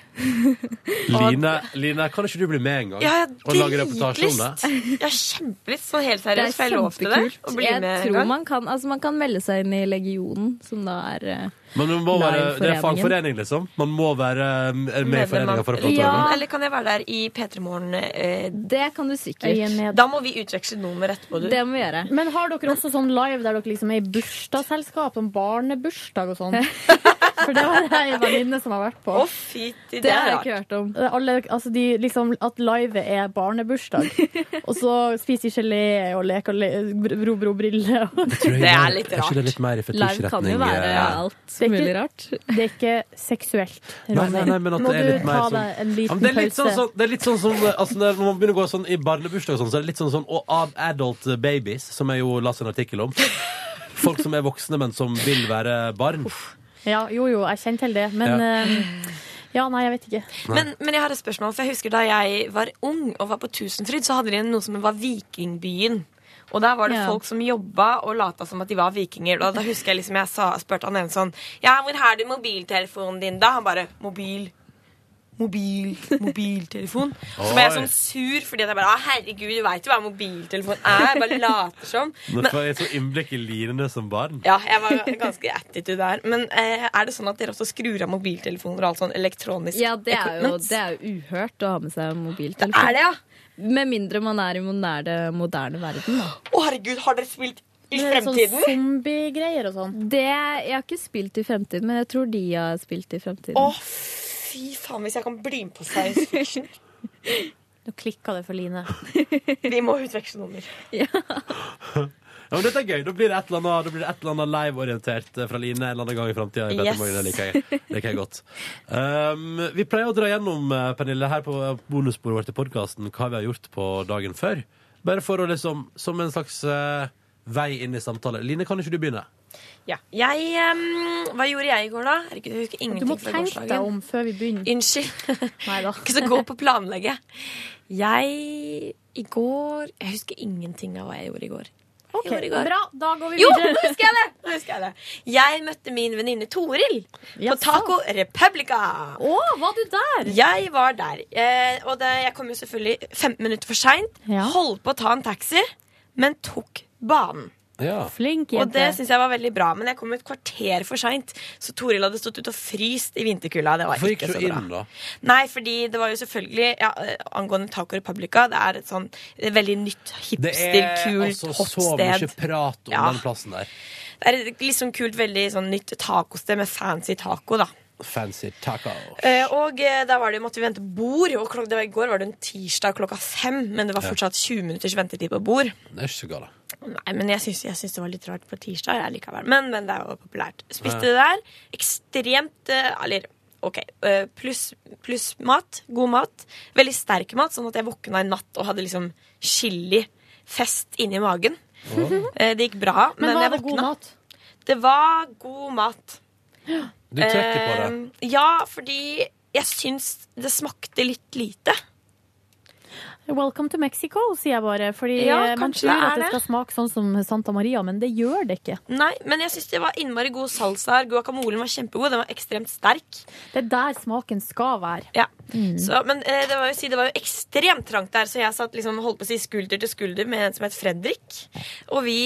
[SPEAKER 3] Line, Line, kan ikke du bli med en gang?
[SPEAKER 10] Ja, jeg
[SPEAKER 3] og lage reportasje om det?
[SPEAKER 8] Jeg har kjempelyst, sånn helt seriøst. Får jeg lov til det? Å bli
[SPEAKER 10] Jeg
[SPEAKER 8] med en
[SPEAKER 10] tror
[SPEAKER 8] gang?
[SPEAKER 10] man kan, altså man kan melde seg inn i Legionen, som da er eh,
[SPEAKER 3] Men man må være, det er
[SPEAKER 10] Liveforeningen.
[SPEAKER 3] fagforening, liksom? Man må være eh, med i foreninga for å få lov til å være
[SPEAKER 8] ja.
[SPEAKER 3] med?
[SPEAKER 8] Eller kan jeg være der i P3 Morgen? Eh,
[SPEAKER 10] det kan du
[SPEAKER 2] sikkert.
[SPEAKER 8] Da må vi utveksle nummer etterpå, du.
[SPEAKER 10] Det må vi gjøre.
[SPEAKER 2] Men har dere også sånn live der dere liksom er i bursdagsselskap? Sånn barnebursdag og sånn? For det var det ei venninne som har vært på.
[SPEAKER 8] Å, fy, det,
[SPEAKER 2] Det
[SPEAKER 8] er
[SPEAKER 2] har jeg
[SPEAKER 8] rart.
[SPEAKER 2] ikke hørt om. Alle, altså de, liksom, at live er barnebursdag. og så spiser de gelé og leker le robrobriller.
[SPEAKER 3] Det er litt rart. Er ikke det litt mer i
[SPEAKER 2] Live kan jo
[SPEAKER 3] fetisjretning,
[SPEAKER 2] være
[SPEAKER 3] eh?
[SPEAKER 2] alt mulig rart. Det er ikke seksuelt.
[SPEAKER 3] Nei,
[SPEAKER 2] Ronny.
[SPEAKER 3] nei, nei, men at
[SPEAKER 2] Må
[SPEAKER 3] det er
[SPEAKER 2] du
[SPEAKER 3] litt
[SPEAKER 2] ta
[SPEAKER 3] mer sånn
[SPEAKER 2] deg en
[SPEAKER 3] Ja, men
[SPEAKER 2] liten
[SPEAKER 3] det er litt
[SPEAKER 2] pause?
[SPEAKER 3] sånn, sånn, det er litt sånn som eh, altså, Når man begynner å gå sånn i barnebursdag og sånn, så er det litt sånn sånn Og av adult babies, som jeg jo leste en artikkel om. Folk som er voksne, men som vil være barn.
[SPEAKER 2] Ja, jo, jo, jeg kjenner til det, men
[SPEAKER 3] sånn- Ja.
[SPEAKER 2] eh, ja, nei, jeg vet ikke.
[SPEAKER 8] Men, men jeg har et spørsmål, for jeg husker da jeg var ung og var på Tusenfryd, så hadde de noe som var Vikingbyen. Og der var det
[SPEAKER 10] Ja.
[SPEAKER 8] folk som jobba og lata som at de var vikinger. Og da husker jeg liksom, jeg sa, spurte han ene sånn Ja, hvor har du mobiltelefonen din, da? Han bare Mobil. Mobil. Mobiltelefon. Og så ble jeg
[SPEAKER 3] Oi.
[SPEAKER 8] sånn sur fordi at jeg bare Å, herregud, du veit jo hva mobiltelefon er. Jeg bare later som.
[SPEAKER 3] Nå
[SPEAKER 8] Men-
[SPEAKER 3] får jeg så innblikk i linene som barn.
[SPEAKER 8] ja, jeg var ganske attitude der. Men eh, er det sånn at dere også skrur av mobiltelefoner og alt sånn elektronisk?
[SPEAKER 10] Ja, det er, jo,
[SPEAKER 8] equipment?
[SPEAKER 10] det er jo uhørt å ha med seg mobiltelefon.
[SPEAKER 8] Det er det,
[SPEAKER 10] Med mindre man er i moderne, moderne verden. da.
[SPEAKER 8] Å, herregud, har dere spilt I
[SPEAKER 2] Men det er sånn
[SPEAKER 8] fremtiden?
[SPEAKER 2] Zombiegreier og sånn.
[SPEAKER 10] Det, jeg har ikke spilt i fremtiden, men jeg tror de har spilt i fremtiden.
[SPEAKER 8] Å, fy faen, hvis jeg kan bli med på science fiction.
[SPEAKER 2] Nå klikka det for Line.
[SPEAKER 8] Vi må utveksle nummer.
[SPEAKER 3] Ja, men dette er gøy. Da blir det et eller annet, da blir det et eller annet live-orientert eh, fra Line en eller annen gang i framtida.
[SPEAKER 8] Yes.
[SPEAKER 3] Det liker jeg, liker jeg godt. Um, vi pleier å dra gjennom eh, Pernille, her på bonussporet vårt i podkasten hva vi har gjort på dagen før. Bare for å liksom, som en slags eh, vei inn i samtale. Line, kan ikke du begynne?
[SPEAKER 8] Ja. Jeg, ehm, hva gjorde jeg i går, da? Herregud, jeg husker
[SPEAKER 2] Du
[SPEAKER 8] ingenting
[SPEAKER 2] må
[SPEAKER 8] fra
[SPEAKER 2] tenke
[SPEAKER 8] gårsdagen.
[SPEAKER 2] deg om før vi begynner.
[SPEAKER 8] Unnskyld.
[SPEAKER 2] Nei da.
[SPEAKER 8] Ikke så god på å planlegge. Jeg i går Jeg husker ingenting av hva jeg gjorde i går. Hva jeg
[SPEAKER 2] Ok,
[SPEAKER 8] gjorde i går?
[SPEAKER 2] Bra, da går vi
[SPEAKER 8] Jo,
[SPEAKER 2] videre.
[SPEAKER 8] nå husker jeg det! Nå husker jeg det. Jeg møtte min venninne Toril på Taco Republica.
[SPEAKER 2] Å, var du der?
[SPEAKER 8] Jeg var der. Eh, og det, jeg kom jo selvfølgelig 15 minutter for seint. Holdt på å ta en taxi, men tok banen.
[SPEAKER 2] Flink
[SPEAKER 8] Og det syns jeg var veldig bra, men jeg kom et kvarter for seint. Så Toril hadde stått ute og fryst i vinterkulda. Det var
[SPEAKER 3] Hvorfor gikk
[SPEAKER 8] ikke
[SPEAKER 3] du
[SPEAKER 8] så bra.
[SPEAKER 3] inn, da?
[SPEAKER 8] Nei, fordi det var jo selvfølgelig ja, eh, Angående Taco Republica, det er et sånn eh, veldig nytt,
[SPEAKER 3] Det
[SPEAKER 8] hipster,
[SPEAKER 3] er
[SPEAKER 8] kult,
[SPEAKER 3] altså
[SPEAKER 8] hot
[SPEAKER 3] så
[SPEAKER 8] sted.
[SPEAKER 3] mye prat om
[SPEAKER 8] Ja.
[SPEAKER 3] den plassen der.
[SPEAKER 8] Det er et litt sånn kult, veldig sånn nytt tacosted med fancy taco, da.
[SPEAKER 3] Fancy taco.
[SPEAKER 8] Eh, og eh, da var det, måtte vi vente bord. Og klok det var, I går var det en tirsdag klokka fem, men det var
[SPEAKER 3] Ja.
[SPEAKER 8] fortsatt 20 minutters ventetid på bord.
[SPEAKER 3] Det er ikke så galt.
[SPEAKER 8] Nei, men jeg syns, jeg syns det var litt rart på tirsdag jeg likevel. Men, men det er jo populært. Spiste
[SPEAKER 3] Ja.
[SPEAKER 8] det der. Ekstremt eh, Eller OK. eh, Pluss pluss mat. God mat. Veldig sterk mat, sånn at jeg våkna i natt og hadde liksom chilifest inni magen.
[SPEAKER 3] Åh.
[SPEAKER 8] Eh, Det gikk bra,
[SPEAKER 2] Men
[SPEAKER 8] men,
[SPEAKER 2] var
[SPEAKER 8] jeg
[SPEAKER 2] det
[SPEAKER 8] våkna.
[SPEAKER 2] god mat?
[SPEAKER 8] Det var god mat.
[SPEAKER 3] Du trekker på det.
[SPEAKER 8] Eh, Ja, fordi jeg syns det smakte litt lite.
[SPEAKER 2] Welcome to Mexico, sier jeg bare. Fordi
[SPEAKER 8] Ja,
[SPEAKER 2] eh, man
[SPEAKER 8] kanskje
[SPEAKER 2] tror
[SPEAKER 8] det er
[SPEAKER 2] at det
[SPEAKER 8] det.
[SPEAKER 2] skal smake sånn som Santa Maria, men det gjør det ikke.
[SPEAKER 8] Nei, men jeg syns det var innmari god salsa. Guacamolen var kjempegod. Den var ekstremt sterk.
[SPEAKER 2] Det er der smaken skal være.
[SPEAKER 8] Ja.
[SPEAKER 2] Mm.
[SPEAKER 8] Så, men eh, det var, jo, si, det var jo ekstremt trangt der, så jeg satt liksom, holdt på å si skulder til skulder med en som het Fredrik. Og vi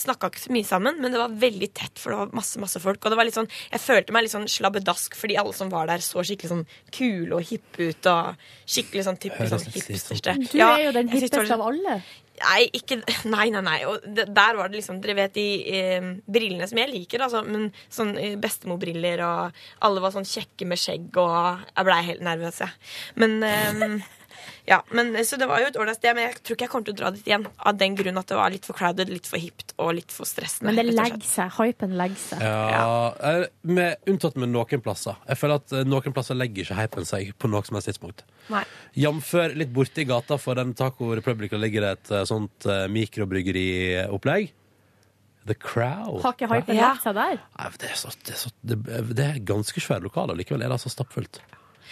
[SPEAKER 8] snakka ikke så mye sammen, men det var veldig tett, for det var masse masse folk. Og det var litt sånn, jeg følte meg litt sånn slabbedask fordi alle som var der, så skikkelig sånn kule og hippe ut. Og skikkelig sånn typisk
[SPEAKER 2] Høres
[SPEAKER 8] sånn
[SPEAKER 2] litt
[SPEAKER 8] hipsterste.
[SPEAKER 2] Du
[SPEAKER 8] Ja,
[SPEAKER 2] er jo den
[SPEAKER 8] jeg synes det var
[SPEAKER 2] hippeste av
[SPEAKER 8] litt-
[SPEAKER 2] alle.
[SPEAKER 8] Nei, ikke, nei, nei, nei. Og det, der var det liksom Dere vet de eh, brillene som jeg liker, altså, men sånn eh, bestemorbriller, og alle var sånn kjekke med skjegg, og jeg blei helt nervøs, jeg. Men eh, Ja, men eh, Så det var jo et ålreit sted, men jeg tror ikke jeg kommer til å dra dit igjen. Av den grunn at det var litt for crowded, litt for hipt og litt for stressende.
[SPEAKER 2] Men det
[SPEAKER 8] rett og slett.
[SPEAKER 2] legger seg. Hypen legger seg.
[SPEAKER 3] Ja, eh, med, Unntatt med noen plasser. Jeg føler at eh, noen plasser legger ikke hypen seg på noe som helst tidspunkt.
[SPEAKER 8] Nei.
[SPEAKER 3] Jamfør litt borti gata for den Taco Republic der ligger det et eh, sånt eh, mikrobryggeriopplegg. The Crow.
[SPEAKER 2] Har ikke hypen lagt seg der?
[SPEAKER 3] Nei, for det, er så, det, er så, det, det er ganske svære lokaler, likevel er det altså stappfullt.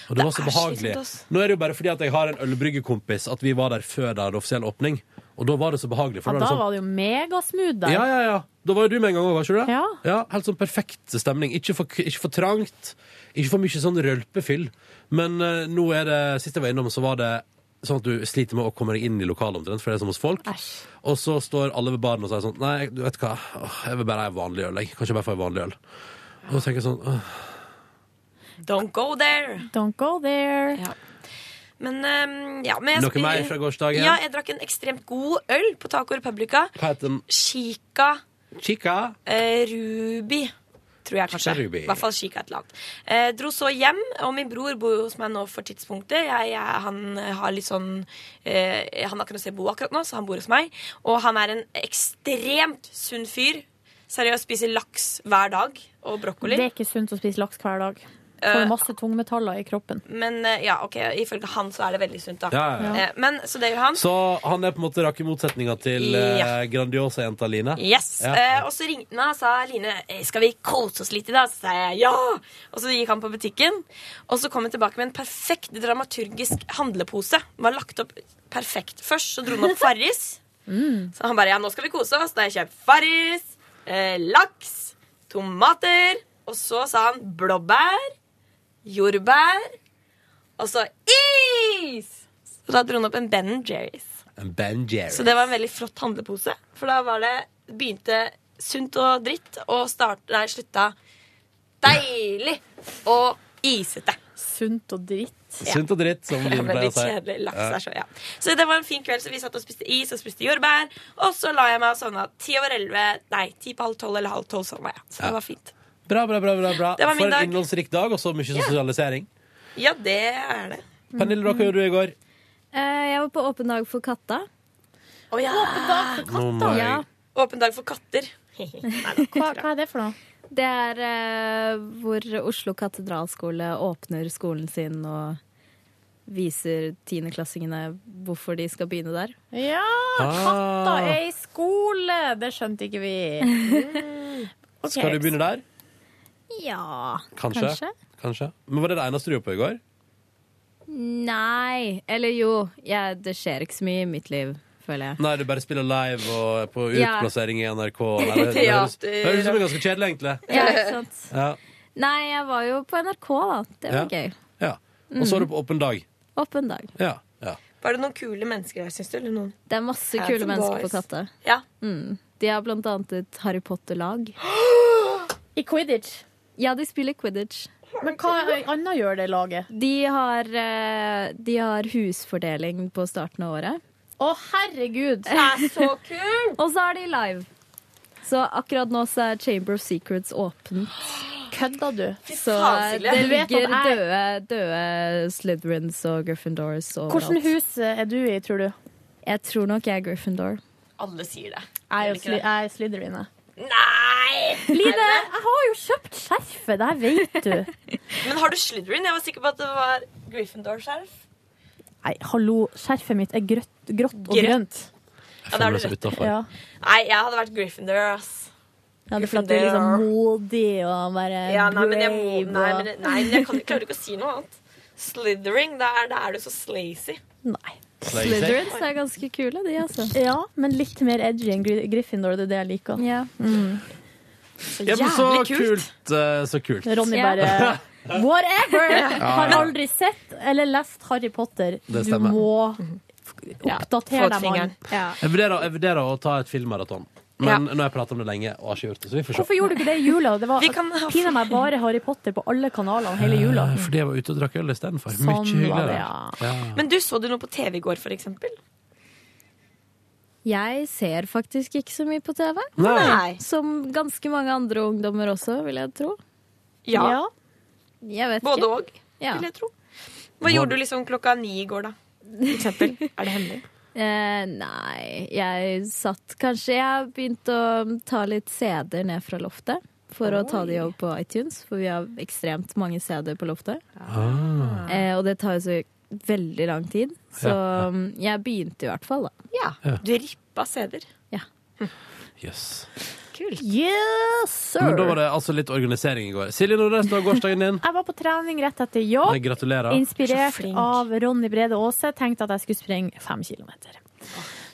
[SPEAKER 3] Og det,
[SPEAKER 13] Det
[SPEAKER 3] var så
[SPEAKER 13] er
[SPEAKER 3] behagelig.
[SPEAKER 13] slitsomt, ass.
[SPEAKER 3] Nå er det jo bare fordi at jeg har en ølbryggekompis at vi var der før det hadde offisiell åpning. Og da var det så behagelig.
[SPEAKER 2] Ja,
[SPEAKER 3] For
[SPEAKER 2] da
[SPEAKER 3] det sånn-
[SPEAKER 2] var det jo megasmooth der.
[SPEAKER 3] ja, ja, ja. Da var jo du med en gang òg, var ikke du det? Ja. Helt sånn perfekt stemning. Ikke for, ikke for trangt, ikke for mye sånn rølpefyll. Men eh, nå er det Sist jeg var innom, så var det sånn at du sliter med å komme deg inn i lokalet omtrent, for det er som hos folk. Og så står alle ved baren og sier sånn Nei, du vet hva, Åh, jeg vil bare ha en vanlig øl, jeg. Kanskje jeg bare får en vanlig øl. Og så tenker jeg sånn «Åh,
[SPEAKER 8] Don't go there!
[SPEAKER 2] Don't go there.
[SPEAKER 8] Ja. Men, eh, ja, men jeg
[SPEAKER 3] Noe
[SPEAKER 8] spil-
[SPEAKER 3] mer fra gårsdagen?
[SPEAKER 8] Ja, jeg drakk en ekstremt god øl på Taco Republica.
[SPEAKER 3] Hva heter den?
[SPEAKER 8] Chica
[SPEAKER 3] Chica?
[SPEAKER 8] eh, Ruby. Tror jeg kanskje.
[SPEAKER 3] Chica Ruby.
[SPEAKER 8] I hvert fall Chica et eller annet. Eh, dro så hjem, og min bror bor jo hos meg nå for tidspunktet. Jeg, jeg, han har litt sånn eh, Han har ikke noe sted å bo akkurat nå, så han bor hos meg. Og han er en ekstremt sunn fyr. Seriøst spiser laks hver dag. Og brokkoli.
[SPEAKER 2] Det er ikke sunt å spise laks hver dag.
[SPEAKER 8] Eh,
[SPEAKER 2] Får masse tungmetaller i kroppen.
[SPEAKER 8] Men eh, ja, ok, ifølge han så er det veldig sunt, da.
[SPEAKER 3] Ja, ja, ja.
[SPEAKER 8] Eh, men, så det gjør han.
[SPEAKER 3] Så han er på en måte rakk i motsetninga til eh,
[SPEAKER 8] Ja.
[SPEAKER 3] Grandiosa-jenta Line?
[SPEAKER 8] Yes.
[SPEAKER 3] Ja.
[SPEAKER 8] Eh, og så ringte han og sa Line, eh, skal vi kose oss litt i dag? Så sa jeg ja! Og så gikk han på butikken. Og så kom han tilbake med en perfekt dramaturgisk handlepose. Den var lagt opp perfekt. Først så dro han opp Farris. Så han bare ja, nå skal vi kose oss. Da har jeg kjøpt Farris, eh, laks, tomater. Og så sa han blåbær, jordbær, og så is! Så da dro han opp en Ben Jerry's.
[SPEAKER 3] En Ben Jerry.
[SPEAKER 8] Så det var en veldig flott handlepose. For da var det, begynte sunt og dritt, og start, nei, slutta deilig og isete.
[SPEAKER 2] Sunt og dritt.
[SPEAKER 3] Sunt og dritt, som Line
[SPEAKER 8] men
[SPEAKER 3] pleier å
[SPEAKER 8] litt
[SPEAKER 3] si.
[SPEAKER 8] kjedelig. Laks
[SPEAKER 3] Ja.
[SPEAKER 8] er så, ja. Så det var en fin kveld, så vi satt og spiste is og spiste jordbær. Og så la jeg meg og sovna ti over elleve. Nei, ti på halv tolv eller halv tolv sovna jeg. Så
[SPEAKER 3] Ja.
[SPEAKER 8] det var fint.
[SPEAKER 3] Bra, bra, bra. bra, bra.
[SPEAKER 8] Det var min
[SPEAKER 3] For
[SPEAKER 8] dag.
[SPEAKER 3] en innholdsrik dag, og så mye sosialisering.
[SPEAKER 8] Ja, det er det.
[SPEAKER 3] Pernille, hva gjorde du i går?
[SPEAKER 10] Eh, Jeg var på åpen dag for katta.
[SPEAKER 8] Å ja! Åpen dag for
[SPEAKER 3] Nå må jeg- Ja.
[SPEAKER 8] Åpen dag for katter.
[SPEAKER 2] Hva, hva er det for noe?
[SPEAKER 10] Det er eh, hvor Oslo katedralskole åpner skolen sin og viser tiendeklassingene hvorfor de skal begynne der.
[SPEAKER 2] Ja,
[SPEAKER 3] Ah.
[SPEAKER 2] katta er i skole! Det skjønte ikke vi. Ok.
[SPEAKER 3] Skal du begynne der?
[SPEAKER 10] Ja,
[SPEAKER 3] Kanskje.
[SPEAKER 10] kanskje.
[SPEAKER 3] Kanskje. Men Var det det eneste du gjorde på i går?
[SPEAKER 10] Nei. Eller jo, jeg- det skjer ikke så mye i mitt liv, føler jeg.
[SPEAKER 3] Nei, du bare spiller live og er på
[SPEAKER 10] Ja.
[SPEAKER 3] utplassering i NRK. Nei, det, det høres
[SPEAKER 10] Teater.
[SPEAKER 3] det høres ut som det er ganske kjedelig, egentlig.
[SPEAKER 10] Ja, ikke sant?
[SPEAKER 3] Ja.
[SPEAKER 10] Nei, jeg var jo på NRK, da. Det var
[SPEAKER 3] Ja.
[SPEAKER 10] gøy.
[SPEAKER 3] ja. Og så er du på åpen dag.
[SPEAKER 10] Åpen dag.
[SPEAKER 3] Ja. ja.
[SPEAKER 8] Var det noen kule mennesker der, syns du? Eller noen?
[SPEAKER 10] Det er masse
[SPEAKER 8] Handsome
[SPEAKER 10] kule mennesker
[SPEAKER 8] boys.
[SPEAKER 10] på Katta.
[SPEAKER 8] Ja.
[SPEAKER 10] Mm. De har blant annet et Harry Potter-lag.
[SPEAKER 2] I quidditch?
[SPEAKER 10] Ja, de spiller quidditch.
[SPEAKER 2] Men hva annet gjør det laget?
[SPEAKER 10] De har, eh, de har husfordeling på starten av året.
[SPEAKER 2] Å, herregud!
[SPEAKER 10] Og så er de live. Så akkurat nå så er Chamber of Secrets åpent.
[SPEAKER 2] kødder du?
[SPEAKER 10] Så
[SPEAKER 2] faen, Silje.
[SPEAKER 10] det
[SPEAKER 2] Du vet at
[SPEAKER 10] ligger
[SPEAKER 2] jeg-
[SPEAKER 10] døde, døde Slytherins og Gryffindors overalt.
[SPEAKER 2] Hvilket hus er du i, tror du?
[SPEAKER 10] Jeg tror nok jeg er Gryffindor.
[SPEAKER 8] Alle sier det.
[SPEAKER 2] Jeg er, jo
[SPEAKER 10] Gjør det ikke
[SPEAKER 2] sli,
[SPEAKER 10] det?
[SPEAKER 2] jeg er Slytherin, jeg.
[SPEAKER 8] Nei!
[SPEAKER 2] Line, jeg har jo kjøpt skjerfet! Det her vet du.
[SPEAKER 8] Men har du Slytherin? Jeg var sikker på at det var Gryffindor-skjerf.
[SPEAKER 2] Nei, hallo. Skjerfet mitt er grøtt, grått og
[SPEAKER 8] Grøtt.
[SPEAKER 2] grønt.
[SPEAKER 8] Ja, da er du rett.
[SPEAKER 2] Ja.
[SPEAKER 8] Nei, jeg hadde vært Gryffindor, ass.
[SPEAKER 2] Ja, det er for at du er liksom modig og bare
[SPEAKER 8] Ja, nei, men jeg, må,
[SPEAKER 2] brave
[SPEAKER 8] nei,
[SPEAKER 2] og-
[SPEAKER 8] men, nei, men jeg kan, klarer ikke å si noe annet. Slithering, da er, da er du så slazy.
[SPEAKER 10] Slytherins er ganske kule, de, altså.
[SPEAKER 2] Ja, men litt mer edgy enn Gry- Gryffindor. Det er det jeg liker. Mm.
[SPEAKER 3] Ja, men så kult. eh, Så kult.
[SPEAKER 2] Ronny bare Whatever!
[SPEAKER 3] ja.
[SPEAKER 2] Har aldri sett eller lest Harry Potter. Du
[SPEAKER 3] Det stemmer.
[SPEAKER 2] må oppdatere
[SPEAKER 8] få
[SPEAKER 2] deg, mann.
[SPEAKER 8] fingeren.
[SPEAKER 3] Jeg vurderer, jeg vurderer å ta et filmmaraton, men
[SPEAKER 2] Ja.
[SPEAKER 3] nå har jeg pratet om det lenge og har ikke gjort det, så vi får se.
[SPEAKER 2] Hvorfor gjorde du ikke det i jula? Det var pinadø meg bare Harry Potter på alle kanalene hele jula.
[SPEAKER 3] Eh, Fordi jeg var ute og drakk øl istedenfor.
[SPEAKER 2] Mm. Sånn
[SPEAKER 3] Mye
[SPEAKER 2] var det,
[SPEAKER 3] hyggeligere.
[SPEAKER 2] ja.
[SPEAKER 3] Ja.
[SPEAKER 8] Men du, så du noe på TV i går, for eksempel?
[SPEAKER 10] Jeg ser faktisk ikke så mye på TV.
[SPEAKER 3] Nei. Nei.
[SPEAKER 10] Som ganske mange andre ungdommer også, vil jeg tro.
[SPEAKER 8] Ja.
[SPEAKER 10] Jeg vet
[SPEAKER 8] Både
[SPEAKER 10] ikke.
[SPEAKER 8] og,
[SPEAKER 10] Ja.
[SPEAKER 8] vil jeg tro. Hva gjorde du liksom klokka ni i går, da? For eksempel. Er det hemmelig?
[SPEAKER 10] Eh, nei, jeg satt kanskje Jeg har begynt å ta litt CD-er ned fra loftet. For å ta de over på iTunes, for vi har ekstremt mange CD-er på loftet. Eh, og det tar jo så veldig lang tid. Så
[SPEAKER 3] Ah. Ja,
[SPEAKER 10] mm, jeg begynte i hvert fall, da.
[SPEAKER 8] Ja.
[SPEAKER 3] Ja.
[SPEAKER 8] Du rippa sæder.
[SPEAKER 3] Yes.
[SPEAKER 8] Kult.
[SPEAKER 2] Yes,
[SPEAKER 3] Men
[SPEAKER 2] sir!
[SPEAKER 3] da var det altså litt organisering i går. Silje Nordnes, du har gårsdagen din.
[SPEAKER 2] Jeg var på trening rett etter jobb.
[SPEAKER 3] Nei, gratulerer. Så
[SPEAKER 2] Inspirert
[SPEAKER 3] flink.
[SPEAKER 2] av Ronny Brede Aase. Tenkte at jeg skulle sprenge fem kilometer.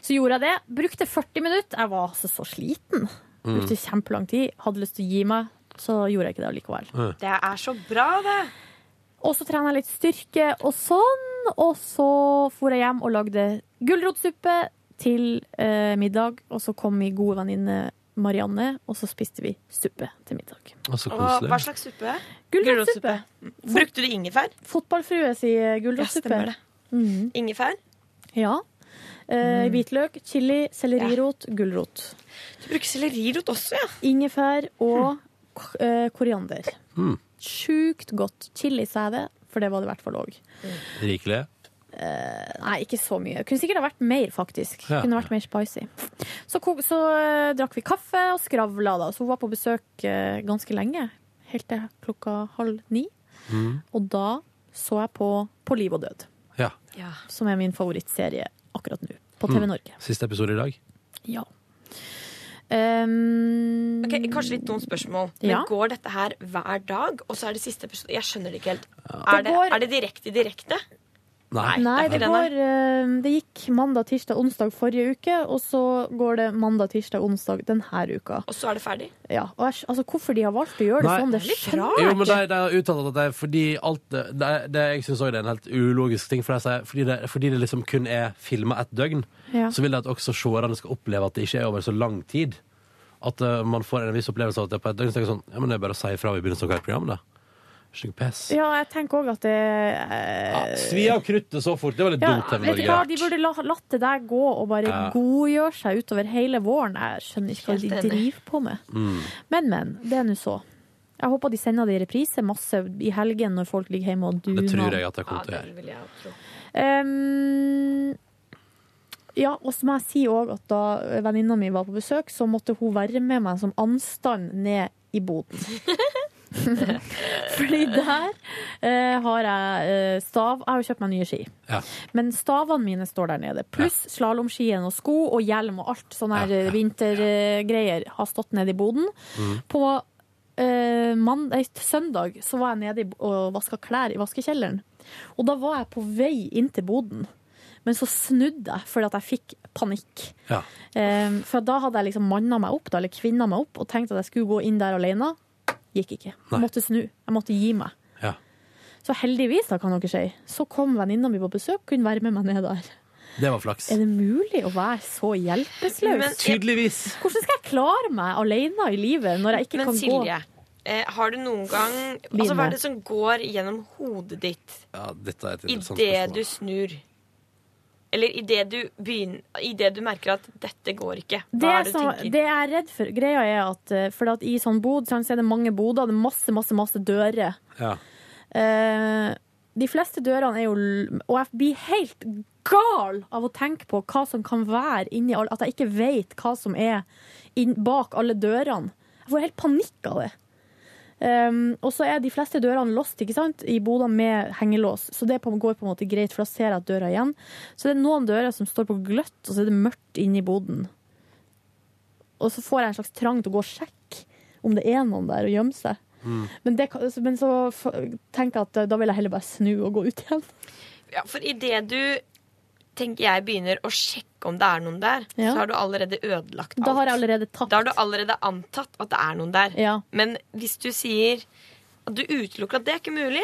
[SPEAKER 2] Så gjorde jeg det. Brukte 40 minutter. Jeg var altså så sliten.
[SPEAKER 8] Mm.
[SPEAKER 2] Brukte kjempelang tid. Hadde lyst til å gi meg, så gjorde jeg ikke det allikevel.
[SPEAKER 8] Det er så bra, det.
[SPEAKER 2] Og så trener jeg litt styrke og sånn. Og så for jeg hjem og lagde gulrotsuppe til eh, middag. Og så kom min gode venninne Marianne, og så spiste vi suppe til middag.
[SPEAKER 8] Og hva slags suppe?
[SPEAKER 2] Gulrotsuppe.
[SPEAKER 8] Mm. Brukte du ingefær?
[SPEAKER 2] Fotballfrue sier gulrotsuppe.
[SPEAKER 8] Ja, stemmer det.
[SPEAKER 2] Mm.
[SPEAKER 8] Ingefær?
[SPEAKER 2] Ja. Eh,
[SPEAKER 8] Mm.
[SPEAKER 2] Hvitløk, chili, sellerirot, gulrot.
[SPEAKER 8] Du bruker sellerirot også, ja.
[SPEAKER 2] Ingefær
[SPEAKER 8] Hmm.
[SPEAKER 2] og k- eh, koriander.
[SPEAKER 3] Mm.
[SPEAKER 2] Sjukt godt. Chili, sa jeg det, for det var det i hvert fall òg.
[SPEAKER 3] Rikelig.
[SPEAKER 2] Eh, nei, ikke så mye. Kunne sikkert ha vært mer, faktisk.
[SPEAKER 3] Ja.
[SPEAKER 2] Kunne vært mer spicy. Så, ko- så eh, drakk vi kaffe og skravla, da. Så hun var på besøk eh, ganske lenge. Helt til klokka halv ni.
[SPEAKER 3] Mm.
[SPEAKER 2] Og da så jeg på På liv og død,
[SPEAKER 3] Ja.
[SPEAKER 2] som er min favorittserie akkurat nå. På TV
[SPEAKER 3] Mm.
[SPEAKER 2] Norge.
[SPEAKER 3] Siste episode i dag.
[SPEAKER 2] Ja. Um,
[SPEAKER 8] Ok, kanskje litt noen spørsmål. Men
[SPEAKER 2] Ja.
[SPEAKER 8] Går dette her hver dag, og så er det siste episode? Jeg skjønner det ikke helt. Er,
[SPEAKER 2] Det
[SPEAKER 8] det,
[SPEAKER 2] går-
[SPEAKER 8] er det direkte i direkte?
[SPEAKER 3] Nei,
[SPEAKER 2] Nei, det,
[SPEAKER 8] det er ikke
[SPEAKER 2] går, eh, det gikk mandag, tirsdag, onsdag forrige uke, og så går det mandag, tirsdag, onsdag denne uka.
[SPEAKER 8] Og så er det ferdig?
[SPEAKER 2] Ja, og jeg, skj- altså, hvorfor de har valgt å gjøre det
[SPEAKER 3] Nei.
[SPEAKER 2] sånn, det skjønner
[SPEAKER 3] Jo,
[SPEAKER 2] jeg
[SPEAKER 3] men
[SPEAKER 2] ikke.
[SPEAKER 3] de, de har uttalt at det er fordi alt det, det, det Jeg syns òg det er en helt ulogisk ting. For de sier, fordi, det, fordi det liksom kun er filma ett døgn,
[SPEAKER 2] Ja.
[SPEAKER 3] så vil de at også seerne skal oppleve at det ikke er over så lang tid. At eh, man får en viss opplevelse av at det er på ett døgn. Så tenker jeg sånn, ja, men det er bare å si ifra ved begynnelsen av hvert program, da. Stygg pes.
[SPEAKER 2] Ja, jeg tenker òg at det eh,
[SPEAKER 3] Svi av kruttet så fort. Det var litt
[SPEAKER 2] ja,
[SPEAKER 3] dumt. Emil
[SPEAKER 2] vet du
[SPEAKER 3] Norge.
[SPEAKER 2] hva, De burde la, latt det der gå og bare
[SPEAKER 3] Ja.
[SPEAKER 2] godgjøre seg utover hele våren. Jeg skjønner ikke hva de
[SPEAKER 3] Helt enig.
[SPEAKER 2] driver på med.
[SPEAKER 3] Mm.
[SPEAKER 2] Men, men. Det er nå så. Jeg håper de sender det i reprise masse i helgen når folk ligger hjemme og duner.
[SPEAKER 3] Det tror jeg at jeg kommer til å gjøre.
[SPEAKER 2] Ehm, ja, og så må jeg si også at da venninna mi var på besøk, så måtte hun være med meg som anstand ned i boden. Fordi der eh, har jeg eh, stav Jeg har jo kjøpt meg nye ski.
[SPEAKER 3] Ja.
[SPEAKER 2] Men stavene mine står der nede. Pluss slalåmskien og sko og hjelm og alt sånne her eh, vintergreier har stått nede i boden. På eh, mand- nei, søndag så var jeg nede i, og vaska klær i vaskekjelleren. Og da var jeg på vei inn til boden. Men så snudde jeg fordi at jeg fikk panikk.
[SPEAKER 3] Ja.
[SPEAKER 2] Eh, for da hadde jeg liksom manna meg opp da, eller kvinna meg opp og tenkt at jeg skulle gå inn der alene. Gikk ikke. Jeg måtte snu. Jeg måtte gi meg.
[SPEAKER 3] Ja.
[SPEAKER 2] Så heldigvis, da, kan dere si, så kom venninna mi på besøk og kunne være med meg ned der.
[SPEAKER 3] Det var flaks.
[SPEAKER 2] Er det mulig å være så hjelpeløs?
[SPEAKER 8] Men-
[SPEAKER 3] Tydeligvis.
[SPEAKER 2] Hvordan skal jeg klare meg alene i livet når jeg ikke
[SPEAKER 8] Men
[SPEAKER 2] kan
[SPEAKER 8] Silje, eh, har du noen gang altså, Hva er det som går gjennom hodet ditt
[SPEAKER 3] Ja, dette er et interessant
[SPEAKER 8] idet
[SPEAKER 3] spørsmål.
[SPEAKER 8] du snur? Eller idet du, begynner- i det du merker at 'dette går ikke'.
[SPEAKER 2] Det,
[SPEAKER 8] Hva
[SPEAKER 2] er
[SPEAKER 8] er det du
[SPEAKER 2] som,
[SPEAKER 8] tenker?
[SPEAKER 2] det jeg er redd for, greia er at, eh, for at i sånn bod sant, så er det mange boder, det er masse, masse, masse dører.
[SPEAKER 3] Ja.
[SPEAKER 2] Eh, de fleste dørene er jo l- Og jeg blir helt gal av å tenke på hva som kan være inni alle At jeg ikke vet hva som er inn, bak alle dørene. Jeg får helt panikk av det. Um, og så er de fleste dørene låst ikke sant? i boder med hengelås, så det på- går på en måte greit, for da ser jeg at døra er igjen. Så det er noen dører som står på gløtt, og så er det mørkt inni boden. Og så får jeg en slags trang til å gå og sjekke om det er noen der og gjemme seg. Men, det, kan- men så f- tenker jeg at eh, da vil jeg heller bare snu og gå ut igjen.
[SPEAKER 8] Ja, for idet du tenker jeg begynner å sjekke om det er noen der,
[SPEAKER 2] Ja.
[SPEAKER 8] så har du allerede ødelagt alt.
[SPEAKER 2] Da har jeg allerede tapt.
[SPEAKER 8] Da har du allerede antatt at det er noen der.
[SPEAKER 2] Ja.
[SPEAKER 8] Men hvis du sier at du utelukker at det er ikke mulig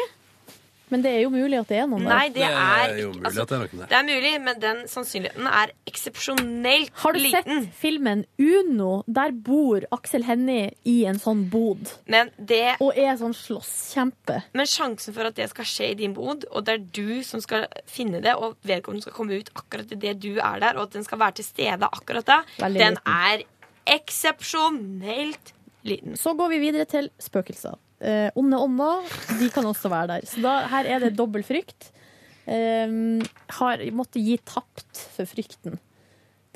[SPEAKER 2] Men det er jo mulig at det er noen der.
[SPEAKER 8] Nei, det er altså,
[SPEAKER 3] jo mulig at det er noen
[SPEAKER 8] Det er mulig, men den sannsynligheten er eksepsjonelt
[SPEAKER 2] Har du
[SPEAKER 8] liten.
[SPEAKER 2] sett filmen Uno? Der bor Aksel Hennie i en sånn bod.
[SPEAKER 8] Men det
[SPEAKER 2] Og er sånn slåsskjempe.
[SPEAKER 8] Men sjansen for at det skal skje i din bod, og det er du som skal finne det, og vedkommende skal komme ut akkurat idet du er der, og at den skal være til stede akkurat da,
[SPEAKER 2] Veldig
[SPEAKER 8] den
[SPEAKER 2] liten.
[SPEAKER 8] er eksepsjonelt liten.
[SPEAKER 2] Så går vi videre til spøkelser. Eh, onde ånder, de kan også være der. Så da, her er det dobbel frykt. Eh, har måtte gi tapt for frykten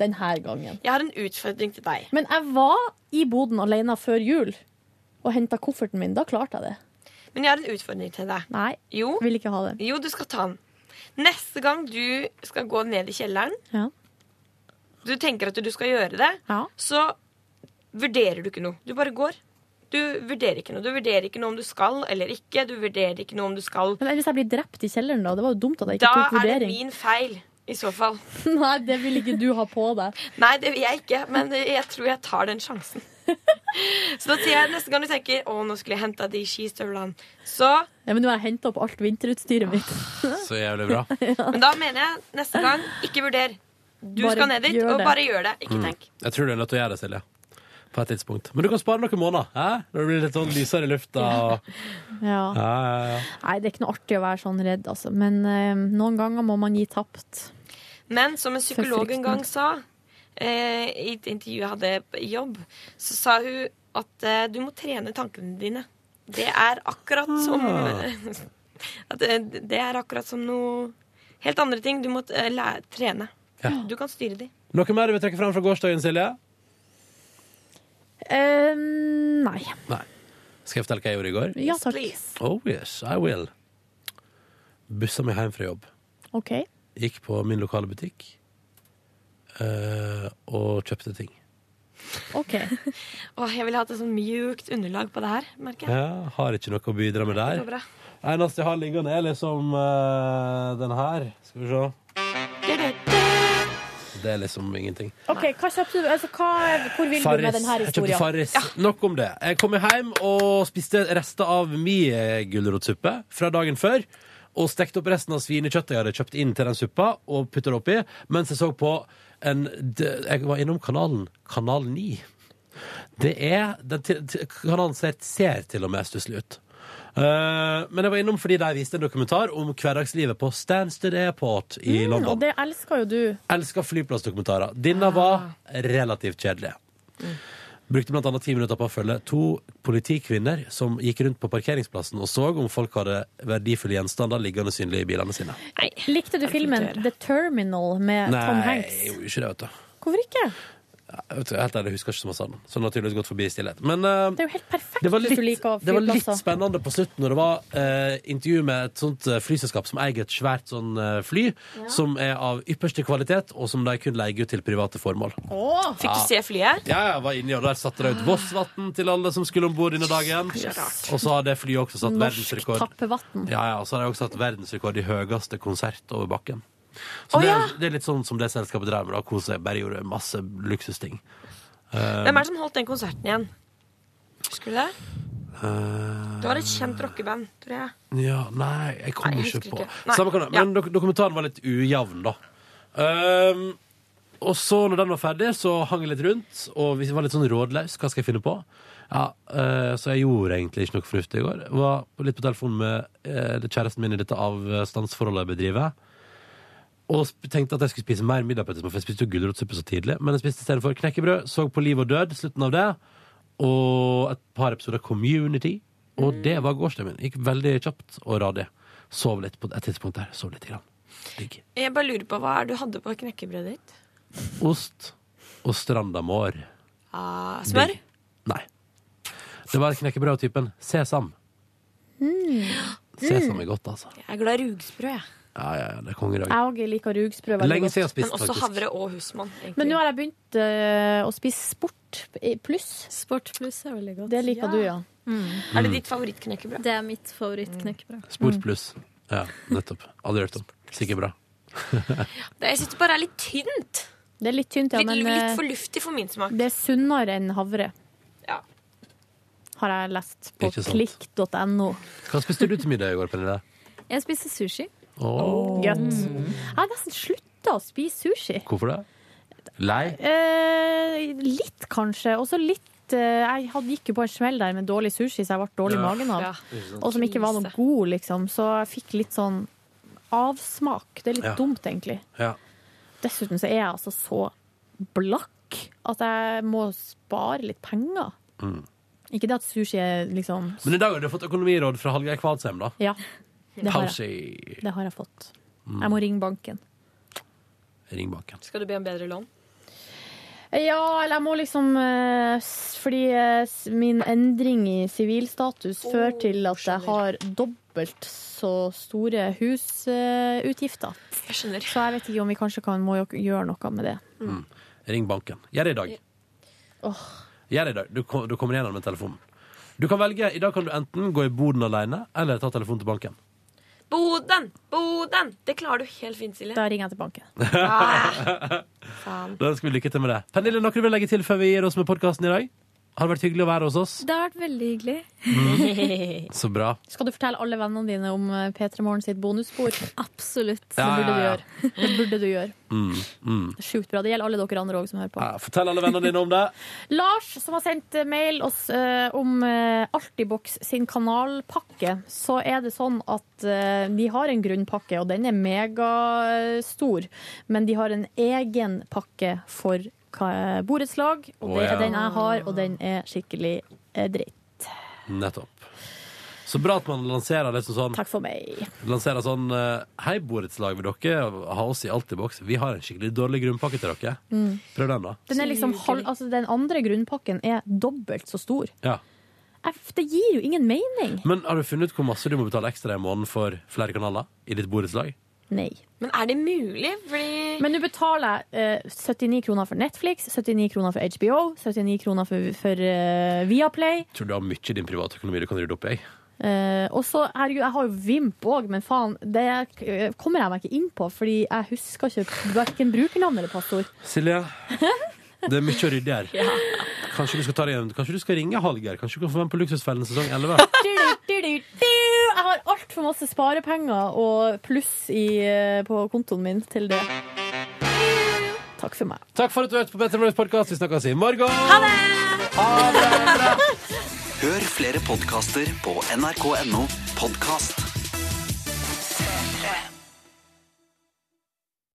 [SPEAKER 2] denne gangen.
[SPEAKER 8] Jeg har en utfordring til deg.
[SPEAKER 2] Men jeg var i boden alene før jul og henta kofferten min. Da klarte jeg det.
[SPEAKER 8] Men jeg har en utfordring til deg.
[SPEAKER 2] Nei,
[SPEAKER 8] jo.
[SPEAKER 2] vil ikke ha det.
[SPEAKER 8] Jo, du skal ta den. Neste gang du skal gå ned i kjelleren,
[SPEAKER 2] Ja.
[SPEAKER 8] du tenker at du skal gjøre det, så vurderer du ikke noe. Du bare går. Du vurderer ikke noe. Du vurderer ikke noe om du skal eller ikke. Du vurderer ikke noe om du skal
[SPEAKER 2] Men hvis jeg blir drept i kjelleren, da? Det var jo dumt at jeg ikke tok
[SPEAKER 8] Da er det
[SPEAKER 2] vurdering.
[SPEAKER 8] min feil, i så fall.
[SPEAKER 2] Nei, det vil ikke du ha på deg.
[SPEAKER 8] Nei, det vil jeg ikke, men jeg tror jeg tar den sjansen. Så da sier jeg neste gang du tenker 'Å, nå skulle jeg henta de skistøvlene', så
[SPEAKER 2] Ja, men nå har jeg henta opp alt vinterutstyret mitt.
[SPEAKER 3] Så jævlig bra.
[SPEAKER 8] Men da mener jeg neste gang ikke vurder. Du
[SPEAKER 2] Bare
[SPEAKER 8] skal ned dit,
[SPEAKER 2] gjør
[SPEAKER 8] og
[SPEAKER 2] det.
[SPEAKER 8] bare gjør det. Ikke
[SPEAKER 3] Mm.
[SPEAKER 8] tenk.
[SPEAKER 3] Jeg tror du er nødt til å gjøre det, Silje. På et tidspunkt. Men du kan spare noen måneder. Hæ? Når det blir litt sånn lysere i lufta. Og...
[SPEAKER 2] Ja.
[SPEAKER 3] Ja, ja, ja.
[SPEAKER 2] Nei, det er ikke noe artig å være sånn redd, altså. Men eh, noen ganger må man gi tapt.
[SPEAKER 8] Men som en
[SPEAKER 2] For
[SPEAKER 8] psykolog
[SPEAKER 2] frykten.
[SPEAKER 8] en gang sa eh, i et intervju jeg hadde på jobb, så sa hun at eh, du må trene tankene dine. Det er akkurat som
[SPEAKER 18] Ah.
[SPEAKER 8] at, eh, Det er akkurat som noe helt andre ting. Du må eh, lære, trene.
[SPEAKER 3] Ja.
[SPEAKER 8] Du kan styre de.
[SPEAKER 3] Noe mer du vil trekke fram fra gårsdagen, Silje?
[SPEAKER 2] Eh, nei.
[SPEAKER 3] Nei. Skal jeg fortelle hva jeg gjorde i går?
[SPEAKER 2] Ja, takk.
[SPEAKER 3] Oh yes, I will. Bussa meg hjem fra jobb.
[SPEAKER 2] OK.
[SPEAKER 3] Gikk på min lokale butikk eh, og kjøpte ting.
[SPEAKER 2] Ok.
[SPEAKER 8] Åh, jeg ville hatt et sånn mjukt underlag på det her, merker jeg.
[SPEAKER 3] Ja, har ikke noe å bidra med
[SPEAKER 8] Det går
[SPEAKER 3] der.
[SPEAKER 8] bra.
[SPEAKER 3] Eneste jeg har liggende, er liksom eh, den her. Skal vi se. Det er liksom ingenting.
[SPEAKER 2] Ok, hva kjøpte du? Altså, hva, hvor vil du med
[SPEAKER 3] Farris.
[SPEAKER 2] denne
[SPEAKER 3] Jeg kjøpte
[SPEAKER 2] historien?
[SPEAKER 3] Farris. Nok om det. Jeg kom hjem og spiste rester av min eh, gulrotsuppe fra dagen før. Og stekte opp resten av svinekjøttet jeg hadde kjøpt inn til den suppa, og putta det oppi. Mens jeg så på en d- Jeg var innom kanalen Kanal 9. Det er den til- til- Kanalen ser, ser til og med stusslig ut. Eh, men jeg var innom fordi de viste en dokumentar om hverdagslivet på Stansted Airport i
[SPEAKER 2] Mm,
[SPEAKER 3] London.
[SPEAKER 2] Og det elsker jo du.
[SPEAKER 3] Elsker flyplassdokumentarer. Denne
[SPEAKER 2] Ah.
[SPEAKER 3] var relativt kjedelig. Brukte blant annet ti minutter på å følge to politikvinner som gikk rundt på parkeringsplassen og så om folk hadde verdifulle gjenstander liggende synlig i bilene sine.
[SPEAKER 2] Likte du filmen The Terminal med Tom Hanks?
[SPEAKER 3] jeg gjorde ikke det, vet du.
[SPEAKER 2] Hvorfor ikke?
[SPEAKER 3] Ja, vet du. Helt ærlig, jeg husker ikke så mye av den. Så den har tydeligvis gått forbi i stillhet. Men eh,
[SPEAKER 2] Det er jo helt perfekt
[SPEAKER 3] det var
[SPEAKER 2] hvis
[SPEAKER 3] litt,
[SPEAKER 2] du liker altså.
[SPEAKER 3] det var litt
[SPEAKER 2] flyplasser.
[SPEAKER 3] spennende på slutten når det var eh, intervju med et sånt eh, flyselskap som eier et svært sånn eh, fly, som er av ypperste kvalitet, og som de kun leier ut til private formål.
[SPEAKER 8] Fikk du
[SPEAKER 3] Ja.
[SPEAKER 8] se flyet?
[SPEAKER 3] Ja, jeg var inni, og der satte de ut Vossvatn til alle som skulle om bord denne dagen.
[SPEAKER 8] Så rart.
[SPEAKER 3] Og så har det flyet også satt
[SPEAKER 2] Norsk
[SPEAKER 3] verdensrekord.
[SPEAKER 2] tappevann.
[SPEAKER 3] Ja, ja, og så har de også satt verdensrekord i høyeste konsert over bakken. Så
[SPEAKER 2] Å,
[SPEAKER 3] det,
[SPEAKER 2] ja.
[SPEAKER 3] er, det er litt sånn som det selskapet drev med. da, Kose seg, bare gjorde masse luksusting.
[SPEAKER 8] Hvem er det som holdt den konserten igjen? Husker du det? Det var et kjent rockeband, tror jeg.
[SPEAKER 3] Ja, nei, jeg kom
[SPEAKER 8] Nei, jeg
[SPEAKER 3] ikke
[SPEAKER 8] husker
[SPEAKER 3] på.
[SPEAKER 8] ikke. Nei,
[SPEAKER 3] Samme kan det.
[SPEAKER 8] ja.
[SPEAKER 3] Men dok dokumentaren var litt ujevn, da. Ehm, og så, når den var ferdig, så hang jeg litt rundt og vi var litt sånn rådløs. Hva skal jeg finne på? Ja, eh, Så jeg gjorde egentlig ikke noe fornuftig i går. Jeg var litt på telefonen med eh, kjæresten min i dette avstandsforholdet jeg bedriver. Og sp- tenkte at jeg skulle spise mer middag, på et tidspunkt, for jeg spiste jo gulrotsuppe så tidlig. Men jeg spiste i stedet for knekkebrød, så på Liv og død, slutten av det, og et par episoder Community. Og det var gårsdagen min. Gikk veldig kjapt og radig. Sov litt på et tidspunkt der. Sov litt. Grann. Digg.
[SPEAKER 8] Jeg bare lurer på, Hva er det du hadde på knekkebrødet ditt?
[SPEAKER 3] Ost og strandamår.
[SPEAKER 8] Ah, smør?
[SPEAKER 3] Digg. Nei. Det var knekkebrød av typen sesam. Sesam er godt, altså.
[SPEAKER 8] Jeg er glad i rugsprø. jeg.
[SPEAKER 3] Ja, ja, ja, det er kongedag.
[SPEAKER 2] Jeg òg liker rugsprø veldig
[SPEAKER 3] Lenge
[SPEAKER 2] godt.
[SPEAKER 3] siden jeg har spist,
[SPEAKER 8] Men også havre og husmann. egentlig.
[SPEAKER 2] Men nå har jeg begynt eh, å spise sport i- pluss. Sport pluss er veldig godt. Det liker
[SPEAKER 10] Ja.
[SPEAKER 2] du, ja.
[SPEAKER 8] Er det ditt favorittknekkebrød?
[SPEAKER 10] Det er mitt favorittknekkebrød.
[SPEAKER 2] Mm.
[SPEAKER 3] Sport pluss. Ja, nettopp. Aldri hørt om. Sikkert bra.
[SPEAKER 8] Det, jeg syns det bare er litt tynt.
[SPEAKER 2] Det er litt tynt, ja,
[SPEAKER 8] litt,
[SPEAKER 2] men eh,
[SPEAKER 8] litt for luftig for min smak.
[SPEAKER 2] det er sunnere enn havre.
[SPEAKER 8] Ja.
[SPEAKER 2] Har jeg lest på
[SPEAKER 3] Ikke sant.
[SPEAKER 2] klikk.no.
[SPEAKER 3] Hva spiste du til middag i går, Pernille?
[SPEAKER 2] Jeg spiser sushi.
[SPEAKER 3] Åh.
[SPEAKER 2] Godt. Jeg har nesten slutta å spise sushi.
[SPEAKER 3] Hvorfor det? Lei?
[SPEAKER 2] Eh, litt, kanskje. Og så litt eh, Jeg hadde, gikk jo på en smell der med dårlig sushi, så jeg ble dårlig i
[SPEAKER 3] Ja.
[SPEAKER 2] magen av.
[SPEAKER 3] Ja. Ikke sant.
[SPEAKER 2] Og som ikke var noe god, liksom. Så jeg fikk litt sånn avsmak. Det er litt
[SPEAKER 3] Ja.
[SPEAKER 2] dumt, egentlig.
[SPEAKER 3] Ja.
[SPEAKER 2] Dessuten så er jeg altså så blakk at jeg må spare litt penger.
[SPEAKER 3] Mm.
[SPEAKER 2] Ikke det at sushi er liksom
[SPEAKER 3] Men i dag har du fått økonomiråd fra Hallgeir Kvadsheim, da.
[SPEAKER 2] Ja. Det har jeg,
[SPEAKER 3] Kanskje
[SPEAKER 2] det har jeg fått.
[SPEAKER 3] Mm.
[SPEAKER 2] Jeg må ringe banken.
[SPEAKER 3] ring banken.
[SPEAKER 8] Skal du be om bedre lån?
[SPEAKER 2] Ja, eller jeg må liksom eh, s- Fordi eh, s- min endring i sivilstatus fører til at jeg har dobbelt så store husutgifter.
[SPEAKER 8] Jeg skjønner.
[SPEAKER 2] Så jeg vet ikke om vi kanskje kan, må jo gjøre noe med det.
[SPEAKER 3] Mm. Ring banken. Gjør det i dag. Gjør det i dag. Du, kom- du kommer gjennom med telefonen. Du kan velge. I dag kan du enten gå i boden alene, eller ta telefonen til banken.
[SPEAKER 8] Boden! Boden! Det klarer du helt fint, Silje.
[SPEAKER 2] Da ringer jeg til banken.
[SPEAKER 3] Da ønsker vi lykke til med det. Pernille, noe du vil legge til før vi gir oss med podkasten i dag? Har det vært hyggelig å være hos oss?
[SPEAKER 2] Det har vært veldig hyggelig.
[SPEAKER 3] Så bra.
[SPEAKER 2] Skal du fortelle alle vennene dine om eh, P3 Morgen sitt bonusbord? Absolutt. Det
[SPEAKER 3] Ja,
[SPEAKER 2] burde du
[SPEAKER 3] ja, ja.
[SPEAKER 2] gjøre. Det burde du gjøre.
[SPEAKER 3] Mm, mm.
[SPEAKER 2] Det er Sjukt bra. Det gjelder alle dere andre òg som hører på.
[SPEAKER 3] Ja, Fortell alle vennene dine om det.
[SPEAKER 2] Lars, som har sendt eh, mail oss eh, om eh, Altibox sin kanalpakke, så er det sånn at eh, de har en grunnpakke, og den er megastor, men de har en egen pakke for ka- borettslag, og
[SPEAKER 3] Å,
[SPEAKER 2] det
[SPEAKER 3] ja.
[SPEAKER 2] er den jeg har, og den er skikkelig eh, dritt.
[SPEAKER 3] Nettopp. Så bra at man lanserer det som sånn
[SPEAKER 2] Takk for meg.
[SPEAKER 3] Lanserer sånn eh, Hei, borettslag, vil dere ha oss i Altibox? Vi har en skikkelig dårlig grunnpakke til dere.
[SPEAKER 2] Mm.
[SPEAKER 3] Prøv den, da.
[SPEAKER 2] Den, er liksom halv, altså, den andre grunnpakken er dobbelt så stor.
[SPEAKER 3] Ja.
[SPEAKER 2] Jeg- Det gir jo ingen mening.
[SPEAKER 3] Men har du funnet ut hvor masse du må betale ekstra i måneden for flere kanaler i ditt borettslag?
[SPEAKER 2] Nei.
[SPEAKER 8] Men er det mulig? Fordi
[SPEAKER 2] Men nå betaler jeg eh, 79 kroner for Netflix, 79 kroner for HBO, 79 kroner for, for eh, Viaplay.
[SPEAKER 3] Tror du har mye i din privatøkonomi du kan rydde opp i?
[SPEAKER 2] Eh, og så, herregud, jeg har jo Vimp òg, men faen, det eh, kommer jeg meg ikke inn på, fordi jeg husker ikke verken brukernavn eller passord.
[SPEAKER 3] Silje, det er mye å rydde her. Kanskje du skal, ta deg en- Kanskje du skal ringe Hallgeir? Kanskje du kan få være med på Luksusfellen sesong 11?
[SPEAKER 2] Du-du-du-du! Jeg har altfor masse sparepenger og pluss i, eh, på kontoen min til det. Takk for meg.
[SPEAKER 3] Takk for at du hørte på Petter Morgens podkast. Vi snakkes i morgen!
[SPEAKER 18] Hør flere podkaster på nrk.no podkast.